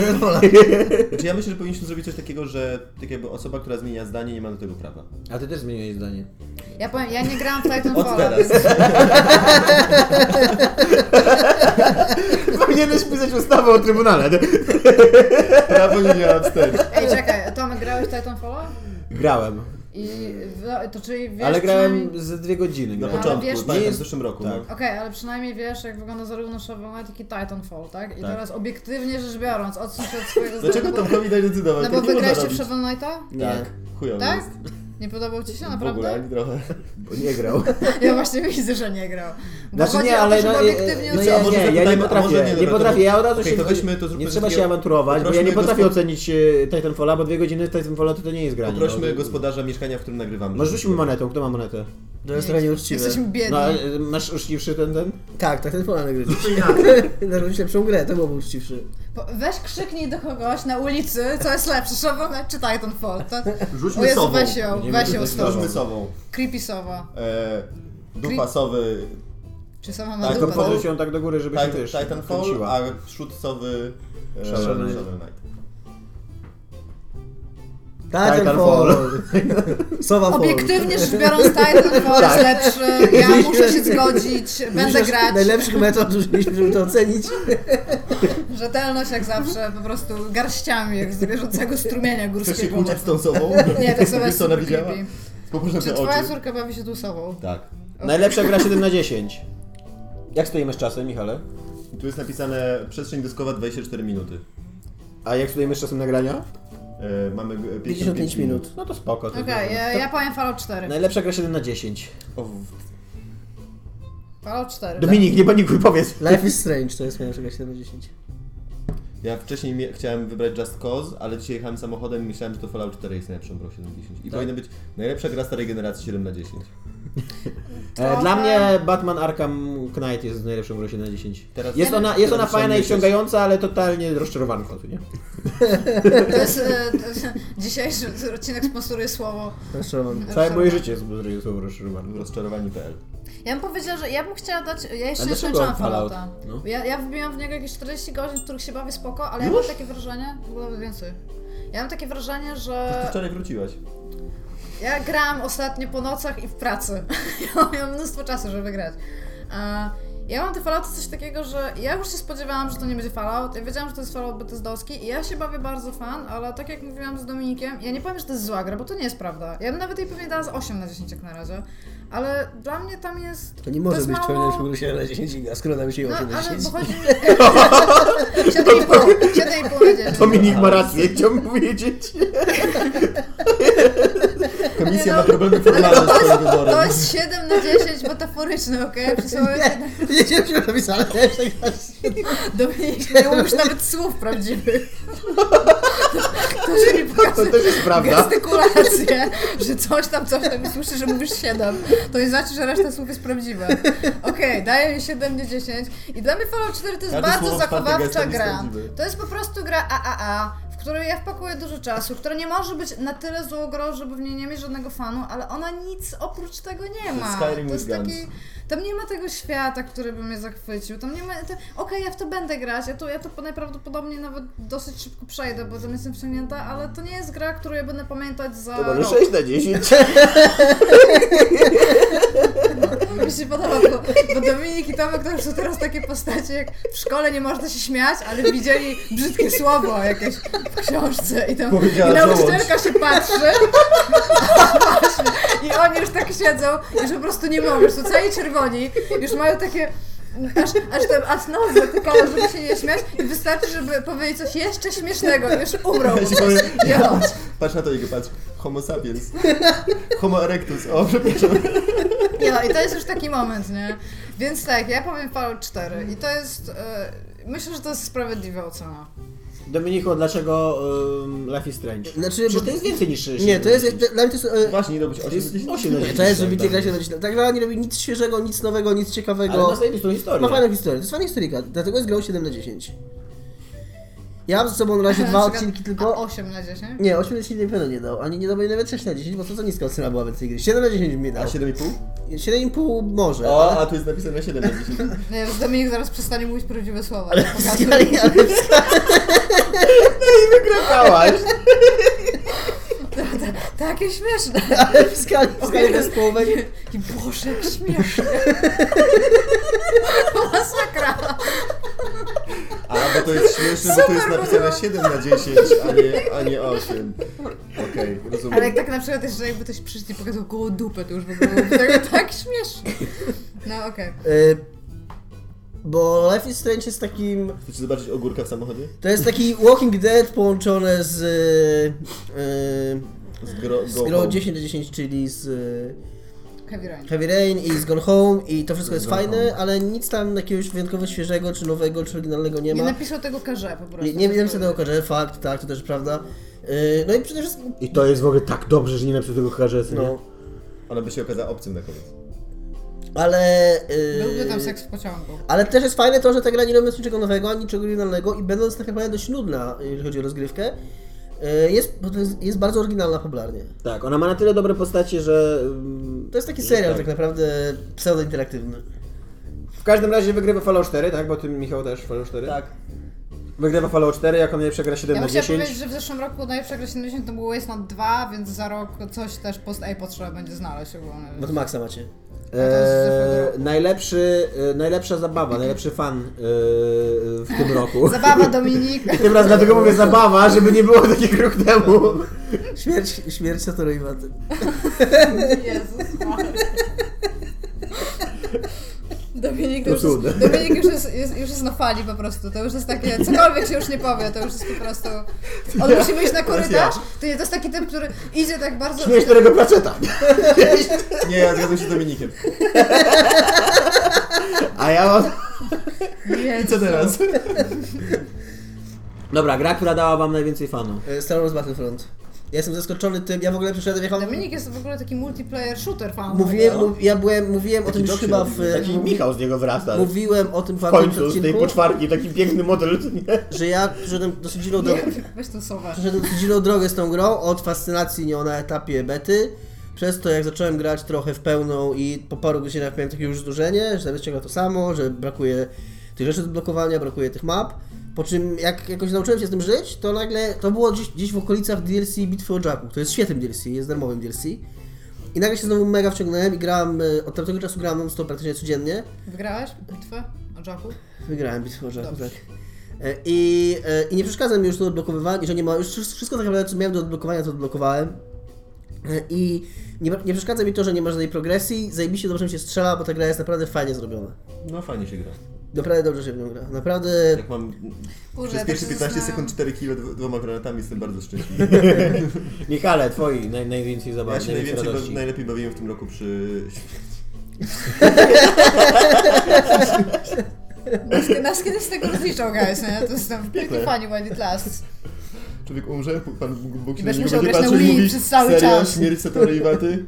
[SPEAKER 3] Titanfalla. Znaczy ja myślę, że powinniśmy zrobić coś takiego, że tak jakby osoba, która zmienia zdanie, nie ma do tego prawa.
[SPEAKER 4] A ty też zmieniłeś zdanie.
[SPEAKER 2] Ja powiem, ja nie grałam w
[SPEAKER 3] Od
[SPEAKER 2] Titanfalla.
[SPEAKER 3] teraz.
[SPEAKER 4] Powinieneś pisać ustawę o Trybunale.
[SPEAKER 3] Prawo nie działa wstecz.
[SPEAKER 2] Ej, czekaj, Tomek, grałeś w Titanfalla?
[SPEAKER 4] Grałem,
[SPEAKER 2] I w- to czyli wiesz
[SPEAKER 4] ale
[SPEAKER 2] przynajmniej-
[SPEAKER 4] grałem ze dwie godziny.
[SPEAKER 3] Na
[SPEAKER 4] Grałem.
[SPEAKER 2] początku,
[SPEAKER 3] początku,
[SPEAKER 2] No, wiesz,
[SPEAKER 3] pamiętam,
[SPEAKER 4] nie
[SPEAKER 3] w
[SPEAKER 4] jest-
[SPEAKER 3] zeszłym roku.
[SPEAKER 4] tak.
[SPEAKER 3] no.
[SPEAKER 2] Okej, ale przynajmniej wiesz, jak wygląda zarówno Shovel Knight, jak i Titanfall, tak? I teraz obiektywnie rzecz biorąc, odsuń się od swojego
[SPEAKER 3] Dlaczego
[SPEAKER 2] zdania, bo-
[SPEAKER 3] Tomkowi daj decydować?
[SPEAKER 2] No bo
[SPEAKER 3] Nie można
[SPEAKER 2] wygraliście w
[SPEAKER 3] robić.
[SPEAKER 2] Shovel Knighta?
[SPEAKER 3] Tak, chujowo
[SPEAKER 2] Tak? No,
[SPEAKER 3] jest.
[SPEAKER 2] Nie podobał ci się,
[SPEAKER 3] W ogóle, ani
[SPEAKER 2] naprawdę?
[SPEAKER 3] trochę.
[SPEAKER 4] Bo nie grał.
[SPEAKER 2] Ja właśnie widzę, że nie grał. Bo
[SPEAKER 4] Znaczy
[SPEAKER 2] chodzi
[SPEAKER 4] nie,
[SPEAKER 2] o to,
[SPEAKER 4] ale
[SPEAKER 2] żeby
[SPEAKER 4] no,
[SPEAKER 2] obiektywnie
[SPEAKER 4] e, no
[SPEAKER 2] ocenić.
[SPEAKER 4] ja,
[SPEAKER 3] ocenić. A
[SPEAKER 4] nie, ja
[SPEAKER 3] może
[SPEAKER 4] nie
[SPEAKER 3] zapytajmy, a
[SPEAKER 4] potrafię,
[SPEAKER 3] może nie,
[SPEAKER 4] nie,
[SPEAKER 3] dobra, to-
[SPEAKER 4] potrafię, ja od razu
[SPEAKER 3] Okej,
[SPEAKER 4] się,
[SPEAKER 3] to weźmy to
[SPEAKER 4] nie
[SPEAKER 3] zróbmy
[SPEAKER 4] trzeba
[SPEAKER 3] takiego-
[SPEAKER 4] się awanturować, bo ja nie
[SPEAKER 3] poprośmy
[SPEAKER 4] potrafię
[SPEAKER 3] gospod-
[SPEAKER 4] ocenić e, Titanfalla, bo dwie godziny Titanfalla to, to nie jest granie.
[SPEAKER 3] Poprośmy
[SPEAKER 4] no.
[SPEAKER 3] gospodarza mieszkania, w którym nagrywamy.
[SPEAKER 4] Może rzućmy monetą, kto ma monetę?
[SPEAKER 1] To jest trochę nieuczciwe.
[SPEAKER 2] Jesteśmy biedni.
[SPEAKER 4] No, ale masz uczciwszy ten, ten?
[SPEAKER 1] Tak, tak, ten pola nagrywa. Narzucić lepszą grę, to byłoby uczciwszy.
[SPEAKER 2] Po- Weź krzyknij do kogoś na ulicy, co jest lepsze, Shovel Knight czy Titanfall. To...
[SPEAKER 3] Rzućmy
[SPEAKER 2] O Jezu,
[SPEAKER 3] sobą.
[SPEAKER 2] weź ją,
[SPEAKER 4] Będziemy
[SPEAKER 2] weź ją
[SPEAKER 4] tutaj
[SPEAKER 2] stąd.
[SPEAKER 3] Rzućmy sobą.
[SPEAKER 2] Creepy sowa.
[SPEAKER 3] E, dupa sowy
[SPEAKER 2] Czy sama ma
[SPEAKER 3] Tak,
[SPEAKER 2] dupę?
[SPEAKER 3] to po-
[SPEAKER 4] Podrzuć ją tak do góry, żeby się
[SPEAKER 3] Titan,
[SPEAKER 4] wiesz,
[SPEAKER 3] Titanfall,
[SPEAKER 4] kręciła.
[SPEAKER 3] a szut sowy e,
[SPEAKER 4] Shovel
[SPEAKER 3] Shovel
[SPEAKER 4] Knight.
[SPEAKER 3] Knight.
[SPEAKER 1] Titanfall. Sowa Fall.
[SPEAKER 2] Obiektywnie rzecz biorąc, tak, Titanfall jest lepszy, ja muszę się zgodzić, będę
[SPEAKER 1] Myślę, że
[SPEAKER 2] grać.
[SPEAKER 1] Najlepszy metod użyliśmy, żeby to ocenić.
[SPEAKER 2] Rzetelność jak zawsze, po prostu garściami, jak z bieżącego strumienia
[SPEAKER 3] Chcesz się
[SPEAKER 2] górskiego.
[SPEAKER 3] kłócić z tą sobą?
[SPEAKER 2] Nie, tak sobie
[SPEAKER 3] Wiesz,
[SPEAKER 2] jest
[SPEAKER 3] co ona
[SPEAKER 2] super
[SPEAKER 3] widziała?
[SPEAKER 2] creepy.
[SPEAKER 3] Poproszę
[SPEAKER 2] Czy
[SPEAKER 3] te
[SPEAKER 2] twoja
[SPEAKER 3] oczy.
[SPEAKER 2] córka bawi się tu sobą?
[SPEAKER 3] Tak.
[SPEAKER 4] Najlepsza gra 7 na 10. Jak stoimy z czasem, Michale?
[SPEAKER 3] Tu jest napisane przestrzeń dyskowa 24 minuty.
[SPEAKER 4] A jak stoimy z czasem nagrania?
[SPEAKER 3] E, mamy e, 55,
[SPEAKER 1] 55 minut.
[SPEAKER 4] No to spoko. to
[SPEAKER 2] Okej,
[SPEAKER 4] dobra.
[SPEAKER 2] ja, ja powiem Fallout 4.
[SPEAKER 4] Najlepsza gra 7 na 10.
[SPEAKER 3] O, w-
[SPEAKER 2] Fallout 4.
[SPEAKER 4] Dominik, nie panikuj, powiedz.
[SPEAKER 1] Life is Strange to jest moja czegoś 7 na 10.
[SPEAKER 3] Ja wcześniej mia- chciałem wybrać Just Cause, ale dzisiaj jechałem samochodem i myślałem, że to Fallout 4 jest najlepszą grą 7 na 10. I
[SPEAKER 4] Tak.
[SPEAKER 3] powinna być najlepsza gra starej generacji 7 na 10.
[SPEAKER 4] E, Dla mnie Batman Arkham Knight jest najlepszą grą 7 na 10.
[SPEAKER 3] Teraz-
[SPEAKER 4] Jest ona, jest ona
[SPEAKER 3] Teraz
[SPEAKER 4] fajna i
[SPEAKER 3] myślę,
[SPEAKER 4] wciągająca, ale totalnie rozczarowanką, tu nie?
[SPEAKER 2] To jest, e, to jest, dzisiejszy odcinek sponsoruje słowo.
[SPEAKER 1] Rozczarowany.
[SPEAKER 4] Całe moje życie jest słowo rozczarowane.
[SPEAKER 3] Rozczarowani.pl
[SPEAKER 2] Ja bym powiedziała, że ja bym chciała dać. Ja jeszcze nie
[SPEAKER 4] dlaczego
[SPEAKER 2] skończyłam
[SPEAKER 4] Fallout?
[SPEAKER 2] Fallouta.
[SPEAKER 4] No.
[SPEAKER 2] Ja, ja wbiłam w niego jakieś 40 godzin, w których się bawię spoko, ale ja mam takie wrażenie, w ogóle więcej. Ja mam takie wrażenie,
[SPEAKER 3] Ty
[SPEAKER 2] że
[SPEAKER 3] wczoraj wróciłaś.
[SPEAKER 2] ja grałam ostatnio po nocach i w pracy. ja miałam mnóstwo czasu, żeby grać. A ja mam te Fallouty coś takiego, że ja już się spodziewałam, że to nie będzie Fallout. Ja wiedziałam, że to jest Fallout Bethesdowski i ja się bawię bardzo fan, ale tak jak mówiłam z Dominikiem, ja nie powiem, że to jest zła gra, bo to nie jest prawda. Ja bym nawet jej pewnie dała z 8 na 10 jak na razie. Ale dla mnie tam jest...
[SPEAKER 1] To nie może
[SPEAKER 2] jest
[SPEAKER 1] być
[SPEAKER 2] mało-
[SPEAKER 1] pewne, że był 7 na 10 giga, skoro nam się
[SPEAKER 2] no,
[SPEAKER 1] 8 na
[SPEAKER 2] ale
[SPEAKER 1] 10.
[SPEAKER 2] bo chodzi mi... 7,5, 7,5
[SPEAKER 4] Dominik ma rację, chciałbym powiedzieć.
[SPEAKER 3] Komisja ma problemy formalne z swoim wyborem.
[SPEAKER 2] To jest 7 na 10 metaforyczne, okej? Okay? Przysłowiowe
[SPEAKER 1] Nie, nie wiem, czy napisane, też tak
[SPEAKER 4] Znaczy,
[SPEAKER 2] Dominik, nie umiesz nawet słów prawdziwych. Ktoś mi
[SPEAKER 4] To
[SPEAKER 2] pokazuje
[SPEAKER 4] też jest prawda.
[SPEAKER 2] gestykulację, że coś tam, coś tam i słyszy, że mówisz 7. To nie znaczy, że reszta słów jest prawdziwa. Okej, daję mi 7 na 10. I dla mnie Fallout 4 to jest
[SPEAKER 3] Każde
[SPEAKER 2] bardzo
[SPEAKER 3] słowo wparte
[SPEAKER 2] zachowawcza
[SPEAKER 3] gestem jest
[SPEAKER 2] gra.
[SPEAKER 3] prawdziwe.
[SPEAKER 2] To jest po prostu gra AAA, w której ja wpakuję dużo czasu, która nie może być na tyle złą grą, żeby w niej nie mieć żadnego fanu, ale ona nic oprócz tego nie
[SPEAKER 3] jest
[SPEAKER 2] ma.
[SPEAKER 3] Skyrim
[SPEAKER 2] to jest
[SPEAKER 3] with
[SPEAKER 2] taki... Tam nie ma tego świata, który by mnie zachwycił. Tam nie ma. to- Okej, ja w to będę grać. Ja to, ja to po- najprawdopodobnie nawet dosyć szybko przejdę, bo tam jestem wciągnięta, ale to nie jest gra, którą ja będę pamiętać za.
[SPEAKER 4] To może
[SPEAKER 2] rok.
[SPEAKER 4] 6 na 10.
[SPEAKER 2] Mi się podoba, bo, bo Dominik i Tomek to już są teraz takie postacie, jak w szkole nie można się śmiać, ale widzieli brzydkie słowo jakieś w książce i tam
[SPEAKER 3] Powiedziała
[SPEAKER 2] i nauczycielka
[SPEAKER 3] żołądź.
[SPEAKER 2] się patrzy Właśnie. i oni już tak siedzą, już po prostu nie mogą, już są cali czerwoni, już mają takie... Aż, aż tam aż nos zatykało, żeby się nie śmiać i wystarczy, żeby powiedzieć coś jeszcze śmiesznego i już umrą.
[SPEAKER 3] Ja się powiem,
[SPEAKER 2] Ja.
[SPEAKER 3] patrz na to jego, patrz. Homo sapiens. Homo erectus. O, przepraszam.
[SPEAKER 2] Nie no, i to jest już taki moment, nie? Więc tak, ja powiem Fallout 4 i to jest... E, Myślę, że to jest sprawiedliwa ocena.
[SPEAKER 4] Dominiko, dlaczego ym, Life is Strange?
[SPEAKER 1] Znaczy, bo
[SPEAKER 4] Przecież to jest więcej niż...
[SPEAKER 1] Nie, to jest, dla mnie to jest... e,
[SPEAKER 3] Właśnie, robić 8
[SPEAKER 4] jest-
[SPEAKER 3] godzin.
[SPEAKER 4] osiem godzin.
[SPEAKER 1] To jest, żeby gra się zaczyna. Tak gra nie robi nic świeżego, nic nowego, nic
[SPEAKER 4] Ale
[SPEAKER 1] ciekawego.
[SPEAKER 4] ma zajebistą historię.
[SPEAKER 1] Ma fajną historię, to jest fajna historyjka, dlatego jest grą 7 na 10. Ja mam ze sobą na razie
[SPEAKER 2] Na
[SPEAKER 1] dwa
[SPEAKER 2] przykład-
[SPEAKER 1] odcinki
[SPEAKER 2] A
[SPEAKER 1] tylko.
[SPEAKER 2] 8 na 10?
[SPEAKER 1] Nie, 8 na 10 na pewno nie dał, ani nie dał mi nawet 6 na 10, bo to za niska ocena była więcej gry. 7 na 10 mi
[SPEAKER 3] A
[SPEAKER 1] dał.
[SPEAKER 3] 7,5?
[SPEAKER 1] 7,5 może,
[SPEAKER 3] O,
[SPEAKER 1] ale...
[SPEAKER 3] a tu jest napisane 7 na 10.
[SPEAKER 2] Nie, już No Dominik zaraz przestanie mówić prawdziwe słowa.
[SPEAKER 1] Ale w skali, ale w
[SPEAKER 5] Grałaś!
[SPEAKER 2] Takie śmieszne.
[SPEAKER 1] Ale w skali, w skali zespołowej.
[SPEAKER 2] I Boże, jak śmieszne. Masakra.
[SPEAKER 3] A, bo to jest śmieszne, bo tu jest napisane 7 na 10, a nie, a nie 8. Okej, rozumiem.
[SPEAKER 2] Ale jak tak na przykład jeszcze jakby ktoś przyszedł i pokazał koło dupę, to już by było tak, tak śmieszne. No okej.
[SPEAKER 1] Y, Bo Life is Strange jest takim...
[SPEAKER 3] Chcecie zobaczyć ogórka w samochodzie?
[SPEAKER 1] To jest taki Walking Dead połączone z... y, y,
[SPEAKER 3] Z gro,
[SPEAKER 1] z grą 10 na 10, czyli z y,
[SPEAKER 2] Heavy Rain.
[SPEAKER 1] Heavy Rain i z Gone Home i to wszystko jest
[SPEAKER 3] Gone
[SPEAKER 1] fajne, ale nic tam jakiegoś wyjątkowo świeżego, czy nowego, czy oryginalnego nie
[SPEAKER 2] Nie
[SPEAKER 1] ma.
[SPEAKER 2] napisał tego karze po prostu.
[SPEAKER 1] Nie, nie wiem, co tego okaże, fakt, tak, to też prawda. Y, No i przede wszystkim...
[SPEAKER 4] I to jest w ogóle tak dobrze, że nie napisał tego HRS, nie?
[SPEAKER 1] No,
[SPEAKER 3] Ona by się okazała obcym na koniec.
[SPEAKER 1] ale... y,
[SPEAKER 2] Byłby tam seks w pociągu.
[SPEAKER 1] Ale też jest fajne to, że ta gra nie robi niczego nowego, ani niczego oryginalnego i będąc tak naprawdę dość nudna, jeżeli chodzi o rozgrywkę, y, jest, bo to jest, jest bardzo oryginalna popularnie.
[SPEAKER 4] Tak, ona ma na tyle dobre postacie, że... ym,
[SPEAKER 1] To jest taki serial
[SPEAKER 4] Tak.
[SPEAKER 1] tak, naprawdę pseudointeraktywny.
[SPEAKER 4] W każdym razie wygrywa Fallout 4, tak? Bo ty, Michał, też Fallout 4? Tak. Wygrywa Fallout 4, jako mnie przegra 7
[SPEAKER 2] Ja bym
[SPEAKER 4] na
[SPEAKER 2] chciała
[SPEAKER 4] 10.
[SPEAKER 2] powiedzieć, że w zeszłym roku najlepsza gra 70 to był Wasteland 2, więc za rok coś też post Apple trzeba będzie znaleźć ogólnie.
[SPEAKER 1] Bo to Maxa macie.
[SPEAKER 2] to jest z zeszłego roku.
[SPEAKER 4] Eee, najlepszy, e, najlepsza zabawa, najlepszy fan e, w tym roku.
[SPEAKER 2] Zabawa Dominik.
[SPEAKER 4] Tym razem dlatego mówię zabawa, żeby nie było takiego rok temu.
[SPEAKER 1] Śmierć, śmierć Satoru Iwaty.
[SPEAKER 2] Jezus Maria. Dominik, już
[SPEAKER 4] cudne.
[SPEAKER 2] jest, Dominik już, jest, jest, już jest na fali po prostu, to już jest takie, cokolwiek się już nie powie, to już jest po prostu, on musi wyjść na korytarz, to jest taki typ, który idzie tak bardzo,
[SPEAKER 4] Śmiesz którego placeta.
[SPEAKER 3] Nie, ja zgadzam się z Dominikiem.
[SPEAKER 4] A ja mam...
[SPEAKER 2] Jezus.
[SPEAKER 3] Co teraz?
[SPEAKER 4] Dobra, gra, która dała wam najwięcej fanów.
[SPEAKER 1] Y, Star Wars Battlefront. Ja jestem zaskoczony tym, ja w ogóle przyszedłem, jechałem...
[SPEAKER 2] Dominik jest w ogóle taki multiplayer shooter fan. no
[SPEAKER 1] Mówiłem,
[SPEAKER 5] No.
[SPEAKER 1] mów, ja byłem, mówiłem o tym już
[SPEAKER 3] dosyć
[SPEAKER 1] chyba w... e,
[SPEAKER 5] Taki Michał z niego wrasta. W
[SPEAKER 1] Mówiłem o tym w jakimś
[SPEAKER 5] końcu z tej
[SPEAKER 1] odcinku,
[SPEAKER 5] poczwarki, taki piękny model, czy nie?
[SPEAKER 1] że ja przyszedłem dosyć dziwną
[SPEAKER 2] Nie,
[SPEAKER 1] drogę.
[SPEAKER 2] Weź tą sowę.
[SPEAKER 1] Przeszedłem dosyć dziwną drogę z tą grą, od fascynacji nią na etapie bety, przez to jak zacząłem grać trochę w pełną i po paru godzinach miałem takie już zdurzenie, że zamiast ciągle to samo, że brakuje tych rzeczy do blokowania, brakuje tych map, po czym jak jakoś nauczyłem się z tym żyć, to nagle, to było gdzieś, gdzieś w okolicach DLC Bitwy o Jacku, to jest świetnym DLC, jest darmowym DLC i nagle się znowu mega wciągnąłem i grałem, e, od tamtego czasu grałem non stop praktycznie codziennie,
[SPEAKER 2] Wygrałaś bitwę o Jacku?
[SPEAKER 1] Wygrałem bitwę o Żaku,
[SPEAKER 2] Dobrze.
[SPEAKER 1] tak. E, I, e, I nie przeszkadza mi już to odblokowywanie, że nie ma, już wszy- wszystko tak naprawdę, co miałem do odblokowania, to odblokowałem. E, I nie, nie przeszkadza mi to, że nie ma żadnej progresji, zajebiście dobrze mi się strzela, bo ta gra jest naprawdę fajnie zrobiona.
[SPEAKER 3] No fajnie się gra.
[SPEAKER 1] Naprawdę dobrze się w nią gra, naprawdę...
[SPEAKER 3] Jak mam
[SPEAKER 2] Kurde,
[SPEAKER 3] przez
[SPEAKER 2] tak
[SPEAKER 3] pierwsze
[SPEAKER 2] się
[SPEAKER 3] 15
[SPEAKER 2] zastanawiam.
[SPEAKER 3] sekund 4 kilo dwo- dwoma granatami jestem bardzo szczęśliwy.
[SPEAKER 4] Michale, twoi naj, najwięcej zabawy,
[SPEAKER 3] Ja się
[SPEAKER 4] najwięcej
[SPEAKER 3] najwięcej,
[SPEAKER 4] radości.
[SPEAKER 3] najlepiej bawiłem w tym roku przy...
[SPEAKER 2] Nas, nas kiedyś z tego rozliczał, guys, nie? To jest tam pretty funny when it lasts.
[SPEAKER 3] Człowiek umrze, Pan Bóg- Bóg
[SPEAKER 2] I
[SPEAKER 3] się na
[SPEAKER 2] będziesz musiał
[SPEAKER 3] niego będzie
[SPEAKER 2] grać na
[SPEAKER 3] patrzył i
[SPEAKER 2] Wii
[SPEAKER 3] mówi
[SPEAKER 2] przez cały
[SPEAKER 3] Serio?
[SPEAKER 2] czas."
[SPEAKER 3] Śmierć Satoru Iwaty?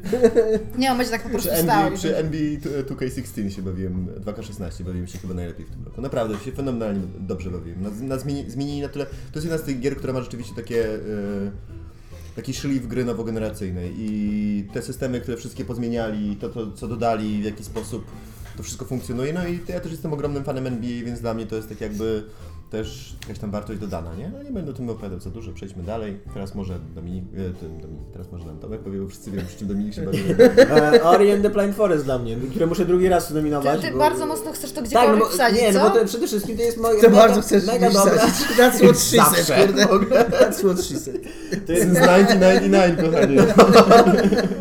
[SPEAKER 2] Nie, on będzie tak po prostu
[SPEAKER 3] Przy
[SPEAKER 2] stał.
[SPEAKER 3] NBA,
[SPEAKER 2] i tak.
[SPEAKER 3] przy NBA t- 2K16 e, się bawiłem, 2K16 bawiłem się chyba najlepiej w tym roku. Naprawdę, się fenomenalnie dobrze bawiłem. Na, na zmieni, zmienili na tyle... To jest jedna z tych gier, która ma rzeczywiście takie... e, Taki szlif gry nowogeneracyjnej i te systemy, które wszystkie pozmieniali, to, to co dodali, w jaki sposób to wszystko funkcjonuje. No i ja też jestem ogromnym fanem NBA, więc dla mnie to jest tak jakby też jakaś tam wartość dodana, nie? No nie będę o tym opowiadał za dużo, przejdźmy dalej. Teraz może Dominik, e, ten Dominik teraz może nam Tomek powie, bo wszyscy wiemy, przy czym Dominik się bawi.
[SPEAKER 4] E, Ori and the Blind Forest dla mnie, które muszę drugi raz nominować.
[SPEAKER 2] Ty, ty
[SPEAKER 4] bo-
[SPEAKER 2] bardzo mocno chcesz to
[SPEAKER 4] Tak, no
[SPEAKER 2] gdziekolwiek
[SPEAKER 4] bo,
[SPEAKER 2] wsadzić,
[SPEAKER 4] nie,
[SPEAKER 2] co?
[SPEAKER 4] no bo to przede wszystkim to jest moje...
[SPEAKER 1] To
[SPEAKER 4] mega-
[SPEAKER 1] bardzo chcesz
[SPEAKER 4] mega
[SPEAKER 1] mi
[SPEAKER 4] dobra.
[SPEAKER 1] wsadzić. That's what she
[SPEAKER 4] Zawsze.
[SPEAKER 1] said, kurde. That's what she said.
[SPEAKER 4] To
[SPEAKER 3] Jestem
[SPEAKER 4] jest,
[SPEAKER 3] z 99, kochanie.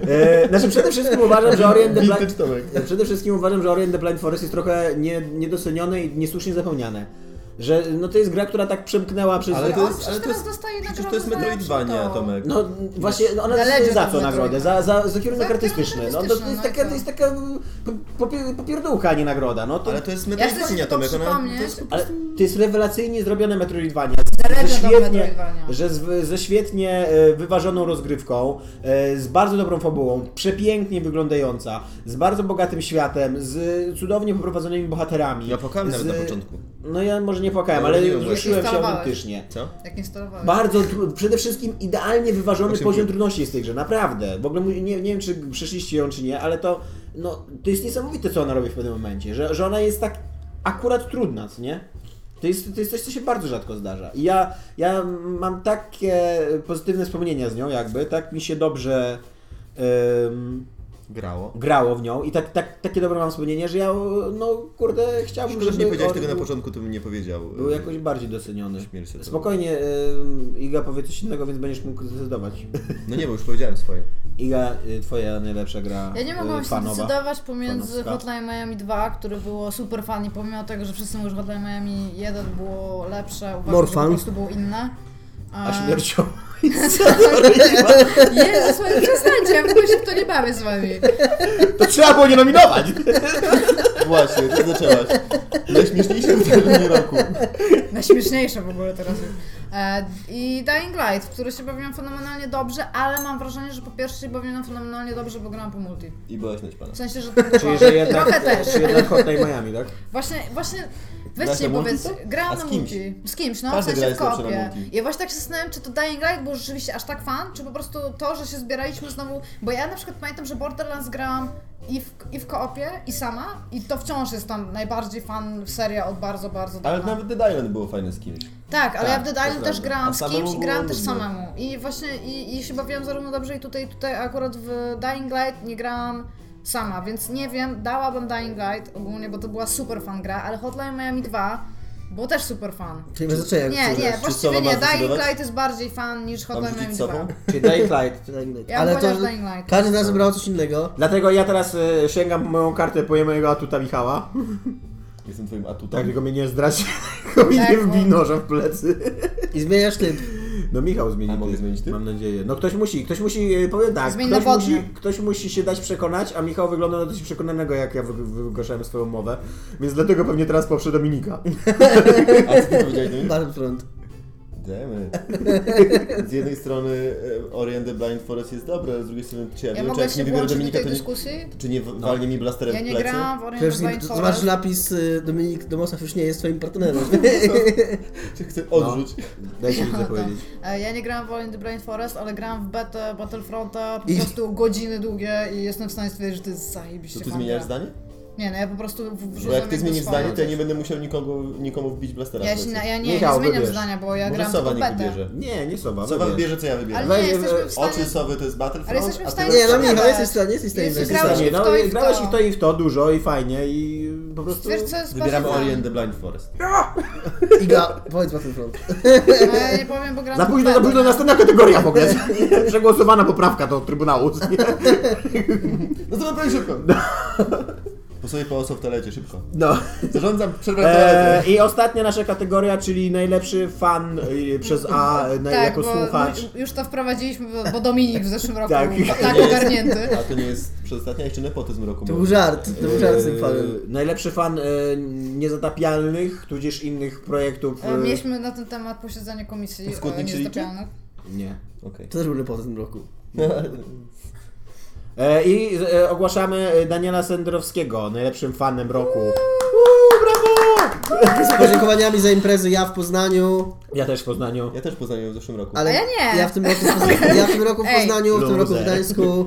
[SPEAKER 4] e, znaczy przede wszystkim uważam, że Ori and the Blind... e,
[SPEAKER 3] Vintage Tomek.
[SPEAKER 4] Ja przede wszystkim uważam, że Orient the Blind Forest jest trochę nie, niedocenione i niesłusznie zapomniane. Że no to jest gra, która tak przemknęła przez...
[SPEAKER 3] Ale
[SPEAKER 2] Ale
[SPEAKER 3] to
[SPEAKER 2] on
[SPEAKER 3] jest-
[SPEAKER 2] przecież
[SPEAKER 3] ale to
[SPEAKER 2] teraz
[SPEAKER 3] jest-
[SPEAKER 2] dostaje
[SPEAKER 3] Przecież
[SPEAKER 2] nagrodę
[SPEAKER 3] to jest
[SPEAKER 2] za
[SPEAKER 3] Metroidvania,
[SPEAKER 2] lepszy to.
[SPEAKER 3] Tomek.
[SPEAKER 4] No właśnie, no ona
[SPEAKER 2] The
[SPEAKER 4] dostaje
[SPEAKER 2] Legend
[SPEAKER 4] za
[SPEAKER 2] of
[SPEAKER 4] co
[SPEAKER 2] Metroid.
[SPEAKER 4] nagrodę? Za, za, za kierunek
[SPEAKER 2] Za
[SPEAKER 4] artystyczny.
[SPEAKER 2] kierunek
[SPEAKER 4] No to, to
[SPEAKER 2] artystyczny,
[SPEAKER 4] jest
[SPEAKER 2] no i
[SPEAKER 4] taka,
[SPEAKER 2] co?
[SPEAKER 4] to jest taka po- popie- popierdółka, a nie nagroda. No to,
[SPEAKER 3] Ale
[SPEAKER 4] ale,
[SPEAKER 3] to jest
[SPEAKER 2] Ja chcę ci
[SPEAKER 3] Metroidvania,
[SPEAKER 2] tylko
[SPEAKER 3] Tomek. Ona, to
[SPEAKER 2] przypomnieć,
[SPEAKER 3] jest
[SPEAKER 4] ale to jest rewelacyjnie zrobione Metroidvania.
[SPEAKER 2] The
[SPEAKER 4] Ze
[SPEAKER 2] Legend of
[SPEAKER 4] świetnie,
[SPEAKER 2] Metroidvania.
[SPEAKER 4] że z, ze świetnie e, wyważoną rozgrywką, e, z bardzo dobrą fabułą, przepięknie wyglądająca, z bardzo bogatym światem, z cudownie poprowadzonymi bohaterami.
[SPEAKER 3] Ja płakałem nawet
[SPEAKER 4] z-
[SPEAKER 3] na początku.
[SPEAKER 4] No ja może nie płakałem,
[SPEAKER 3] Ja
[SPEAKER 4] ale
[SPEAKER 3] lubiłem właśnie.
[SPEAKER 4] wzruszyłem się
[SPEAKER 2] Instalowałeś.
[SPEAKER 4] autentycznie.
[SPEAKER 3] Co?
[SPEAKER 2] Jak nie sterowałeś.
[SPEAKER 4] Bardzo, tru- przede wszystkim idealnie wyważony
[SPEAKER 3] Osiem
[SPEAKER 4] poziom
[SPEAKER 3] minut.
[SPEAKER 4] trudności jest w tej grze, naprawdę. W ogóle mu- nie, nie wiem, czy przeszliście ją, czy nie, ale to, no, to jest niesamowite, co ona robi w pewnym momencie, że, że ona jest tak akurat trudna, co nie? To jest, to jest coś, co się bardzo rzadko zdarza. I ja, ja mam takie pozytywne wspomnienia z nią, jakby, tak mi się dobrze em,
[SPEAKER 3] Grało.
[SPEAKER 4] grało w nią i tak, tak, takie dobre mam wspomnienia, że ja, no, kurde, chciałbym,
[SPEAKER 3] Szkoda, że
[SPEAKER 4] żeby
[SPEAKER 3] nie powiedziałeś
[SPEAKER 4] on
[SPEAKER 3] tego na
[SPEAKER 4] był-
[SPEAKER 3] początku, to bym nie powiedział.
[SPEAKER 4] był jakoś bardziej doceniony.
[SPEAKER 3] Śmiel się to.
[SPEAKER 4] Spokojnie, y, Iga powie coś innego, więc będziesz mógł zdecydować.
[SPEAKER 3] No nie, bo już powiedziałem swoje.
[SPEAKER 4] Iga, y, twoja najlepsza gra
[SPEAKER 2] Ja nie
[SPEAKER 4] y,
[SPEAKER 2] mogłam się
[SPEAKER 4] fanowa.
[SPEAKER 2] zdecydować pomiędzy
[SPEAKER 4] Fanowska.
[SPEAKER 2] Hotline Miami 2, które było super fani, pomimo tego, że wszyscy mówią, że Hotline Miami 1 było lepsze, uważam,
[SPEAKER 1] More
[SPEAKER 2] że
[SPEAKER 1] fun.
[SPEAKER 2] po prostu było inne.
[SPEAKER 4] A
[SPEAKER 2] Eee,
[SPEAKER 4] śmiercią.
[SPEAKER 2] Jezu, słuchaj, przestańcie, ja w ogóle się w to nie bawię z wami.
[SPEAKER 5] To trzeba było nie
[SPEAKER 2] Tak.
[SPEAKER 5] nominować!
[SPEAKER 3] Właśnie, ty zaczęłaś. Najśmieszniejsze wydarzenie roku.
[SPEAKER 2] Najśmieszniejsze w ogóle teraz już. E, I Dying Light, w który się bawiłam fenomenalnie dobrze, ale mam wrażenie, że po pierwsze się bawiłam fenomenalnie dobrze, bo grałam po multi.
[SPEAKER 3] I byłaś naćpana.
[SPEAKER 2] W sensie, że...
[SPEAKER 4] Czyli, że
[SPEAKER 2] Trochę
[SPEAKER 4] jednak,
[SPEAKER 2] też.
[SPEAKER 4] tak- czy jednak Hotline Miami, tak?
[SPEAKER 2] Właśnie, właśnie,
[SPEAKER 3] Grasz
[SPEAKER 2] weźcie
[SPEAKER 3] na
[SPEAKER 2] mi
[SPEAKER 3] multi,
[SPEAKER 2] powiedz,
[SPEAKER 3] co? A
[SPEAKER 2] grałam
[SPEAKER 3] z
[SPEAKER 2] na
[SPEAKER 3] kimś?
[SPEAKER 2] multi. Z kimś, no,
[SPEAKER 3] Każdy
[SPEAKER 2] w
[SPEAKER 3] gra
[SPEAKER 2] sensie w
[SPEAKER 3] jest lepsza na
[SPEAKER 2] kopie.
[SPEAKER 3] multi.
[SPEAKER 2] Ja właśnie tak się zastanawiam, czy to Dying Light było rzeczywiście aż tak fan, czy po prostu to, że się zbieraliśmy znowu, bo ja na przykład pamiętam, że Borderlands grałam i w, i w koopie, i sama, i to wciąż jest tam najbardziej fan seria od bardzo, bardzo dawna.
[SPEAKER 3] Ale nawet Dead Island było fajne z kimś.
[SPEAKER 2] Tak, ale
[SPEAKER 3] Tak,
[SPEAKER 2] ja w
[SPEAKER 3] to
[SPEAKER 2] Dead Island też
[SPEAKER 3] prawda. A
[SPEAKER 2] grałam z
[SPEAKER 3] samemu
[SPEAKER 2] kimś i grałam
[SPEAKER 3] było
[SPEAKER 2] też
[SPEAKER 3] nudno.
[SPEAKER 2] samemu. I właśnie i, i się bawiłam zarówno dobrze i tutaj, tutaj akurat w Dying Light nie grałam sama, więc nie wiem, dałabym Dying Light ogólnie, bo to była super fan gra, ale Hotline Miami 2 było też super fan.
[SPEAKER 1] Czyli bez znaczenia,
[SPEAKER 2] Nie,
[SPEAKER 1] który
[SPEAKER 2] nie,
[SPEAKER 1] jest.
[SPEAKER 2] właściwie
[SPEAKER 3] Sowa ma
[SPEAKER 2] nie, Dying
[SPEAKER 3] zdecydować?
[SPEAKER 2] Light jest bardziej fan niż Hotline
[SPEAKER 3] rzucić
[SPEAKER 2] Miami 2.
[SPEAKER 3] Sową?
[SPEAKER 4] Czyli Dying Light.
[SPEAKER 2] Ja
[SPEAKER 1] Ale
[SPEAKER 2] bym
[SPEAKER 1] to,
[SPEAKER 2] powiedział
[SPEAKER 1] że
[SPEAKER 2] Dying Light.
[SPEAKER 1] każdy z nas wybrał coś innego.
[SPEAKER 4] Dlatego ja teraz y, sięgam po moją kartę po mojego atuta Michała.
[SPEAKER 3] Jestem twoim
[SPEAKER 4] Tak,
[SPEAKER 3] atutem.
[SPEAKER 4] tylko mnie nie zdradzi, tylko mi
[SPEAKER 2] Tak,
[SPEAKER 4] nie wbij
[SPEAKER 2] bo-
[SPEAKER 4] nożem w plecy.
[SPEAKER 1] I zmieniasz typ.
[SPEAKER 4] No Michał zmieni
[SPEAKER 3] A mogę
[SPEAKER 4] typ,
[SPEAKER 3] zmienić typ?
[SPEAKER 4] Mam nadzieję. No ktoś musi, ktoś musi, y, powiem tak,
[SPEAKER 2] Zmień
[SPEAKER 4] ktoś
[SPEAKER 2] na
[SPEAKER 4] musi,
[SPEAKER 2] wodny.
[SPEAKER 4] ktoś musi się dać przekonać, a Michał wygląda na dość przekonanego, jak ja wy- wygłaszałem swoją mowę, więc dlatego pewnie teraz poprze Dominika.
[SPEAKER 2] Tak.
[SPEAKER 3] A co ty powiedziałeś do mnie?
[SPEAKER 1] Battlefront.
[SPEAKER 3] Damn it. Z jednej strony e, Ori and the Blind Forest jest dobre, a z drugiej strony czy ja,
[SPEAKER 2] Ja
[SPEAKER 3] wiem, czy
[SPEAKER 2] mogę
[SPEAKER 3] jak nie
[SPEAKER 2] się
[SPEAKER 3] wybiorę
[SPEAKER 2] włączyć do
[SPEAKER 3] Dominika,
[SPEAKER 2] tej
[SPEAKER 3] to nie,
[SPEAKER 2] dyskusji?
[SPEAKER 3] czy nie w- walnie mi blasterem
[SPEAKER 2] Ja
[SPEAKER 3] w
[SPEAKER 2] nie
[SPEAKER 3] plecy?
[SPEAKER 2] grałam w Oriental
[SPEAKER 1] Przede wszystkim
[SPEAKER 2] Blind
[SPEAKER 1] zobacz
[SPEAKER 2] Forest.
[SPEAKER 1] napis y, Dominik Domosa już nie jest twoim partnerem.
[SPEAKER 3] Czy chcę odrzuć?
[SPEAKER 4] Daj się widzę
[SPEAKER 2] No, tak.
[SPEAKER 4] powiedzieć.
[SPEAKER 2] E, Ja nie grałam w All in the Blind Forest, ale grałam w betę Battlefronta po
[SPEAKER 1] I-
[SPEAKER 2] prostu godziny długie i jestem w stanie stwierdzić, że to jest zajebiście
[SPEAKER 3] To ty
[SPEAKER 2] fajna
[SPEAKER 3] zmieniasz
[SPEAKER 2] gra.
[SPEAKER 3] zdanie?
[SPEAKER 2] Nie, no ja po prostu w-
[SPEAKER 3] Bo
[SPEAKER 2] wrzucam
[SPEAKER 3] jak ty
[SPEAKER 2] jakby
[SPEAKER 3] zmienisz
[SPEAKER 2] swoje.
[SPEAKER 3] zdanie, to ja nie będę musiał nikogo, nikomu wbić blastera w
[SPEAKER 2] Ja, się,
[SPEAKER 3] plecy.
[SPEAKER 2] na- ja nie,
[SPEAKER 4] Michał,
[SPEAKER 2] nie zmieniam
[SPEAKER 4] wybierz.
[SPEAKER 2] zdania, bo ja
[SPEAKER 3] Może
[SPEAKER 2] grałam
[SPEAKER 3] Sowa
[SPEAKER 2] tylko
[SPEAKER 3] niech
[SPEAKER 2] betę.
[SPEAKER 3] wybierze.
[SPEAKER 4] Nie, no nie Sowa.
[SPEAKER 3] Sowa
[SPEAKER 4] wybierz.
[SPEAKER 3] wybierze, co ja
[SPEAKER 2] Ale
[SPEAKER 3] wybieram.
[SPEAKER 4] Weź,
[SPEAKER 2] nie, jesteśmy w stanie...
[SPEAKER 3] Oczy Sowy to jest Battlefront,
[SPEAKER 2] Ale jesteśmy w
[SPEAKER 3] a ty
[SPEAKER 2] stanie
[SPEAKER 1] Nie, no
[SPEAKER 3] masz-
[SPEAKER 2] mi-
[SPEAKER 1] Michał, jesteś w stanie, jesteś w stanie.
[SPEAKER 2] Jeśli
[SPEAKER 1] wygrać.
[SPEAKER 2] grałeś-
[SPEAKER 4] Nie,
[SPEAKER 2] w to
[SPEAKER 4] no,
[SPEAKER 2] i w
[SPEAKER 4] grałeś
[SPEAKER 2] to.
[SPEAKER 4] i w to i w to dużo i fajnie i po prostu...
[SPEAKER 2] Wiesz co jest
[SPEAKER 3] Wybieramy
[SPEAKER 2] bardziej
[SPEAKER 3] Ori
[SPEAKER 2] fan?
[SPEAKER 3] and the Blind Forest.
[SPEAKER 1] Iga, powiedz Battlefront.
[SPEAKER 2] No, ja nie powiem, bo grałam
[SPEAKER 4] Za
[SPEAKER 2] w
[SPEAKER 4] późno, za
[SPEAKER 2] betę,
[SPEAKER 4] późno,
[SPEAKER 2] nie?
[SPEAKER 4] następna kategoria w ogóle. Przegłosowana poprawka do Trybunału.
[SPEAKER 3] No to naprawdę szybko. Po sobie po w toalecie, szybko.
[SPEAKER 4] No.
[SPEAKER 3] Zarządzam przerwę w toalecie.
[SPEAKER 4] E, I ostatnia nasza kategoria, czyli najlepszy fan y, przez A y, na,
[SPEAKER 2] Tak,
[SPEAKER 4] jako
[SPEAKER 2] bo
[SPEAKER 4] słuchacz.
[SPEAKER 2] ju- już to wprowadziliśmy, bo- bo Dominik w zeszłym roku
[SPEAKER 4] Tak.
[SPEAKER 2] tak, był tak
[SPEAKER 3] Nie jest-
[SPEAKER 2] ogarnięty.
[SPEAKER 3] A to nie jest przedostatnia jeszcze nepotyzm roku.
[SPEAKER 1] To
[SPEAKER 3] może.
[SPEAKER 1] był żart, to był żart z tym
[SPEAKER 4] E,
[SPEAKER 1] fanem.
[SPEAKER 4] Najlepszy fan y, niezatapialnych, tudzież innych projektów.
[SPEAKER 2] E,
[SPEAKER 4] y,
[SPEAKER 2] Mieliśmy na ten temat posiedzenie komisji e,
[SPEAKER 3] Skutnik się liczy?
[SPEAKER 2] niezatapialnych.
[SPEAKER 4] e, Nie.
[SPEAKER 3] Okej.
[SPEAKER 1] To też był lepot w tym roku.
[SPEAKER 4] E, I e, ogłaszamy e, Daniela Sendrowskiego najlepszym fanem roku.
[SPEAKER 1] Z podziękowaniami za imprezy ja w Poznaniu,
[SPEAKER 4] Ja też w Poznaniu.
[SPEAKER 3] Ja też poznałem ją w zeszłym roku.
[SPEAKER 1] ale
[SPEAKER 2] A ja nie.
[SPEAKER 1] Ja w tym roku, w Pozna- ja w, tym roku w
[SPEAKER 2] Ej.
[SPEAKER 1] Poznaniu, w tym roku w
[SPEAKER 4] Loser.
[SPEAKER 1] Gdańsku.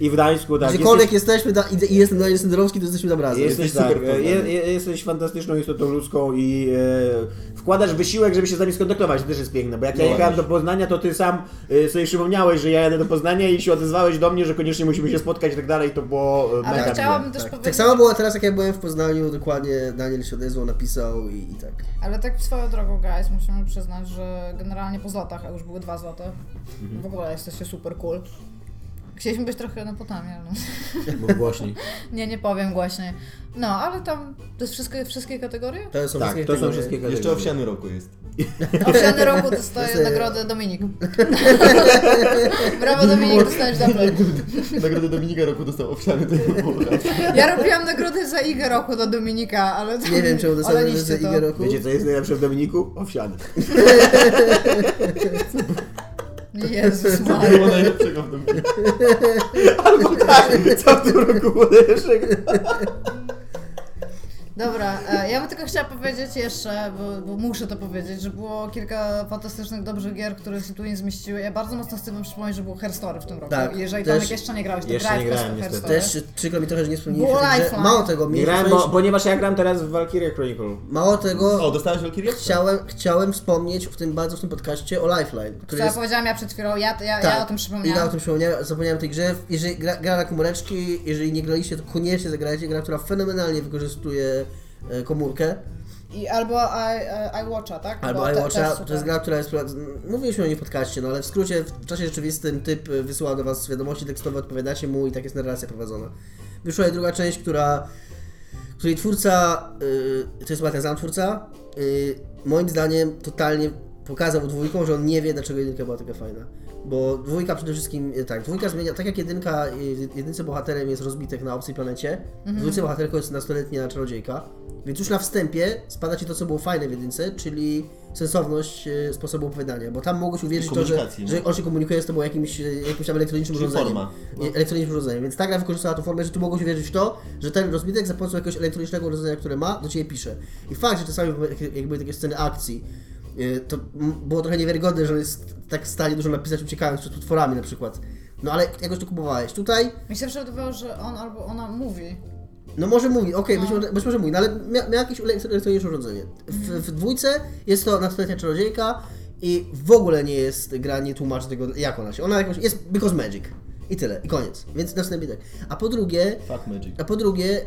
[SPEAKER 4] I w Gdańsku, tak.
[SPEAKER 1] Gdziekolwiek jesteśmy da- i, i jestem Daniel Sendorowski, to jesteśmy tam razem.
[SPEAKER 4] Jesteś,
[SPEAKER 3] Jesteś
[SPEAKER 4] tak,
[SPEAKER 3] super
[SPEAKER 4] e, je,
[SPEAKER 3] poznany.
[SPEAKER 4] je, jesteś fantastyczną istotą ludzką i e, wkładasz wysiłek, żeby się z nami skontaktować. To też jest piękne, bo jak ja
[SPEAKER 3] No
[SPEAKER 4] jechałem do
[SPEAKER 3] właśnie.
[SPEAKER 4] Poznania, to ty sam e, sobie przypomniałeś, że ja jadę do Poznania i się odezwałeś do mnie, że koniecznie musimy się spotkać i tak dalej. To było e, mega
[SPEAKER 2] Ale
[SPEAKER 4] miłe.
[SPEAKER 2] chciałabym też
[SPEAKER 1] Tak.
[SPEAKER 2] powiedzieć...
[SPEAKER 1] tak samo było teraz, jak ja byłem w Poznaniu, dokładnie Daniel się odezwał, napisał i, i tak.
[SPEAKER 2] Ale tak swoją drogą, guys, musimy przyznać, że generalnie po zlotach, a już były dwa zloty, w ogóle jesteście super cool. Chcieliśmy być trochę na potamie, ale no.
[SPEAKER 4] Bo głośniej.
[SPEAKER 2] nie, nie powiem głośniej. No, ale tam, to jest wszystkie, wszystkie kategorie?
[SPEAKER 1] To są
[SPEAKER 4] Tak,
[SPEAKER 1] wszystkie
[SPEAKER 4] to są
[SPEAKER 1] kategorie.
[SPEAKER 4] wszystkie kategorie.
[SPEAKER 3] Jeszcze owsiany roku jest.
[SPEAKER 2] Owsiany roku
[SPEAKER 1] To
[SPEAKER 2] dostaje
[SPEAKER 1] jest-
[SPEAKER 2] nagrodę Dominik. Brawo Dominik, dostajesz diablę.
[SPEAKER 3] Nagrodę Dominika roku dostał owsiany, to nie było.
[SPEAKER 2] Ja robiłam nagrodę za IG roku do Dominika, ale to...
[SPEAKER 1] Nie wiem, czemu dostałem
[SPEAKER 2] olaliście
[SPEAKER 1] za
[SPEAKER 2] to.
[SPEAKER 1] Igę roku.
[SPEAKER 4] Wiecie co jest najlepsze w Dominiku? Owsiany.
[SPEAKER 2] Jezus
[SPEAKER 3] To
[SPEAKER 2] Maria.
[SPEAKER 3] było najlepszego w Dominiku.
[SPEAKER 4] No tak.
[SPEAKER 5] Co w tym roku było najlepszego?
[SPEAKER 2] Dobra, e, ja bym tylko chciała powiedzieć jeszcze, bo, bo muszę to powiedzieć, że było kilka fantastycznych, dobrych gier, które się tu nie zmieściły. Ja bardzo mocno z tym przypomnieć, że było Herstory w tym roku.
[SPEAKER 1] Tak,
[SPEAKER 2] I Jeżeli
[SPEAKER 1] też-
[SPEAKER 2] Tomek jeszcze nie grałeś, to
[SPEAKER 4] Jeszcze
[SPEAKER 2] grałeś
[SPEAKER 4] nie
[SPEAKER 2] w
[SPEAKER 4] grałem,
[SPEAKER 2] Herstory.
[SPEAKER 4] niestety.
[SPEAKER 1] Też przykro mi trochę, że nie wspomnieliśmy.
[SPEAKER 2] Było
[SPEAKER 1] że-
[SPEAKER 2] lifeline.
[SPEAKER 1] Mało tego,
[SPEAKER 4] Nie
[SPEAKER 1] mieliśmy
[SPEAKER 4] grałem,
[SPEAKER 1] wejść-
[SPEAKER 4] bo, ponieważ ja gram teraz w Valkyrie Chronicle.
[SPEAKER 1] Mało
[SPEAKER 3] O,
[SPEAKER 1] tego,
[SPEAKER 3] dostałeś Valkyrie?
[SPEAKER 1] No. chciałem, chciałem wspomnieć w tym bardzo w tym podcaście o Lifeline,
[SPEAKER 2] Co
[SPEAKER 1] który
[SPEAKER 2] ja
[SPEAKER 1] jest... Tak,
[SPEAKER 2] powiedziałam ja przed chwilą, ja, ja, ja o tym
[SPEAKER 1] I ja o
[SPEAKER 2] przypomniałam.
[SPEAKER 1] tym przypomniałem, zapomniałem o tej grze. Jeżeli gra, gra na komóreczki, jeżeli nie graliście, to koniecznie zagrajcie. Gra, która fenomenalnie wykorzystuje e, komórkę.
[SPEAKER 2] I albo I, I, iWatcha, tak?
[SPEAKER 1] Albo
[SPEAKER 2] Bo te- też
[SPEAKER 1] iWatcha, to
[SPEAKER 2] super.
[SPEAKER 1] jest gra, która jest... prowad- Mówiliśmy o niej w podcaście, no ale w skrócie, w czasie rzeczywistym typ y, wysyła do was wiadomości tekstowe, odpowiadacie mu i tak jest narracja prowadzona. Wyszła i druga część, która... której twórca, y, to jest Matias Zam twórca, y, moim zdaniem totalnie pokazał dwójką, że on nie wie, dlaczego jedynka była taka fajna. Bo dwójka przede wszystkim, y, tak, dwójka zmienia, tak jak jedynka, y, w jedynce bohaterem jest rozbitek na obcej planecie, w dwójce bohaterką jest nastoletnia czarodziejka, więc już na wstępie spada ci to, co było fajne w jedynce, czyli sensowność y, sposobu opowiadania, bo tam mogłeś uwierzyć w to, że,
[SPEAKER 3] komunikacji, no.
[SPEAKER 1] że on się komunikuje z tobą jakimś, y, jakimś tam elektronicznym
[SPEAKER 3] Czyli
[SPEAKER 1] urządzeniem
[SPEAKER 3] forma. No.
[SPEAKER 1] nie, elektronicznym urządzeniem. Więc ta gra wykorzystała tą formę, że ty mogłeś wierzyć w to, że ten rozbitek za pomocą jakiegoś elektronicznego urządzenia, które ma, do ciebie pisze. I fakt, że czasami jak- jak były takie sceny akcji, yy, to m- było trochę niewiarygodne, że on jest tak w stanie dużo napisać uciekając przed potworami na przykład. No ale jakoś to kupowałeś. Tutaj,
[SPEAKER 2] Mi się zawsze wydawało, że on albo ona mówi.
[SPEAKER 1] no może mówi, okej,
[SPEAKER 2] No.
[SPEAKER 1] być, może- być może mówi, no ale mia, miał jakieś elektro- elektroniczne urządzenie. W,
[SPEAKER 2] Mhm.
[SPEAKER 1] w dwójce jest to nastoletnia czarodziejka i w ogóle nie jest gra, nie tłumaczy tego jak ona się. Ona jakoś jest because magic. I tyle, i koniec. Więc następnie tak. A po drugie,
[SPEAKER 3] Fuck Magic.
[SPEAKER 1] a po drugie, y,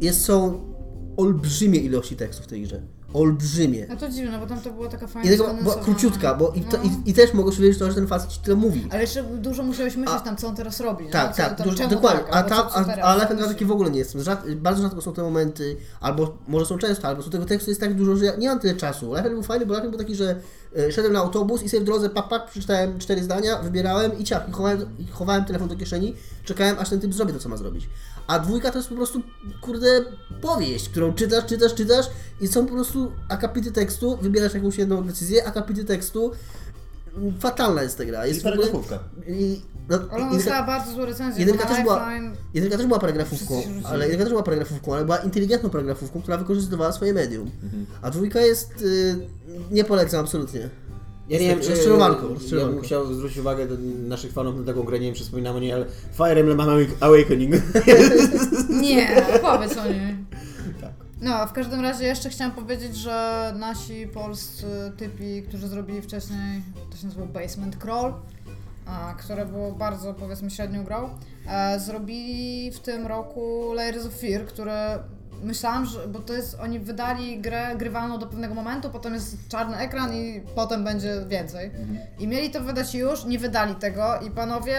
[SPEAKER 1] jest, są olbrzymie ilości tekstów w tej grze. Olbrzymie.
[SPEAKER 2] No to dziwne, bo tam to była taka
[SPEAKER 1] I
[SPEAKER 2] fajna
[SPEAKER 1] tego, bo
[SPEAKER 2] skondensowana.
[SPEAKER 1] króciutka, bo i, to,
[SPEAKER 2] No.
[SPEAKER 1] i, i też mogłeś wiedzieć to, że ten facet ci tyle mówi.
[SPEAKER 2] Ale jeszcze dużo musiałeś myśleć
[SPEAKER 1] A-
[SPEAKER 2] tam, co on teraz robi.
[SPEAKER 1] Tak,
[SPEAKER 2] nie? Co,
[SPEAKER 1] tak,
[SPEAKER 2] tam,
[SPEAKER 1] dużo-
[SPEAKER 2] czemu
[SPEAKER 1] dokładnie.
[SPEAKER 2] tak,
[SPEAKER 1] a,
[SPEAKER 2] albo
[SPEAKER 1] ta,
[SPEAKER 2] co- co
[SPEAKER 1] a,
[SPEAKER 2] teraz?
[SPEAKER 1] a Lefend taki w ogóle nie jest. Rzad, bardzo rzadko są te momenty, albo może są często, albo są tego tekstu jest tak dużo, że ja nie mam tyle czasu. Lefend był fajny, bo Lefend był taki, że e, szedłem na autobus i sobie w drodze pak, pak, przeczytałem cztery zdania, wybierałem i ciach, i chowałem, i chowałem telefon do kieszeni, czekałem aż ten typ zrobi to, co ma zrobić. A dwójka to jest po prostu, kurde, powieść, którą czytasz, czytasz, czytasz i są po prostu akapity tekstu, wybierasz jakąś jedną decyzję, akapity tekstu. Mm, Fatalna jest ta gra. Jest
[SPEAKER 3] I
[SPEAKER 1] w ogóle...
[SPEAKER 3] paragrafówka.
[SPEAKER 1] I, no,
[SPEAKER 2] Ale ona
[SPEAKER 1] i-
[SPEAKER 2] dostała bardzo złe recenzje.
[SPEAKER 1] Jedynka
[SPEAKER 2] bo
[SPEAKER 1] też
[SPEAKER 2] na
[SPEAKER 1] była-
[SPEAKER 2] Lifeline-
[SPEAKER 1] Jedynka też była paragrafówką,
[SPEAKER 2] Wszyscy się rzucili.
[SPEAKER 1] ale jedynka też była paragrafówką, ale była inteligentną paragrafówką, która wykorzystywała swoje medium. A dwójka jest. Y, nie polecam absolutnie.
[SPEAKER 4] Ja nie wiem, czy
[SPEAKER 1] Rozczarowanko,
[SPEAKER 4] ja
[SPEAKER 1] rozczarowanko.
[SPEAKER 4] bym chciał zwrócić uwagę do naszych fanów na taką grę, nie wiem czy wspominam o niej, ale Fire Emblem Awakening.
[SPEAKER 2] Nie, powiedz o niej.
[SPEAKER 1] Tak.
[SPEAKER 2] No, a w każdym razie jeszcze chciałam powiedzieć, że nasi polscy typi, którzy zrobili wcześniej, to się nazywał Basement Crawl, a, e, które było bardzo, powiedzmy, średnią grą, e, zrobili w tym roku Layers of Fear, które myślałam, że, bo to jest, oni wydali grę grywalną do pewnego momentu, potem jest czarny ekran i potem będzie więcej.
[SPEAKER 3] Mhm.
[SPEAKER 2] I mieli to wydać już, nie wydali tego i panowie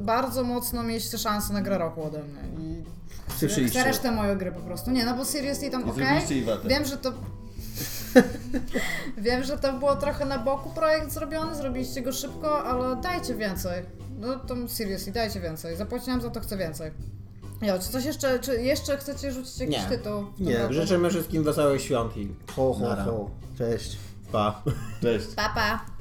[SPEAKER 2] bardzo mocno mieliście szansę na grę roku ode mnie. I Chcę resztę mojej gry po prostu. Nie, no bo seriously tam
[SPEAKER 3] I
[SPEAKER 2] okej.
[SPEAKER 3] zrobiliście i watę.
[SPEAKER 2] Wiem, że to. Wiem, że to było trochę na boku projekt zrobiony, zrobiliście go szybko, ale dajcie więcej. No to seriously, dajcie więcej. Zapłaciłam za to, chcę więcej. Jo, czy coś jeszcze, czy jeszcze chcecie rzucić jakiś
[SPEAKER 4] Nie.
[SPEAKER 2] tytuł? w tym
[SPEAKER 1] Nie,
[SPEAKER 2] roku?
[SPEAKER 4] Życzymy wszystkim wesołych świąt i
[SPEAKER 1] Ho, ho,
[SPEAKER 4] Nara.
[SPEAKER 1] ho. Cześć.
[SPEAKER 4] pa.
[SPEAKER 3] Cześć.
[SPEAKER 2] Pa, pa.